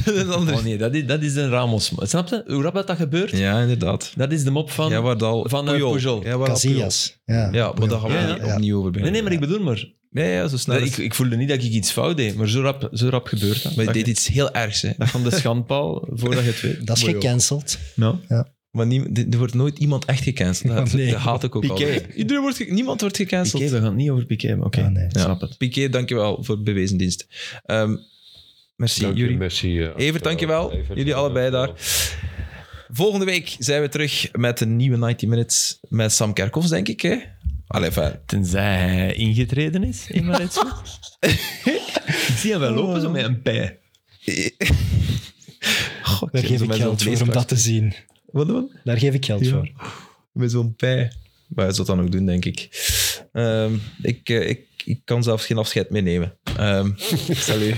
Speaker 1: Een ander-
Speaker 3: Oh nee, dat is, dat is een Ramos. Snap je hoe rap dat, dat gebeurt?
Speaker 1: Ja, inderdaad.
Speaker 3: Dat is de mop van...
Speaker 1: Jij wordt al...
Speaker 3: van, eh, Pujol.
Speaker 1: Jij wordt al
Speaker 4: casillas. Ja,
Speaker 1: Pujol. Ja, maar daar gaan we
Speaker 3: Ja,
Speaker 1: niet-
Speaker 4: ja.
Speaker 1: opnieuw over
Speaker 3: nee,
Speaker 1: beginnen.
Speaker 3: nee, maar ik bedoel maar...
Speaker 1: Nee, ja, zo snel.
Speaker 3: Nou, dat- ik,
Speaker 1: is-
Speaker 3: ik voelde niet dat ik iets fout deed, maar zo rap, zo rap gebeurt dat.
Speaker 1: Maar je
Speaker 3: dat
Speaker 1: deed
Speaker 3: je-
Speaker 1: iets heel ergs, hè?
Speaker 3: dat van de schandpaal, voordat je het weet.
Speaker 4: dat is
Speaker 1: Mooi, joh.
Speaker 4: gecanceld.
Speaker 3: Nou.
Speaker 1: Maar nie- er wordt nooit iemand echt gecanceld. Dat,
Speaker 4: Nee.
Speaker 1: dat haat ik ook
Speaker 3: Piqué.
Speaker 1: al. Iedereen wordt ge- niemand wordt gecanceld.
Speaker 3: Piqué, we gaan het niet over Piqué, maar oké.
Speaker 4: Ah, nee.
Speaker 3: Ik Snap het.
Speaker 1: Piqué, dankjewel voor bewezen dienst. Ehm, merci,
Speaker 2: Dank je,
Speaker 1: Yuri.
Speaker 2: Messi, eh,
Speaker 1: Evert, dankjewel.
Speaker 2: Evert,
Speaker 1: Jullie allebei daar.
Speaker 2: dankjewel.
Speaker 1: Volgende week zijn we terug met een nieuwe 90 Minutes met Sam Kerkhoffs, denk ik. Hè? Allee, fijn.
Speaker 3: Tenzij hij ingetreden is in Malaysia. [LAUGHS] ik zie hem wel lopen zo met een pij.
Speaker 1: Goh,
Speaker 4: Daar
Speaker 1: ik
Speaker 4: geef
Speaker 1: zit met
Speaker 4: ik
Speaker 1: zo'n
Speaker 4: geld voor om
Speaker 1: vleespak.
Speaker 4: dat te zien.
Speaker 1: Wat doen we?
Speaker 4: Daar geef ik geld
Speaker 1: Ja.
Speaker 4: voor.
Speaker 1: Met zo'n pij. Maar hij zou dat dan ook doen, denk ik. Ehm, ik, eh, ik. Ik kan zelfs geen afscheid meer nemen. Ehm salut.